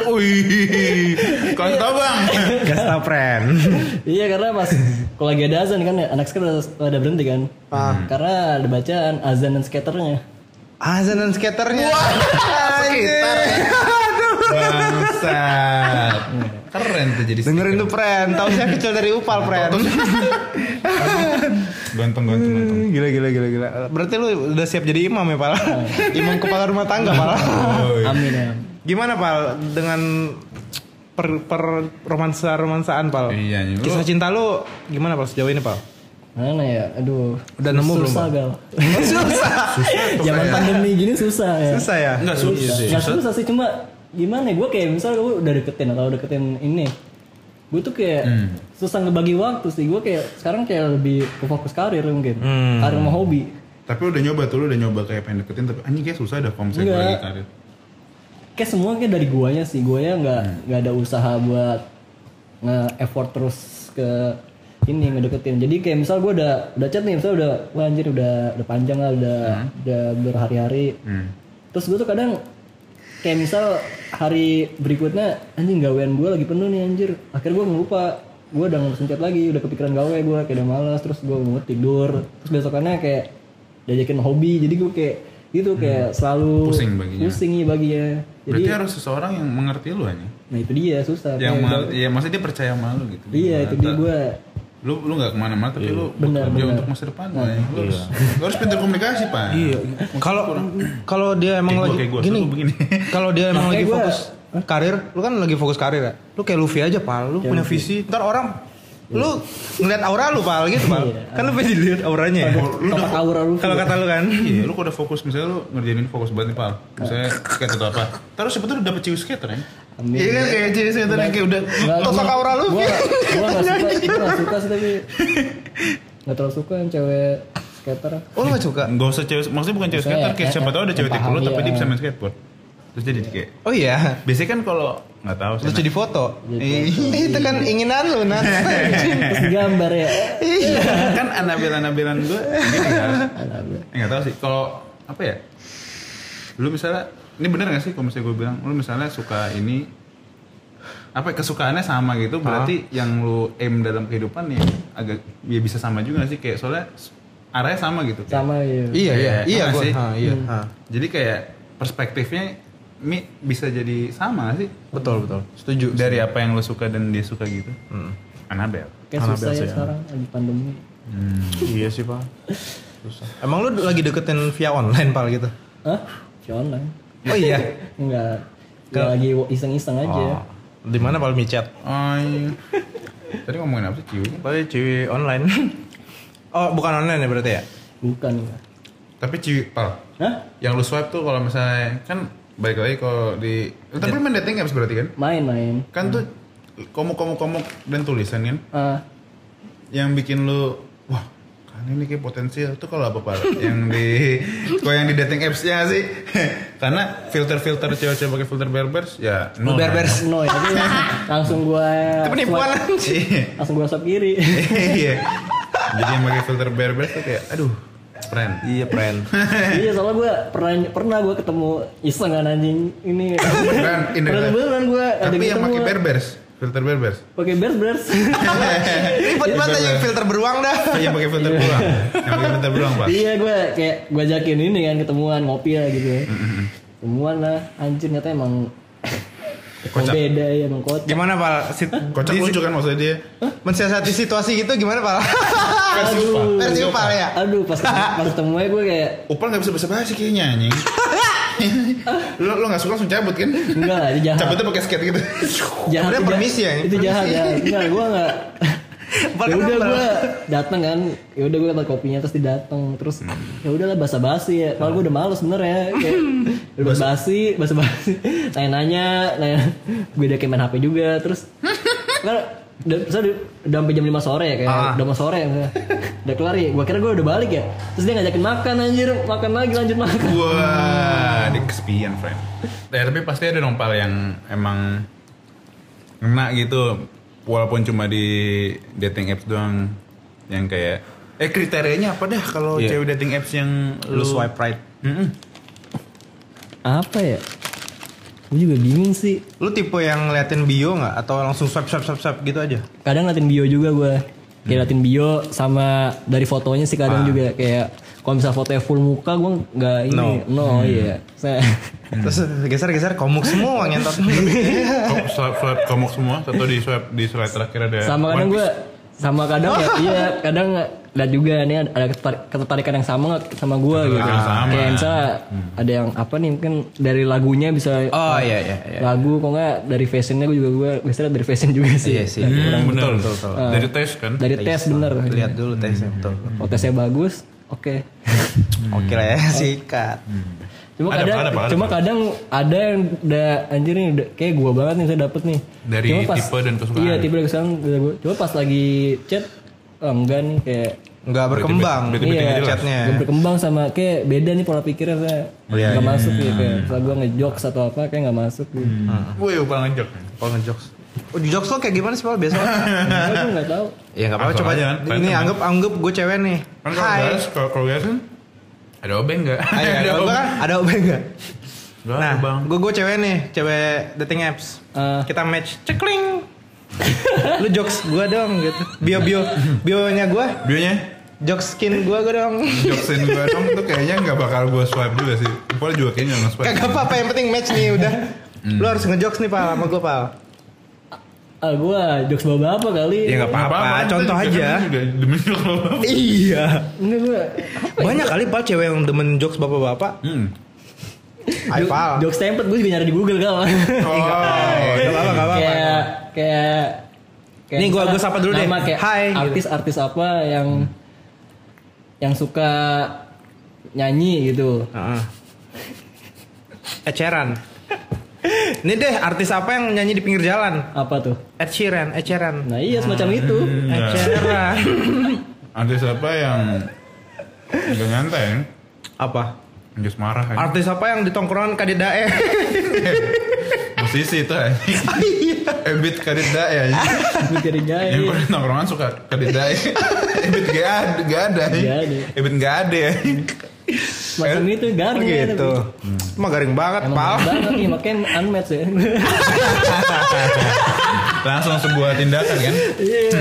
[SPEAKER 2] Wih, kalian tahu bang?
[SPEAKER 3] Gak tau friend
[SPEAKER 1] iya karena pas kalau lagi ada azan kan ya, anak skate pada, pada berhenti kan.
[SPEAKER 3] Ah.
[SPEAKER 1] Karena ada bacaan azan dan skaternya.
[SPEAKER 3] Azan dan Ah, skaternya Anjir.
[SPEAKER 2] Bangsat. Keren tuh jadi
[SPEAKER 3] Dengerin tuh friend Tau saya kecil dari Upal friend
[SPEAKER 2] Ganteng,
[SPEAKER 3] Hmm.
[SPEAKER 2] ganteng, ganteng.
[SPEAKER 3] (laughs) Gila gila gila gila Berarti lu udah siap jadi imam ya (laughs) Pal Imam kepala rumah tangga Pal Oh, iya. Ah.
[SPEAKER 1] Amin ya.
[SPEAKER 3] Gimana Pal Dengan Per, per romansa romansaan Pal
[SPEAKER 2] Iya, iya.
[SPEAKER 3] Kisah cinta lu Gimana Pal sejauh ini Pal
[SPEAKER 1] Mana ya? Aduh.
[SPEAKER 3] Udah nemu belum,
[SPEAKER 1] susah,
[SPEAKER 3] Pak?
[SPEAKER 1] Gal.
[SPEAKER 3] (laughs) Susah
[SPEAKER 1] Zaman pandemi gini susah ya.
[SPEAKER 3] Susah ya
[SPEAKER 2] Enggak susah sih.
[SPEAKER 1] Nggak susah sih cuma gimana gue kayak misalnya gue udah deketin atau deketin ini gue tuh kayak
[SPEAKER 3] Hmm.
[SPEAKER 1] susah ngebagi waktu sih gue kayak sekarang kayak lebih ke fokus karir mungkin
[SPEAKER 3] Hmm.
[SPEAKER 1] karir sama hobi
[SPEAKER 2] Tapi udah nyoba tuh, lu udah nyoba kayak pengen deketin tapi anjing kayak susah dah kalau misalnya gue
[SPEAKER 1] Enggak.
[SPEAKER 2] lagi karir.
[SPEAKER 1] kayak semua kayak dari guanya sih guanya nggak nggak ada usaha buat nge effort terus ke ini ngedeketin jadi kayak misal gue udah udah chat nih misal udah wah anjir udah udah panjang lah udah udah berhari-hari
[SPEAKER 2] Hmm.
[SPEAKER 1] terus gue tuh kadang kayak misal hari berikutnya anjing gawean gue lagi penuh nih anjir akhirnya gue ngelupa gue udah ngurusin chat lagi udah kepikiran gawe gue kayak udah malas terus gue mau tidur terus besokannya kayak diajakin hobi jadi gue kayak gitu kayak selalu
[SPEAKER 2] Hmm. Pusing baginya.
[SPEAKER 1] pusing ya baginya jadi
[SPEAKER 2] Berarti harus seseorang yang mengerti lu anjing.
[SPEAKER 1] nah itu dia susah
[SPEAKER 2] Yang
[SPEAKER 1] Kayak
[SPEAKER 2] mal,
[SPEAKER 1] udah-
[SPEAKER 2] ya maksudnya dia percaya sama lu gitu.
[SPEAKER 1] iya itu dia gue
[SPEAKER 2] lu lu nggak kemana-mana tapi lu
[SPEAKER 1] Iya. Benar,
[SPEAKER 2] bekerja
[SPEAKER 1] benar. Iya.
[SPEAKER 2] untuk masa depan Pak. lu harus, lu harus pintar komunikasi pak
[SPEAKER 3] Iya. Kalau kalau dia
[SPEAKER 2] Kayak
[SPEAKER 3] emang
[SPEAKER 2] gua,
[SPEAKER 3] lagi
[SPEAKER 2] kayak gua,
[SPEAKER 3] gini,
[SPEAKER 2] selalu begini.
[SPEAKER 3] (laughs) kalau dia emang
[SPEAKER 1] Makanya
[SPEAKER 3] lagi
[SPEAKER 1] gua-
[SPEAKER 3] fokus karir, lu kan lagi fokus karir ya. Lu kayak Luffy aja, Pal. Lu punya visi, ntar orang lu ngeliat aura lu, Pal, gitu, Pal.
[SPEAKER 1] Iya.
[SPEAKER 3] kan lu pengen dilihat auranya ya.
[SPEAKER 1] topak aura lu
[SPEAKER 3] Kalau kata lu kan.
[SPEAKER 2] iya lu kalau udah fokus misalnya lu ngerjain ini fokus banget nih pak misalnya skater atau apa terus sebetulnya udah dapet cius skater ya
[SPEAKER 1] Amin.
[SPEAKER 2] iya kan kayak cius skater yang kayak udah
[SPEAKER 3] Tosak aura lu.
[SPEAKER 1] gue gak suka gue gak suka sih tapi gak terlalu suka yang cewek skater
[SPEAKER 3] Oh, lu gak suka.
[SPEAKER 2] nggak usah cewek maksudnya bukan cewek
[SPEAKER 1] Maksudnya
[SPEAKER 2] skater kayak
[SPEAKER 1] ya,
[SPEAKER 2] siapa
[SPEAKER 1] ya,
[SPEAKER 2] tahu ada
[SPEAKER 1] ya,
[SPEAKER 2] cewek
[SPEAKER 1] paham,
[SPEAKER 2] tipe lu tapi
[SPEAKER 1] iya.
[SPEAKER 2] dia bisa main skateboard terus jadi kayak
[SPEAKER 3] Oh iya.
[SPEAKER 2] biasanya kan kalau nggak tahu sih
[SPEAKER 3] Terus jadi foto. Ih, (laughs) itu kan inginan lu, Iya. Nat.
[SPEAKER 1] terus digambar ya
[SPEAKER 2] Nah, (laughs) kan anabil anabilan gue gini kan Eh, nggak tahu sih kalau apa ya lu misalnya ini bener gak sih kalau misalnya gue bilang lu misalnya suka ini apa kesukaannya sama gitu berarti yang lu aim dalam kehidupan ya agak ya bisa sama juga gak sih kayak soalnya s- arahnya sama gitu kayak.
[SPEAKER 1] sama ya
[SPEAKER 3] Iya iya
[SPEAKER 2] Kayak,
[SPEAKER 3] iya
[SPEAKER 2] apa
[SPEAKER 3] gua.
[SPEAKER 2] sih?
[SPEAKER 3] Ha, iya. ha.
[SPEAKER 2] jadi kayak perspektifnya mi bisa jadi sama gak sih
[SPEAKER 3] Betul betul. Hmm. Setuju.
[SPEAKER 2] dari apa yang lu suka dan dia suka gitu Anabel
[SPEAKER 1] kayak susah ya sekarang lagi pandemi
[SPEAKER 3] iya sih pak. Susah. Emang lu lagi deketin via online pal gitu?
[SPEAKER 1] Hah? Via online
[SPEAKER 3] Oh iya.
[SPEAKER 1] enggak enggak
[SPEAKER 5] Iya.
[SPEAKER 1] lagi iseng-iseng
[SPEAKER 5] Ah.
[SPEAKER 1] aja
[SPEAKER 3] Oh. Di mana pal micet?
[SPEAKER 2] Ay. tadi ngomongin apa sih Ciwi
[SPEAKER 3] Pal Ciwi online. (laughs) oh bukan online ya berarti ya?
[SPEAKER 1] bukan enggak
[SPEAKER 2] tapi Ciwi pal
[SPEAKER 1] Hah?
[SPEAKER 2] yang lu swipe tuh kalau misalnya kan balik lagi kalau di
[SPEAKER 5] Tapi main dating apps berarti kan?
[SPEAKER 1] main-main
[SPEAKER 5] Kan tuh komuk-komuk-komuk dan tulisan kan?
[SPEAKER 1] ah
[SPEAKER 5] yang bikin lu wah kan ini kayak potensial tuh kalau apa pak
[SPEAKER 1] (laughs)
[SPEAKER 5] yang di kalau yang di dating appsnya sih (laughs) karena filter filter cewek-cewek pakai filter berbers ya no.
[SPEAKER 3] Berbers.
[SPEAKER 1] no ya tapi langsung gua
[SPEAKER 5] Itu penipuan
[SPEAKER 1] swipe-
[SPEAKER 5] anjing.
[SPEAKER 1] langsung gua swipe kiri
[SPEAKER 5] (laughs) iya jadi yang pakai filter berbers tuh kayak aduh friend
[SPEAKER 3] Iya (laughs) friend.
[SPEAKER 1] iya soalnya gua pernah pernah gua ketemu iseng kan anjing ini
[SPEAKER 5] Beneran, ini
[SPEAKER 1] beneran
[SPEAKER 5] beneran.
[SPEAKER 1] beneran gua ada gitu
[SPEAKER 5] tapi yang
[SPEAKER 1] ketemu.
[SPEAKER 5] pakai berbers filter berbers
[SPEAKER 1] pakai bears bears
[SPEAKER 5] (laughs)
[SPEAKER 3] Ribet banget aja filter beruang dah.
[SPEAKER 5] yang pakai filter beruang yang pakai filter beruang pak
[SPEAKER 1] iya gua kayak gua ajakin ini kan ketemuan ngopi lah gitu ya ketemuan lah anjir ternyata emang kok
[SPEAKER 5] Kocak.
[SPEAKER 1] beda ya emang kocak
[SPEAKER 3] Gimana pal? Sit-
[SPEAKER 5] kocak
[SPEAKER 3] di-
[SPEAKER 5] lucu kan maksudnya dia
[SPEAKER 3] mensiasati situasi gitu gimana pal?
[SPEAKER 2] Kan
[SPEAKER 5] versi upal
[SPEAKER 3] Versi upal ya.
[SPEAKER 1] aduh pas pas ketemu gue kayak
[SPEAKER 5] upal nggak bisa bahasa basi kayaknya
[SPEAKER 2] (laughs)
[SPEAKER 5] anjing lo lo nggak suka langsung cabut kan
[SPEAKER 1] enggak lah itu jahat
[SPEAKER 5] cabutnya pakai skate gitu
[SPEAKER 1] jahat
[SPEAKER 3] Sebenarnya
[SPEAKER 1] itu
[SPEAKER 3] permisi ya,
[SPEAKER 1] jahat. itu jahat ya enggak gue
[SPEAKER 3] (laughs)
[SPEAKER 1] enggak ya
[SPEAKER 3] Padahal
[SPEAKER 1] udah
[SPEAKER 3] kan
[SPEAKER 1] gue dateng kan ya udah gue dapat kopinya terus didateng terus
[SPEAKER 3] Hmm.
[SPEAKER 1] ya udahlah basa basi ya kalau gue udah males bener ya
[SPEAKER 3] (laughs)
[SPEAKER 1] kayak udah basi basa (laughs) basi nanya nanya nanya beda kayak main hp juga
[SPEAKER 3] (laughs)
[SPEAKER 1] terus kan udah saya udah udah sampai jam 5 sore ya kayak
[SPEAKER 3] Ah.
[SPEAKER 1] udah mau sore ya udah kelar ya gue kira gue udah balik ya terus dia ngajakin makan anjir makan lagi lanjut makan
[SPEAKER 2] Wah, dia kesepian, friend. Ya, tapi pasti ada dong pal yang emang ngena gitu. Walaupun cuma di dating apps doang yang kayak
[SPEAKER 5] eh kriterianya apa dah kalau
[SPEAKER 2] Iya.
[SPEAKER 5] cewek dating apps yang
[SPEAKER 3] Lu swipe right.
[SPEAKER 2] Mm-mm.
[SPEAKER 1] apa ya gue juga bingung sih
[SPEAKER 3] Lu tipe yang ngeliatin bio nggak atau langsung swipe swipe swipe swipe gitu aja?
[SPEAKER 1] kadang ngeliatin bio juga gue
[SPEAKER 3] Hmm.
[SPEAKER 1] kayak ngeliatin bio sama dari fotonya sih
[SPEAKER 3] Ah.
[SPEAKER 1] kadang juga kayak kalau misalnya fotonya full muka gue nggak ini
[SPEAKER 3] No. Hmm.
[SPEAKER 1] no, iya
[SPEAKER 3] (laughs)
[SPEAKER 1] saya
[SPEAKER 3] Terus geser-geser komuk semua Iya. ngentot. (laughs)
[SPEAKER 2] Kok swipe swipe (laughs) komuk semua atau di swipe di slide terakhir ada
[SPEAKER 1] (laughs) sama kadang gue sama kadang
[SPEAKER 3] (laughs)
[SPEAKER 1] ya iya kadang lihat juga nih ada- ada ketertar- ketertarikan yang sama nggak sama gue gitu
[SPEAKER 2] yang sama.
[SPEAKER 1] kayak misalnya ada yang apa nih mungkin dari lagunya bisa
[SPEAKER 3] Hmm. Oh iya iya iya.
[SPEAKER 1] lagu kok nggak dari fashionnya gue juga gue biasanya dari fashion juga sih
[SPEAKER 3] Iya sih.
[SPEAKER 2] Hmm, betul,
[SPEAKER 3] betul, betul.
[SPEAKER 2] Dari tes kan?
[SPEAKER 1] dari tes bener
[SPEAKER 3] Lihat dulu tesnya betul.
[SPEAKER 1] kalau tesnya bagus oke
[SPEAKER 3] (laughs) Oke lah ya sikat.
[SPEAKER 1] Cuma
[SPEAKER 2] Ada,
[SPEAKER 1] kadang,
[SPEAKER 2] ada, ada.
[SPEAKER 1] cuma kadang ada yang udah anjir nih udah- kayak gua banget nih saya dapet nih.
[SPEAKER 2] Dari
[SPEAKER 1] Cuma
[SPEAKER 2] tipe dan kesukaan.
[SPEAKER 1] Iya, tipe dan kesukaan udah gua. Cuma pas lagi chat ah, enggak nih kayak
[SPEAKER 3] Nggak berkembang.
[SPEAKER 2] Bete-bete
[SPEAKER 1] Iya.
[SPEAKER 2] nggak jelas.
[SPEAKER 3] Chatnya.
[SPEAKER 1] yang berkembang sama kayak beda nih pola pikirnya saya. Enggak masuk gitu. Kayak setelah gua ngejokes atau apa kayak enggak masuk gitu.
[SPEAKER 5] Woi, upal ngejok.
[SPEAKER 3] Kalau ngejokes. Oh, di jokes lo kayak gimana sih Pal biasanya?
[SPEAKER 1] Makanya gua enggak tahu.
[SPEAKER 3] ya nggak apa-apa
[SPEAKER 2] Langsung
[SPEAKER 3] coba.
[SPEAKER 2] aja kan,
[SPEAKER 3] Ini
[SPEAKER 2] teman.
[SPEAKER 3] anggap anggap gue cewek nih.
[SPEAKER 2] Kan kalau
[SPEAKER 3] Hai.
[SPEAKER 2] guys, kalau kalau guys kan (laughs) ada obeng nggak?
[SPEAKER 3] Hai, (laughs) ada obeng kan? Ada obeng nggak?
[SPEAKER 2] Nggak ada,
[SPEAKER 3] Nah,
[SPEAKER 2] bang.
[SPEAKER 3] gue gue cewek nih, cewek dating apps.
[SPEAKER 1] Ah.
[SPEAKER 3] Kita match, cekling. Lu jokes gue dong gitu. Bio bio bionya gue,
[SPEAKER 2] Bionya?
[SPEAKER 3] jokes skin gue gue (laughs) dong.
[SPEAKER 2] Joksin gue dong tuh kayaknya nggak bakal gue swipe juga sih. Paul juga kayaknya nggak swipe.
[SPEAKER 3] Kagak apa-apa yang penting match nih udah. Lu harus ngejokes nih pal sama gue pal.
[SPEAKER 1] Ah, gua jokes bapak-bapak kali.
[SPEAKER 2] Iya,
[SPEAKER 3] Ya, nggak apa-apa, contoh aja.
[SPEAKER 2] Udah demi apa
[SPEAKER 3] Iya.
[SPEAKER 1] Enggak gua.
[SPEAKER 3] Banyak kali pal cewek yang demen jokes bapak-bapak.
[SPEAKER 2] Hmm.
[SPEAKER 3] Ayo pal.
[SPEAKER 1] Jokes template gua juga nyari di Google kalau. (laughs)
[SPEAKER 2] iya.
[SPEAKER 5] Oh,
[SPEAKER 3] Gak Iya. apa-apa, gak apa-apa.
[SPEAKER 1] kayak kayak kayak
[SPEAKER 3] Nih, gua-
[SPEAKER 1] misalnya
[SPEAKER 3] gua sapa dulu deh.
[SPEAKER 1] nama kayak
[SPEAKER 3] Hai, gitu. Hmm.
[SPEAKER 1] artis-artis apa yang yang suka nyanyi gitu
[SPEAKER 3] Heeh. Ed Sheeran. Ini deh artis apa yang nyanyi di pinggir jalan?
[SPEAKER 1] apa tuh
[SPEAKER 3] Ed Sheeran, Ed Sheeran.
[SPEAKER 1] nah iya semacam
[SPEAKER 3] (laughs)
[SPEAKER 1] itu
[SPEAKER 3] Ed
[SPEAKER 2] Nah.
[SPEAKER 1] (laughs)
[SPEAKER 3] Sheeran.
[SPEAKER 2] Ada siapa yang nggak nyantai?
[SPEAKER 3] apa?
[SPEAKER 2] Nggak marah aja.
[SPEAKER 3] Artis apa yang di tongkrongan eh? Kadit Dae?
[SPEAKER 1] (laughs)
[SPEAKER 2] Musisi itu aja.
[SPEAKER 3] (laughs) Iya.
[SPEAKER 2] Ebit kadida ya.
[SPEAKER 1] Gue jadi jahit.
[SPEAKER 2] Yang pada nongkrongan suka kadida. Ebit gak ada, gak ada.
[SPEAKER 1] Nggak ada.
[SPEAKER 2] Ebit gak ada. ya.
[SPEAKER 1] semacam itu garing ya,
[SPEAKER 3] gitu.
[SPEAKER 1] tapi.
[SPEAKER 3] Emang garing banget,
[SPEAKER 1] Emang
[SPEAKER 3] Pal.
[SPEAKER 1] garing banget nih, makanya unmatch
[SPEAKER 3] (laughs)
[SPEAKER 1] ya.
[SPEAKER 2] Langsung sebuah tindakan kan?
[SPEAKER 1] Iya.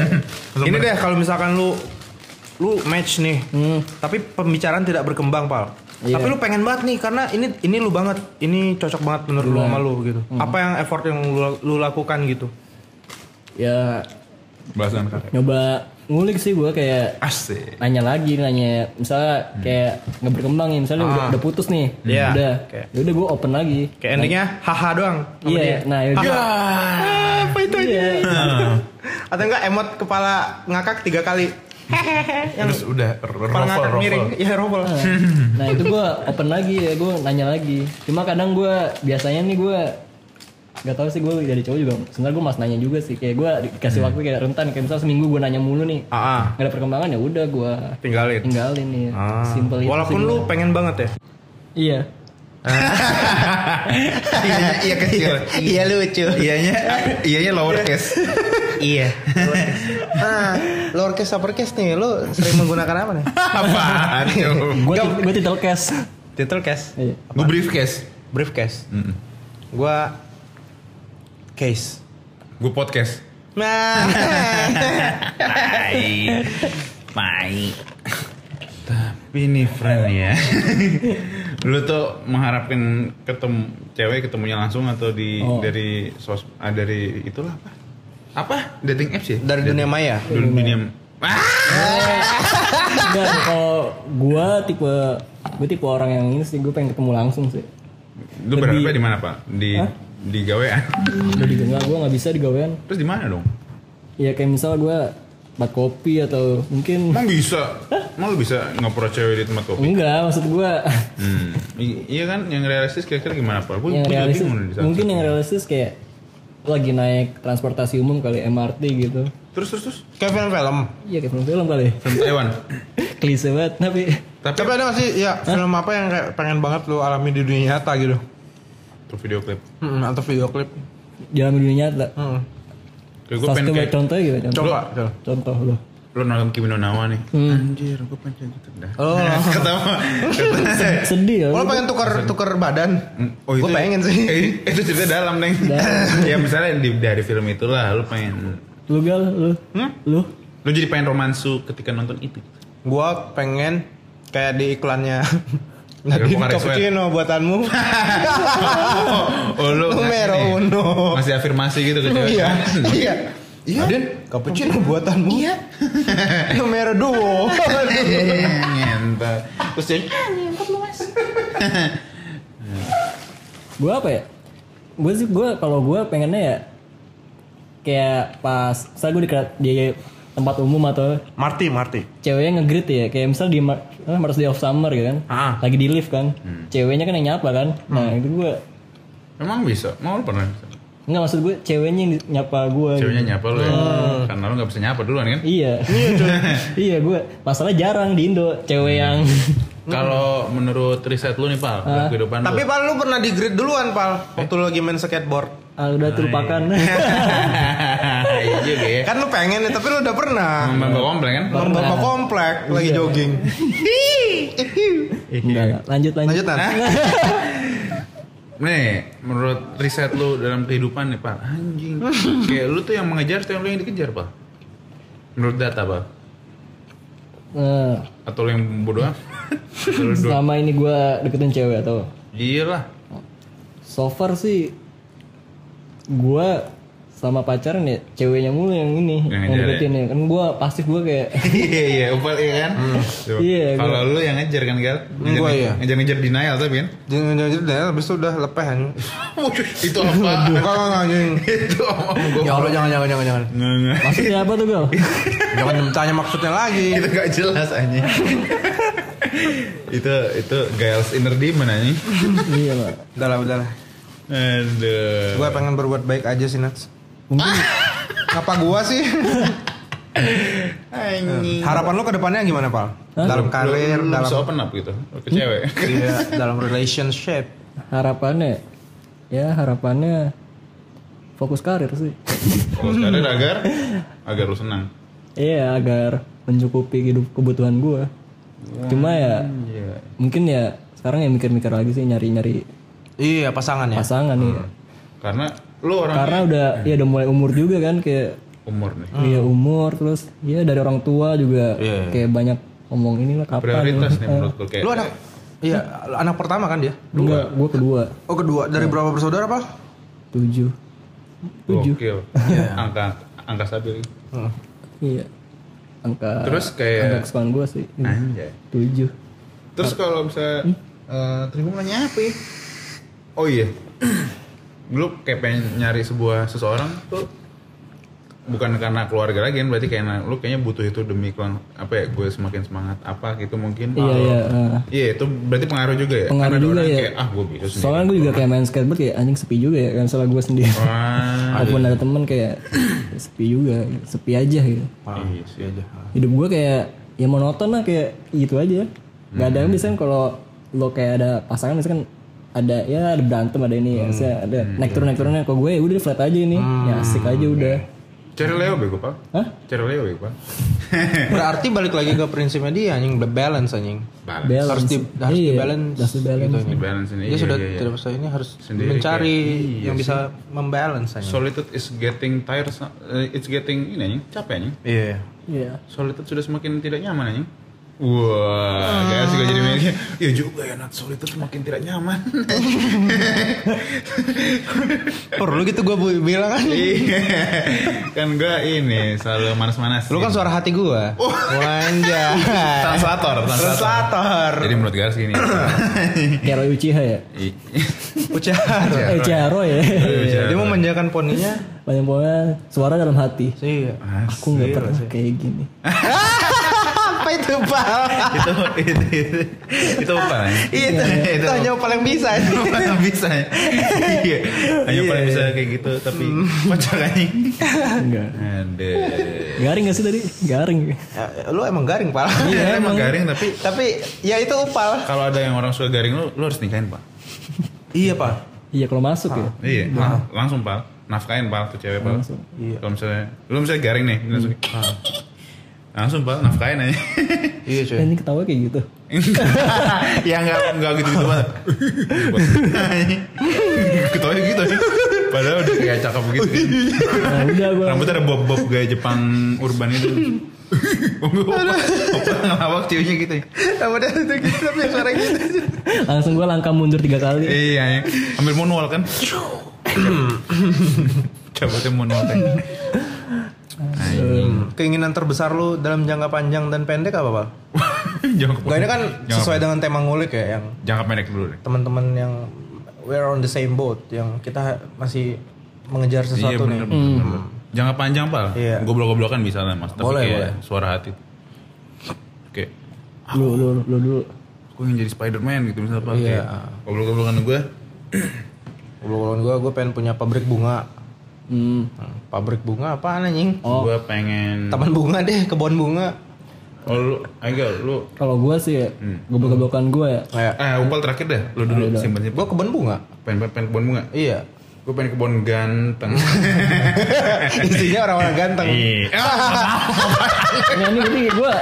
[SPEAKER 3] Ini deh kalau misalkan lu lu match nih. Tapi pembicaraan tidak berkembang, Pal.
[SPEAKER 1] Iya.
[SPEAKER 3] Tapi lu pengen banget nih karena ini ini lu banget. Ini cocok banget menurut
[SPEAKER 1] Iya.
[SPEAKER 3] lu sama lu gitu.
[SPEAKER 1] Hmm.
[SPEAKER 3] Apa yang effort yang lu, lu lakukan gitu?
[SPEAKER 1] Ya
[SPEAKER 2] Belasan kakek.
[SPEAKER 1] nyoba ngulik sih gue kayak
[SPEAKER 3] Asik.
[SPEAKER 1] nanya lagi nanya misalnya kayak nggak berkembang nih misalnya udah, udah putus nih
[SPEAKER 3] Hmm. Ah. Iya.
[SPEAKER 1] udah
[SPEAKER 3] Oke.
[SPEAKER 1] ya udah gue open lagi
[SPEAKER 3] Kayak endingnya haha doang. sama
[SPEAKER 1] Nah. iya
[SPEAKER 3] dia.
[SPEAKER 1] nah ya udah.
[SPEAKER 3] Apa itu
[SPEAKER 1] Iya.
[SPEAKER 2] Nah.
[SPEAKER 3] Atau enggak emot kepala ngakak tiga kali.
[SPEAKER 2] Terus udah
[SPEAKER 3] Kepala
[SPEAKER 2] ruffle
[SPEAKER 3] ngakak miring.
[SPEAKER 2] ruffle.
[SPEAKER 3] Ya rovel.
[SPEAKER 1] nah itu gue open lagi ya gue nanya lagi cuma kadang gue biasanya nih gue nggak tahu sih gue jadi cowok juga sebenarnya gue mas nanya juga sih kayak gue
[SPEAKER 3] Hmm.
[SPEAKER 1] dikasih waktu kayak rentan kayak misal seminggu gue nanya mulu nih
[SPEAKER 3] Ah, ah.
[SPEAKER 1] nggak ada perkembangan ya udah gue
[SPEAKER 3] tinggalin.
[SPEAKER 1] tinggalin nih
[SPEAKER 3] Ah.
[SPEAKER 1] simple itu sih
[SPEAKER 3] Walaupun lu
[SPEAKER 1] gua.
[SPEAKER 3] pengen banget ya.
[SPEAKER 1] iya
[SPEAKER 5] Iya kecil. Iya lucu. Iyanya iyanya lower case.
[SPEAKER 3] Iya. nah, lower case upper case nih, lu sering menggunakan apa nih?
[SPEAKER 5] Apaan tuh?
[SPEAKER 1] gue gue title cash
[SPEAKER 3] Title case,
[SPEAKER 1] Iya.
[SPEAKER 5] Gue brief case.
[SPEAKER 3] brief case. Gua case.
[SPEAKER 5] Gue podcast.
[SPEAKER 3] Nah,
[SPEAKER 2] Pai. Tapi ini friend ya. (laughs) Lu tuh mengharapkan ketemu cewek ketemunya langsung atau di
[SPEAKER 1] Oh.
[SPEAKER 2] dari sos ah, dari itulah apa? Apa? Dating apps ya?
[SPEAKER 3] (laughs) dari dunia maya.
[SPEAKER 2] Dunia, dunia. Ah!
[SPEAKER 1] Enggak, kalau gue tipe gue tipe orang yang ini sih gue pengen ketemu langsung sih
[SPEAKER 2] Lu berharapnya di mana, Pak? Di
[SPEAKER 1] Hah?
[SPEAKER 2] di gawean.
[SPEAKER 1] jadi enggak gue nggak bisa digawean
[SPEAKER 2] Terus di mana dong?
[SPEAKER 1] ya kayak misal gue buat kopi atau mungkin
[SPEAKER 2] Emang bisa? Emang lu bisa ngepro cewek di tempat kopi?
[SPEAKER 1] enggak maksud gue
[SPEAKER 2] Hmm. I- iya kan yang realistis kira-kira gimana, Pak? Gue
[SPEAKER 1] yang
[SPEAKER 2] juga
[SPEAKER 1] realistis
[SPEAKER 2] bingung di saat-
[SPEAKER 1] mungkin yang realistis kayak lu lagi naik transportasi umum kali MRT gitu
[SPEAKER 2] Terus terus terus.
[SPEAKER 3] Kayak film-film.
[SPEAKER 1] iya kayak film film kali (laughs)
[SPEAKER 2] From
[SPEAKER 1] (clears throat)
[SPEAKER 2] Taiwan.
[SPEAKER 1] klise banget tapi
[SPEAKER 3] Tapi, ada gak sih ya film apa yang kayak pengen banget lu alami di dunia nyata gitu?
[SPEAKER 2] Tuh video klip.
[SPEAKER 3] Mm, atau video klip.
[SPEAKER 1] dalam dunia nyata
[SPEAKER 3] Mm.
[SPEAKER 2] Kayak gue
[SPEAKER 1] Salah
[SPEAKER 2] pengen
[SPEAKER 1] satu
[SPEAKER 2] kayak
[SPEAKER 1] contohnya gitu contoh,
[SPEAKER 3] Coba. coba.
[SPEAKER 1] contoh lo
[SPEAKER 2] lu nonton Kimi no Nawa nih anjir gue pengen kayak gitu dah
[SPEAKER 3] Hmm. Oh,
[SPEAKER 2] (laughs)
[SPEAKER 3] (laughs)
[SPEAKER 2] ketemu Eh,
[SPEAKER 1] sedih ya
[SPEAKER 3] Lu pengen tuker tuker badan?
[SPEAKER 2] oh itu
[SPEAKER 3] Gua pengen sih.
[SPEAKER 2] Eh, (laughs) itu cerita dalam neng (laughs) ya misalnya di, dari film itulah lu pengen
[SPEAKER 1] lu gal lu
[SPEAKER 3] Hmm?
[SPEAKER 1] lu
[SPEAKER 2] lu jadi pengen romansu ketika nonton
[SPEAKER 3] (laughs)
[SPEAKER 2] itu
[SPEAKER 3] Gua pengen kayak di (laughs) iklannya Nadine
[SPEAKER 2] bukan
[SPEAKER 3] cappuccino (laughs) buatanmu
[SPEAKER 2] oh lu
[SPEAKER 3] Numero
[SPEAKER 2] ini,
[SPEAKER 3] uno.
[SPEAKER 2] masih afirmasi gitu
[SPEAKER 3] (laughs)
[SPEAKER 2] ke (laughs) cewek.
[SPEAKER 3] Iya Iya Iya
[SPEAKER 2] Nadine,
[SPEAKER 3] cappuccino buatanmu (laughs) Iya Numero (laughs) duo
[SPEAKER 2] Eh, ngentot terus dia
[SPEAKER 1] gue apa ya gue sih gue kalau gue pengennya ya kayak pas saya gue di, kera- di tempat umum atau
[SPEAKER 3] Marti Marti
[SPEAKER 1] ceweknya ngegrit ya kayak misal di Mar- apa, Mars Day of Summer gitu kan
[SPEAKER 3] Ah.
[SPEAKER 1] lagi di lift kan ceweknya kan yang nyapa kan nah itu gue
[SPEAKER 2] emang bisa mau lu pernah bisa?
[SPEAKER 3] Oh,
[SPEAKER 1] nggak maksud gue ceweknya yang di- nyapa gue
[SPEAKER 3] iya.
[SPEAKER 2] ceweknya nyapa lu ya
[SPEAKER 3] Oh.
[SPEAKER 2] karena lu gak bisa nyapa duluan kan
[SPEAKER 1] (laughs) iya Hmm. iya gue masalah jarang di Indo cewek yang (laughs)
[SPEAKER 2] kalau menurut riset lu nih pal dalam kehidupan
[SPEAKER 3] Tapi
[SPEAKER 2] lu
[SPEAKER 3] Pal lu pernah di grid duluan Pal Waktu lu lagi main skateboard
[SPEAKER 1] ah, udah terlupakan (laughs)
[SPEAKER 2] (laughs) iya juga ya
[SPEAKER 3] Kan lu pengen nih tapi lu udah pernah
[SPEAKER 2] membawa komplain kan
[SPEAKER 3] Lomba lomba komplek lagi (laughs) jogging
[SPEAKER 2] Iya.
[SPEAKER 1] Enggak, enggak. Nah, lanjut lanjut,
[SPEAKER 3] Lanjut Nat
[SPEAKER 2] Nih, menurut riset lu dalam kehidupan nih, Pak. (laughs) Anjing. Kayak lu tuh yang mengejar atau yang lu yang dikejar, Pak? Menurut data, Pak.
[SPEAKER 1] Eh,
[SPEAKER 2] Atau lu yang bodoh (laughs) amat? Atau lu bodoh?
[SPEAKER 1] selama ini gue deketin cewek atau
[SPEAKER 2] Iya lah.
[SPEAKER 1] so far sih gue sama pacaran ya ceweknya mulu yang ini
[SPEAKER 2] Yang
[SPEAKER 1] yang,
[SPEAKER 2] ngejar
[SPEAKER 1] deketin ya kan gue pasif gue kayak
[SPEAKER 2] Iya, iya, upal iya kan? Coba.
[SPEAKER 1] Iya,
[SPEAKER 2] Kalau lu yang ngejar kan, Gal? Ngejar-
[SPEAKER 3] Gua iya.
[SPEAKER 2] Ngejar-ngejar denial tapi kan?
[SPEAKER 3] Jangan jangan jangan habis itu udah lepeh anjing. Eh,
[SPEAKER 2] itu apa?
[SPEAKER 3] Bukan anjing.
[SPEAKER 2] (laughs) itu apa? Gua-
[SPEAKER 3] Ya Allah jangan jangan jangan jangan.
[SPEAKER 2] Nggak, nggak.
[SPEAKER 1] maksudnya apa tuh
[SPEAKER 3] (laughs)
[SPEAKER 1] gal
[SPEAKER 3] Jangan tanya maksudnya lagi.
[SPEAKER 2] Itu gak jelas (laughs) anjing. itu itu Giles inner demon anjing.
[SPEAKER 1] iya pak
[SPEAKER 3] Udah lah udah lah.
[SPEAKER 2] Aduh.
[SPEAKER 3] Gua pengen berbuat baik aja sih Nats.
[SPEAKER 1] mungkin
[SPEAKER 3] Apa gua sih?
[SPEAKER 2] Anjing.
[SPEAKER 3] Harapan lu ke depannya gimana, Pal? Dalam karir,
[SPEAKER 2] Lu- lu
[SPEAKER 3] dalam
[SPEAKER 2] bisa open up gitu ke cewek
[SPEAKER 3] (laughs) iya, dalam relationship.
[SPEAKER 1] harapannya ya harapannya fokus karir sih
[SPEAKER 2] (laughs) kalau
[SPEAKER 3] Hmm.
[SPEAKER 2] sekarang agar agar lu senang
[SPEAKER 1] iya agar mencukupi hidup kebutuhan gue cuma ya mungkin ya sekarang yang mikir-mikir lagi sih nyari-nyari
[SPEAKER 3] Iya pasangan ya.
[SPEAKER 1] pasangan nih
[SPEAKER 2] Hmm. Karena lu orang
[SPEAKER 1] karena udah ya udah mulai umur juga kan kayak
[SPEAKER 8] umur nih
[SPEAKER 1] ya
[SPEAKER 2] Hmm.
[SPEAKER 1] umur terus ya dari orang tua juga
[SPEAKER 2] Iya,
[SPEAKER 1] kayak banyak ngomong inilah kapan
[SPEAKER 2] prioritas nih menurut gue kayak
[SPEAKER 3] Eh, Lu anak Iya, anak pertama kan dia?
[SPEAKER 1] enggak gue kedua
[SPEAKER 3] Oh, kedua. Dari berapa bersaudara, Pak?
[SPEAKER 1] tujuh
[SPEAKER 8] gokil
[SPEAKER 3] Iya.
[SPEAKER 8] angka angka stabil
[SPEAKER 1] iya angka
[SPEAKER 2] terus
[SPEAKER 1] angka
[SPEAKER 2] kayak Eh?
[SPEAKER 1] kesukaan gue sih
[SPEAKER 2] anjay.
[SPEAKER 1] tujuh
[SPEAKER 2] Terus kalau misalnya
[SPEAKER 3] Hmm?
[SPEAKER 2] eh tadi gua mau nanya apa ya? Oh iya. (clears throat) Lu kayak pengen nyari sebuah seseorang tuh bukan karena keluarga lagi kan berarti kayak lu kayaknya butuh itu demi kelang- apa ya gue semakin semangat apa gitu mungkin
[SPEAKER 1] iya
[SPEAKER 2] Kalau-
[SPEAKER 1] iya eh.
[SPEAKER 2] Iya, itu berarti pengaruh juga ya
[SPEAKER 1] Pengaruh
[SPEAKER 2] ada
[SPEAKER 1] juga
[SPEAKER 2] orang
[SPEAKER 1] ya.
[SPEAKER 2] kayak ah gue bisa sendiri
[SPEAKER 1] soalnya gue juga kayak main skateboard kayak anjing sepi juga ya kan misalnya gue sendiri
[SPEAKER 2] Oh, Wah,
[SPEAKER 1] Walaupun ada temen kayak sepi juga, sepi aja gitu.
[SPEAKER 2] iya sih aja
[SPEAKER 1] Hidup gue kayak ya monoton lah kayak gitu aja. Gak
[SPEAKER 3] Hmm.
[SPEAKER 1] ada yang bisa kalau lo kayak ada pasangan misalkan ada ya ada berantem ada ini ya,
[SPEAKER 3] Hmm.
[SPEAKER 1] saya ada naik turun naik turunnya kok gue ya udah flat aja ini, ya asik aja udah.
[SPEAKER 2] cari Leo bego pak
[SPEAKER 1] Hah?
[SPEAKER 2] cari Leo bego pak
[SPEAKER 3] Berarti balik lagi ke prinsipnya dia anjing the balance anjing.
[SPEAKER 2] Balance.
[SPEAKER 1] Balance.
[SPEAKER 3] Harus di harus Gitu,
[SPEAKER 1] Iya,
[SPEAKER 3] di balance.
[SPEAKER 1] harus di balance.
[SPEAKER 3] anjing.
[SPEAKER 2] Di balance ini,
[SPEAKER 3] Dia
[SPEAKER 2] iya,
[SPEAKER 3] sudah
[SPEAKER 2] iya, iya.
[SPEAKER 3] tidak usah ini harus
[SPEAKER 2] Sendiri
[SPEAKER 3] mencari
[SPEAKER 2] kayak- iya
[SPEAKER 3] yang bisa membalance anjing.
[SPEAKER 2] solitude is getting tired eh, it's getting ini anjing capek anjing
[SPEAKER 3] Iya.
[SPEAKER 1] Iya.
[SPEAKER 2] Solitude sudah semakin tidak nyaman anjing. Wah, gak sih gue jadi mikir. Iya juga ya, Nat Solitude semakin tidak nyaman.
[SPEAKER 3] Perlu gitu gue bilang kan.
[SPEAKER 2] Iya. kan gue ini selalu manas-manas.
[SPEAKER 3] Lu kan suara hati gue.
[SPEAKER 2] Oh.
[SPEAKER 3] Wanja.
[SPEAKER 2] translator,
[SPEAKER 3] Translator.
[SPEAKER 2] Jadi menurut Garis gini.
[SPEAKER 1] Kayak Roy Uchiha ya.
[SPEAKER 2] i-
[SPEAKER 3] Ucar.
[SPEAKER 1] Eh Uchiha Roy ya.
[SPEAKER 3] Iya, Dia mau menjajakan poninya.
[SPEAKER 1] Banyak pokoknya suara dalam hati.
[SPEAKER 3] Iya.
[SPEAKER 1] Aku nggak pernah kayak gini.
[SPEAKER 3] Apa itu pak?
[SPEAKER 2] itu itu itu, itu apa? anjing?
[SPEAKER 3] Iya, Itu, itu hanya paling bisa.
[SPEAKER 2] Itu mana bisa? ya? Iya. Hanya paling bisa kayak gitu tapi kocak anjing.
[SPEAKER 1] Enggak.
[SPEAKER 2] Ada.
[SPEAKER 1] Garing gak sih tadi? Garing.
[SPEAKER 3] Ya, Lu emang garing pak.
[SPEAKER 2] Iya, emang garing tapi
[SPEAKER 3] Tapi ya itu upal.
[SPEAKER 2] kalau ada yang orang suka garing lu, lu harus nikahin, Pak.
[SPEAKER 3] Iya pak.
[SPEAKER 1] Iya kalau masuk
[SPEAKER 3] Ah.
[SPEAKER 1] ya.
[SPEAKER 2] Iya, lang- langsung pal, nafkain pal tuh cewek pal.
[SPEAKER 1] Langsung.
[SPEAKER 3] Iya.
[SPEAKER 2] Kalau misalnya, lu misalnya garing nih, langsung, "Ah." langsung pal, nafkain aja. (laughs)
[SPEAKER 3] Iya cuy.
[SPEAKER 1] Dan ini ketawa kayak gitu.
[SPEAKER 2] ya nggak nggak gitu gitu (laughs) banget. Ketawanya gitu ya. Padahal udah kayak cakep gitu.
[SPEAKER 1] Nah, udah gue.
[SPEAKER 2] Rambutnya ada bob-bob
[SPEAKER 3] (laughs)
[SPEAKER 2] gaya Jepang urban itu. Opa, opa ngelawak ceweknya gitu ya.
[SPEAKER 3] Udah itu gitu tapi suara gitu.
[SPEAKER 1] Langsung gue langkah mundur tiga kali.
[SPEAKER 2] Iya, ya. ambil manual kan. Cabutnya manual kan.
[SPEAKER 3] Keinginan terbesar lu dalam jangka panjang dan pendek apa pak?
[SPEAKER 2] Jangan
[SPEAKER 3] Gak ini kan
[SPEAKER 2] jangan-
[SPEAKER 3] sesuai dengan tema ngulik ya yang
[SPEAKER 2] jangka pendek dulu deh.
[SPEAKER 3] teman-teman yang we're on the same boat yang kita masih mengejar sesuatu
[SPEAKER 2] Iya, bener,
[SPEAKER 3] nih. Hmm.
[SPEAKER 2] bener, bener. Jangan panjang pal.
[SPEAKER 3] Iya.
[SPEAKER 2] Goblok-goblokan bisa lah mas. Tapi
[SPEAKER 3] Boleh,
[SPEAKER 2] kayak
[SPEAKER 3] boleh.
[SPEAKER 2] suara hati. Oke.
[SPEAKER 1] Lu lu lu dulu.
[SPEAKER 2] Gue ingin jadi Spiderman gitu misalnya pal.
[SPEAKER 3] Iya.
[SPEAKER 2] Kayak Goblok-goblokan gue.
[SPEAKER 3] Obrolan gue, gue pengen punya pabrik bunga.
[SPEAKER 1] Hmm.
[SPEAKER 3] Hmm, Pabrik bunga apa anjing?
[SPEAKER 1] Oh.
[SPEAKER 2] Gue pengen.
[SPEAKER 3] Taman bunga deh, kebun bunga.
[SPEAKER 2] Oh lu, ayo lu.
[SPEAKER 1] Kalau gue sih ya,
[SPEAKER 3] Hmm.
[SPEAKER 1] goblok-goblokan gue ya.
[SPEAKER 3] Kayak
[SPEAKER 2] Eh, umpal terakhir deh. Lu dulu simpen simpen.
[SPEAKER 3] gue kebun bunga.
[SPEAKER 2] Pengen, pengen kebun bunga.
[SPEAKER 3] (laughs) Iya.
[SPEAKER 2] Gue pengen kebun
[SPEAKER 1] (laughs)
[SPEAKER 2] ganteng.
[SPEAKER 3] Isinya orang-orang ganteng.
[SPEAKER 1] Ah,
[SPEAKER 2] Iya.
[SPEAKER 1] Nah, ini berarti gue,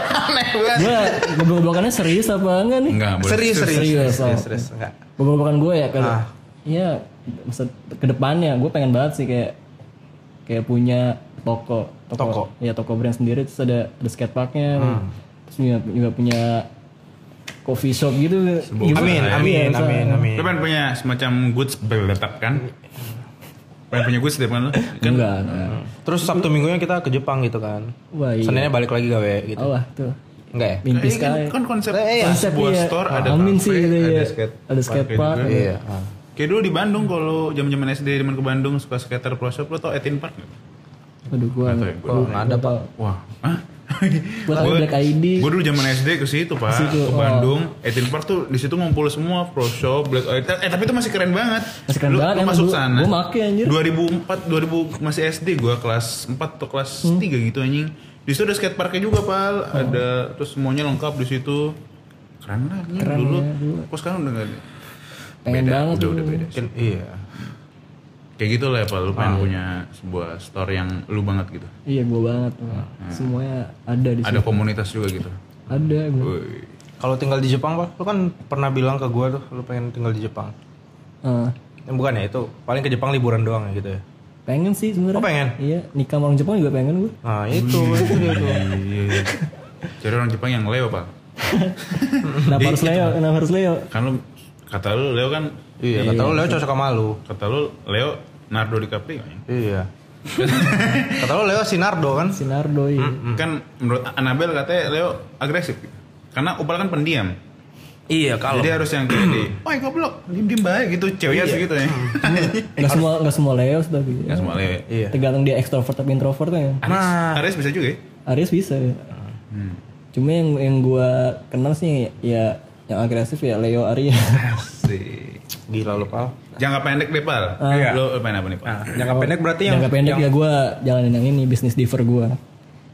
[SPEAKER 1] gue goblok-goblokannya serius apa enggak nih?
[SPEAKER 2] Enggak boleh.
[SPEAKER 3] Serius, serius,
[SPEAKER 1] Serius,
[SPEAKER 3] serius,
[SPEAKER 1] oh.
[SPEAKER 3] serius, serius. Enggak.
[SPEAKER 1] Goblok-goblokan gue ya kalau,
[SPEAKER 3] Ah.
[SPEAKER 1] iya masa kedepannya gue pengen banget sih kayak kayak punya toko,
[SPEAKER 3] Toko. Hmm.
[SPEAKER 1] ya toko brand sendiri terus ada ada skateparknya, terus juga, juga punya coffee shop gitu. Gimana?
[SPEAKER 3] Amin,
[SPEAKER 1] Iya,
[SPEAKER 3] amin,
[SPEAKER 1] misalnya.
[SPEAKER 3] amin, amin.
[SPEAKER 2] Lu pengen punya semacam goods berletap kan? Pengen punya goods deh kan lu? Kan
[SPEAKER 1] Enggak, enggak.
[SPEAKER 3] Terus Sabtu Minggunya kita ke Jepang gitu kan.
[SPEAKER 1] Wah, iya.
[SPEAKER 3] Seninnya balik lagi gawe gitu.
[SPEAKER 1] Allah tuh
[SPEAKER 3] Enggak ya?
[SPEAKER 1] mimpi
[SPEAKER 2] Ini kan,
[SPEAKER 1] sekali.
[SPEAKER 2] kan konsep
[SPEAKER 3] Eh, iya.
[SPEAKER 2] konsep sebuah
[SPEAKER 1] Iya.
[SPEAKER 2] store ada
[SPEAKER 1] Amin
[SPEAKER 2] cafe,
[SPEAKER 1] sih, gitu
[SPEAKER 2] ada
[SPEAKER 1] ya.
[SPEAKER 2] skate
[SPEAKER 1] Ada skate
[SPEAKER 2] park
[SPEAKER 1] park.
[SPEAKER 2] gitu.
[SPEAKER 3] Iya. ah.
[SPEAKER 2] Kayak dulu di Bandung kalau zaman-zaman SD zaman ke Bandung suka skater pro shop lo tau Etin Park nggak?
[SPEAKER 1] Aduh gua
[SPEAKER 3] Wah, nggak ada ya, pak.
[SPEAKER 2] Wah, ah?
[SPEAKER 1] (laughs) Buat ada Black ID.
[SPEAKER 2] Gue dulu zaman SD ke situ pak,
[SPEAKER 1] situ,
[SPEAKER 2] ke
[SPEAKER 1] oh.
[SPEAKER 2] Bandung, Etin Park tuh di situ ngumpul semua pro shop, black ID. Eh tapi itu masih keren banget.
[SPEAKER 1] Masih keren
[SPEAKER 2] Lu-
[SPEAKER 1] banget,
[SPEAKER 2] lu
[SPEAKER 1] emang
[SPEAKER 2] masuk
[SPEAKER 1] gua-
[SPEAKER 2] sana.
[SPEAKER 1] gua make, anjir.
[SPEAKER 2] 2004, 2000 masih SD gue kelas 4 atau kelas
[SPEAKER 1] Hmm.
[SPEAKER 2] 3 gitu anjing. Di situ ada skateparknya juga pal,
[SPEAKER 1] Oh.
[SPEAKER 2] ada terus semuanya lengkap di situ. Keren lah anjing
[SPEAKER 1] Keren
[SPEAKER 2] dulu.
[SPEAKER 1] ya, dulu.
[SPEAKER 2] Kok sekarang udah nggak ada?
[SPEAKER 1] Pengen
[SPEAKER 2] beda,
[SPEAKER 1] banget
[SPEAKER 2] udah,
[SPEAKER 1] tuh.
[SPEAKER 2] udah beda.
[SPEAKER 3] Mungkin- Iya.
[SPEAKER 2] Kayak gitu lah ya pak, lu pengen punya sebuah store yang lu banget gitu.
[SPEAKER 3] Ah,
[SPEAKER 1] Iya gua banget. Pak. Semuanya ada di
[SPEAKER 2] Ada
[SPEAKER 1] sini.
[SPEAKER 2] komunitas juga gitu.
[SPEAKER 1] Ada gua.
[SPEAKER 2] Woi.
[SPEAKER 3] Kalau tinggal di Jepang, Pak, lu kan pernah bilang ke gua tuh lu pengen tinggal di Jepang.
[SPEAKER 1] Eh,
[SPEAKER 3] Ya, bukan ya itu, paling ke Jepang liburan doang ya gitu ya.
[SPEAKER 1] pengen sih sebenarnya
[SPEAKER 3] Oh, pengen?
[SPEAKER 1] iya nikah sama orang Jepang juga pengen gue
[SPEAKER 3] Nah, itu itu dia tuh.
[SPEAKER 2] Iya. iya. Jadi orang Jepang yang Leo pak.
[SPEAKER 1] kenapa harus Leo kenapa harus Leo
[SPEAKER 2] Kan lu kata lu Leo kan.
[SPEAKER 3] Iya, kata lu Leo cocok sama lu.
[SPEAKER 2] Kata lu Leo Nardo DiCaprio. ya?
[SPEAKER 3] (laughs) Iya. kata lu Leo Sinardo kan?
[SPEAKER 1] Sinardo iya.
[SPEAKER 2] Kan menurut Anabel katanya Leo agresif. Karena Upal kan pendiam.
[SPEAKER 3] Iya,
[SPEAKER 2] Jadi harus yang kayak di, oi goblok, diem-diem baik gitu, ceweknya harus gitu ya.
[SPEAKER 1] nggak semua nggak semua Leo tapi
[SPEAKER 2] Ya semua Leo.
[SPEAKER 3] Iya.
[SPEAKER 1] tergantung dia ekstrovert atau introvert ya
[SPEAKER 2] Aris, Aris bisa juga ya?
[SPEAKER 1] Aries bisa ya.
[SPEAKER 3] Hmm.
[SPEAKER 1] cuma yang yang gue kenal sih ya yang agresif ya Leo
[SPEAKER 3] (laughs)
[SPEAKER 1] Aries
[SPEAKER 2] Asik.
[SPEAKER 3] Gila lu, Pal.
[SPEAKER 2] Jangka pendek deh, Pal.
[SPEAKER 1] Iya.
[SPEAKER 2] Lo main apa nih, Pal?
[SPEAKER 3] Nah, Jangka pendek berarti yang
[SPEAKER 1] jangka pendek ya gue jalanin yang ini bisnis diver gue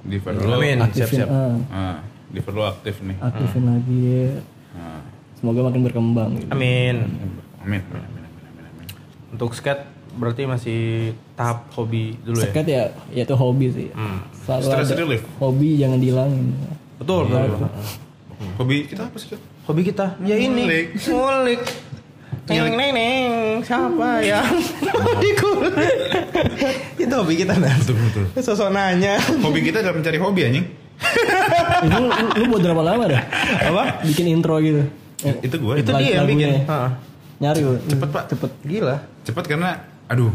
[SPEAKER 2] Diver lo.
[SPEAKER 3] Amin, siap-siap.
[SPEAKER 1] Ah,
[SPEAKER 2] Ah, Diver lo aktif nih.
[SPEAKER 1] aktifin
[SPEAKER 3] Hmm.
[SPEAKER 1] lagi ya.
[SPEAKER 2] Ah.
[SPEAKER 1] semoga makin berkembang gitu.
[SPEAKER 2] Amin.
[SPEAKER 3] Amin.
[SPEAKER 2] amin, amin, amin, amin, amin.
[SPEAKER 3] Untuk skate berarti masih tahap hobi dulu ya. Hmm.
[SPEAKER 1] Skate ya, ya itu hobi sih. Selalu
[SPEAKER 2] Stress
[SPEAKER 1] ada
[SPEAKER 2] relief.
[SPEAKER 1] Hobi jangan dihilangin.
[SPEAKER 3] Betul, betul.
[SPEAKER 1] Iya.
[SPEAKER 3] betul.
[SPEAKER 2] Hobi kita apa sih? Cok?
[SPEAKER 3] Hobi kita ya ini
[SPEAKER 2] Ngulik.
[SPEAKER 3] ngulik. Neng neng neng siapa ya? yang adikku? Itu hobi kita nah.
[SPEAKER 2] Betul, betul.
[SPEAKER 3] Sosok nanya.
[SPEAKER 2] Hobi kita adalah mencari hobi anjing.
[SPEAKER 1] itu Eh, lu, lu- lu buat berapa lama dah?
[SPEAKER 3] Apa?
[SPEAKER 1] Bikin intro gitu. Eh,
[SPEAKER 2] Itu gue.
[SPEAKER 3] Itu
[SPEAKER 1] lag-
[SPEAKER 3] dia yang
[SPEAKER 1] lagunya
[SPEAKER 3] bikin.
[SPEAKER 1] ya.
[SPEAKER 3] Ha.
[SPEAKER 1] Nyari lu.
[SPEAKER 2] Cepet, Pak.
[SPEAKER 1] Cepet.
[SPEAKER 3] Iya. Gila.
[SPEAKER 2] Cepat karena, aduh.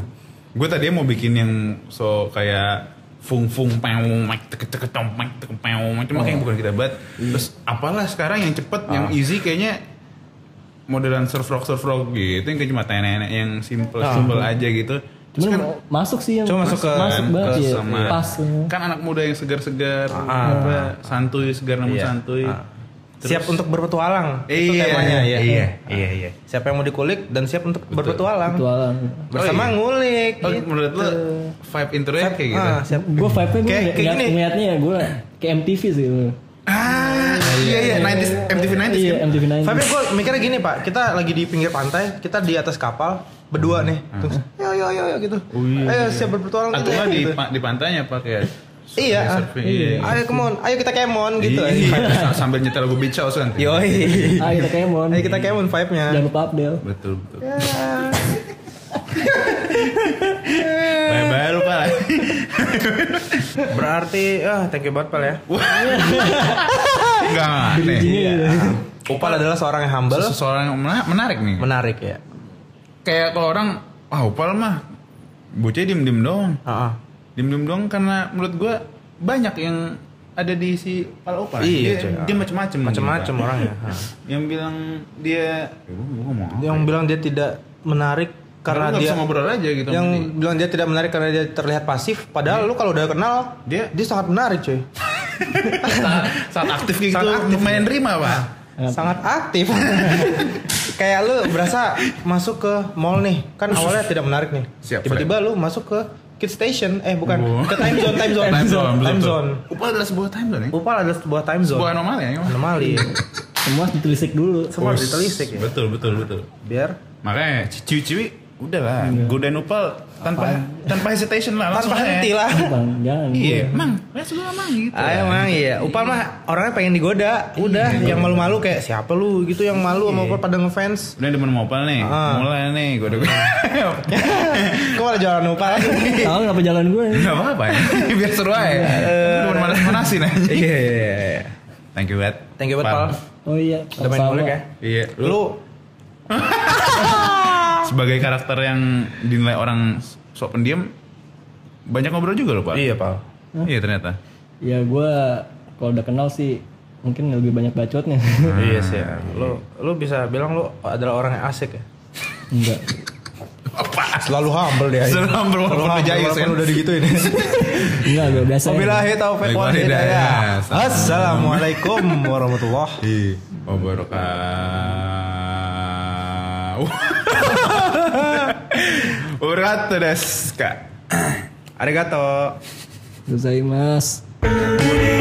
[SPEAKER 2] Gue tadi mau bikin yang so kayak fung fung peung mek teke teke tom mek teke peung mek cuma kayak bukan kita banget terus apalah sekarang yang cepet yang easy kayaknya modelan surf rock surf rock gitu yang kayak cuma nenek yang simple simple aja gitu terus
[SPEAKER 1] Cuman
[SPEAKER 2] kan
[SPEAKER 1] masuk sih yang
[SPEAKER 3] Cuma masuk ke-
[SPEAKER 1] masuk banget
[SPEAKER 2] ke
[SPEAKER 1] ya.
[SPEAKER 2] sama
[SPEAKER 1] Pas. ya.
[SPEAKER 2] kan anak muda yang segar-segar apa santuy segar namun
[SPEAKER 3] Iya.
[SPEAKER 2] santuy
[SPEAKER 3] Ha. Siap untuk berpetualang. Itu
[SPEAKER 2] Iya,
[SPEAKER 3] temanya ya.
[SPEAKER 2] iya,
[SPEAKER 3] Ha. Siapa yang mau dikulik dan siap untuk berpetualang.
[SPEAKER 1] Ritualan.
[SPEAKER 3] Bersama
[SPEAKER 2] Oh, iya.
[SPEAKER 3] ngulik.
[SPEAKER 2] Oh, menurut lo
[SPEAKER 1] Gitu.
[SPEAKER 2] vibe intronya kayak gitu
[SPEAKER 3] Ah, siap.
[SPEAKER 1] Gue vibe-nya gue
[SPEAKER 3] Kayak- kayak
[SPEAKER 1] ngeliat,
[SPEAKER 3] gini.
[SPEAKER 1] ngeliatnya ya gue kayak MTV sih. Lu.
[SPEAKER 2] ah iya iya 90s MTV 90s
[SPEAKER 1] Iya,
[SPEAKER 2] kan
[SPEAKER 1] MTV 90s.
[SPEAKER 3] Tapi gue mikirnya gini pak, kita lagi di pinggir pantai, kita di atas kapal berdua nih, terus ayo ayo ayo, ayo gitu,
[SPEAKER 2] Oh,
[SPEAKER 3] ayo siap berpetualang
[SPEAKER 2] iya, atau
[SPEAKER 3] gitu,
[SPEAKER 2] nggak di
[SPEAKER 3] gitu.
[SPEAKER 2] pa- di pantainya pakai surfing-
[SPEAKER 3] Iya, ah.
[SPEAKER 2] surfing, iya
[SPEAKER 3] ayo kemon, ayo kita kemon gitu,
[SPEAKER 2] Iya, sam- sambil nyetel lagu beach house kan (laughs)
[SPEAKER 3] yoi,
[SPEAKER 1] Ah, kita kemon.
[SPEAKER 3] ayo kita kemon vibe nya,
[SPEAKER 1] Jangan lupa update.
[SPEAKER 2] betul betul bye bye lupa lah
[SPEAKER 3] berarti ah thank you banget pal ya,
[SPEAKER 2] Uh, enggak aneh
[SPEAKER 3] Upal adalah seorang yang humble,
[SPEAKER 2] seseorang yang mena- menarik nih
[SPEAKER 3] menarik ya,
[SPEAKER 2] kayak kalau orang wah upal mah bocah diem diem doang
[SPEAKER 3] Ah, ah.
[SPEAKER 2] diem diem doang karena menurut gua banyak yang ada di si pal upal dia,
[SPEAKER 3] Iya, cuy.
[SPEAKER 2] dia macem-macem
[SPEAKER 3] macam-macam
[SPEAKER 2] gitu.
[SPEAKER 3] orangnya, Ah.
[SPEAKER 2] yang bilang dia Eh, gua, gua ngomong apa?
[SPEAKER 3] yang bilang dia tidak menarik karena
[SPEAKER 2] Nggak
[SPEAKER 3] dia
[SPEAKER 2] bisa ngobrol aja gitu
[SPEAKER 3] yang
[SPEAKER 2] sama
[SPEAKER 3] bilang dia tidak menarik karena dia terlihat pasif padahal lu kalau udah kenal dia
[SPEAKER 2] Dia-
[SPEAKER 3] dia sangat menarik cuy
[SPEAKER 2] dia. (laughs) saat, saat aktif kayak gitu
[SPEAKER 3] Saat aktif.
[SPEAKER 2] main terima pak
[SPEAKER 3] sangat aktif (laughs) kayak lu berasa masuk ke mall nih kan awalnya tidak menarik nih
[SPEAKER 2] Siap,
[SPEAKER 3] tiba-tiba lu masuk ke kid station eh bukan
[SPEAKER 2] Wow.
[SPEAKER 3] ke time zone time zone
[SPEAKER 2] (laughs) time zone,
[SPEAKER 3] time
[SPEAKER 2] betul.
[SPEAKER 3] zone
[SPEAKER 2] upal adalah sebuah time zone ya
[SPEAKER 3] Upal adalah sebuah time zone
[SPEAKER 2] sebuah anomali ya
[SPEAKER 3] anomali
[SPEAKER 1] Semua harus ditelisik dulu.
[SPEAKER 3] semua harus ditelisik ya
[SPEAKER 2] betul betul betul
[SPEAKER 3] biar
[SPEAKER 2] makanya ciwi-ciwi udah lah godain upal tanpa tanpa hesitation lah langsung
[SPEAKER 3] Iya. tanpa
[SPEAKER 2] aja.
[SPEAKER 3] henti
[SPEAKER 2] (laughs)
[SPEAKER 3] lah
[SPEAKER 1] Bang, jangan.
[SPEAKER 2] iya mang let's go mang gitu
[SPEAKER 3] Ayo emang iya, Upal mah orangnya pengen digoda, udah yang malu-malu kayak siapa lu gitu yang malu sama Upal pada (laughs) ngefans.
[SPEAKER 2] Udah demen mopal nih,
[SPEAKER 3] Ah.
[SPEAKER 2] mulai nih gue udah (laughs)
[SPEAKER 3] Kok malah jalan Upal?
[SPEAKER 1] Tahu kenapa jalan gue?
[SPEAKER 2] Gak apa-apa
[SPEAKER 3] (laughs)
[SPEAKER 2] ya, biar seru aja Demen manas-manasin aja
[SPEAKER 3] Iya iya iya.
[SPEAKER 2] Thank you Bat
[SPEAKER 3] Thank you buat Pal.
[SPEAKER 1] Oh iya.
[SPEAKER 3] Udah main
[SPEAKER 1] sama-sama.
[SPEAKER 3] ngulik ya.
[SPEAKER 2] Iya, lu
[SPEAKER 3] Lu
[SPEAKER 2] sebagai karakter yang dinilai orang sok pendiam Banyak ngobrol juga loh Pak
[SPEAKER 3] Pal.
[SPEAKER 2] Iya ternyata
[SPEAKER 1] Ya gue kalau udah kenal sih mungkin lebih banyak bacotnya. (laughs)
[SPEAKER 3] Iya sih. ya. Lu lu bisa bilang lu adalah orang yang asik ya.
[SPEAKER 1] Enggak.
[SPEAKER 3] Selalu humble dia.
[SPEAKER 2] Selalu humble, walaupun
[SPEAKER 3] Selalu
[SPEAKER 2] udah jayus,
[SPEAKER 3] walaupun
[SPEAKER 2] kan?
[SPEAKER 3] udah digituin.
[SPEAKER 1] Enggak, gue biasa. ya.
[SPEAKER 3] Wabillahi taufiq wal
[SPEAKER 2] Wabillahi
[SPEAKER 3] hidayah.
[SPEAKER 2] hidayah.
[SPEAKER 3] Assalamualaikum warahmatullahi.
[SPEAKER 2] Iya
[SPEAKER 3] (laughs)
[SPEAKER 2] Wabarakatuh Wabarakatuh des Kak
[SPEAKER 3] Arigato.
[SPEAKER 1] Selesai mas.
[SPEAKER 4] Thank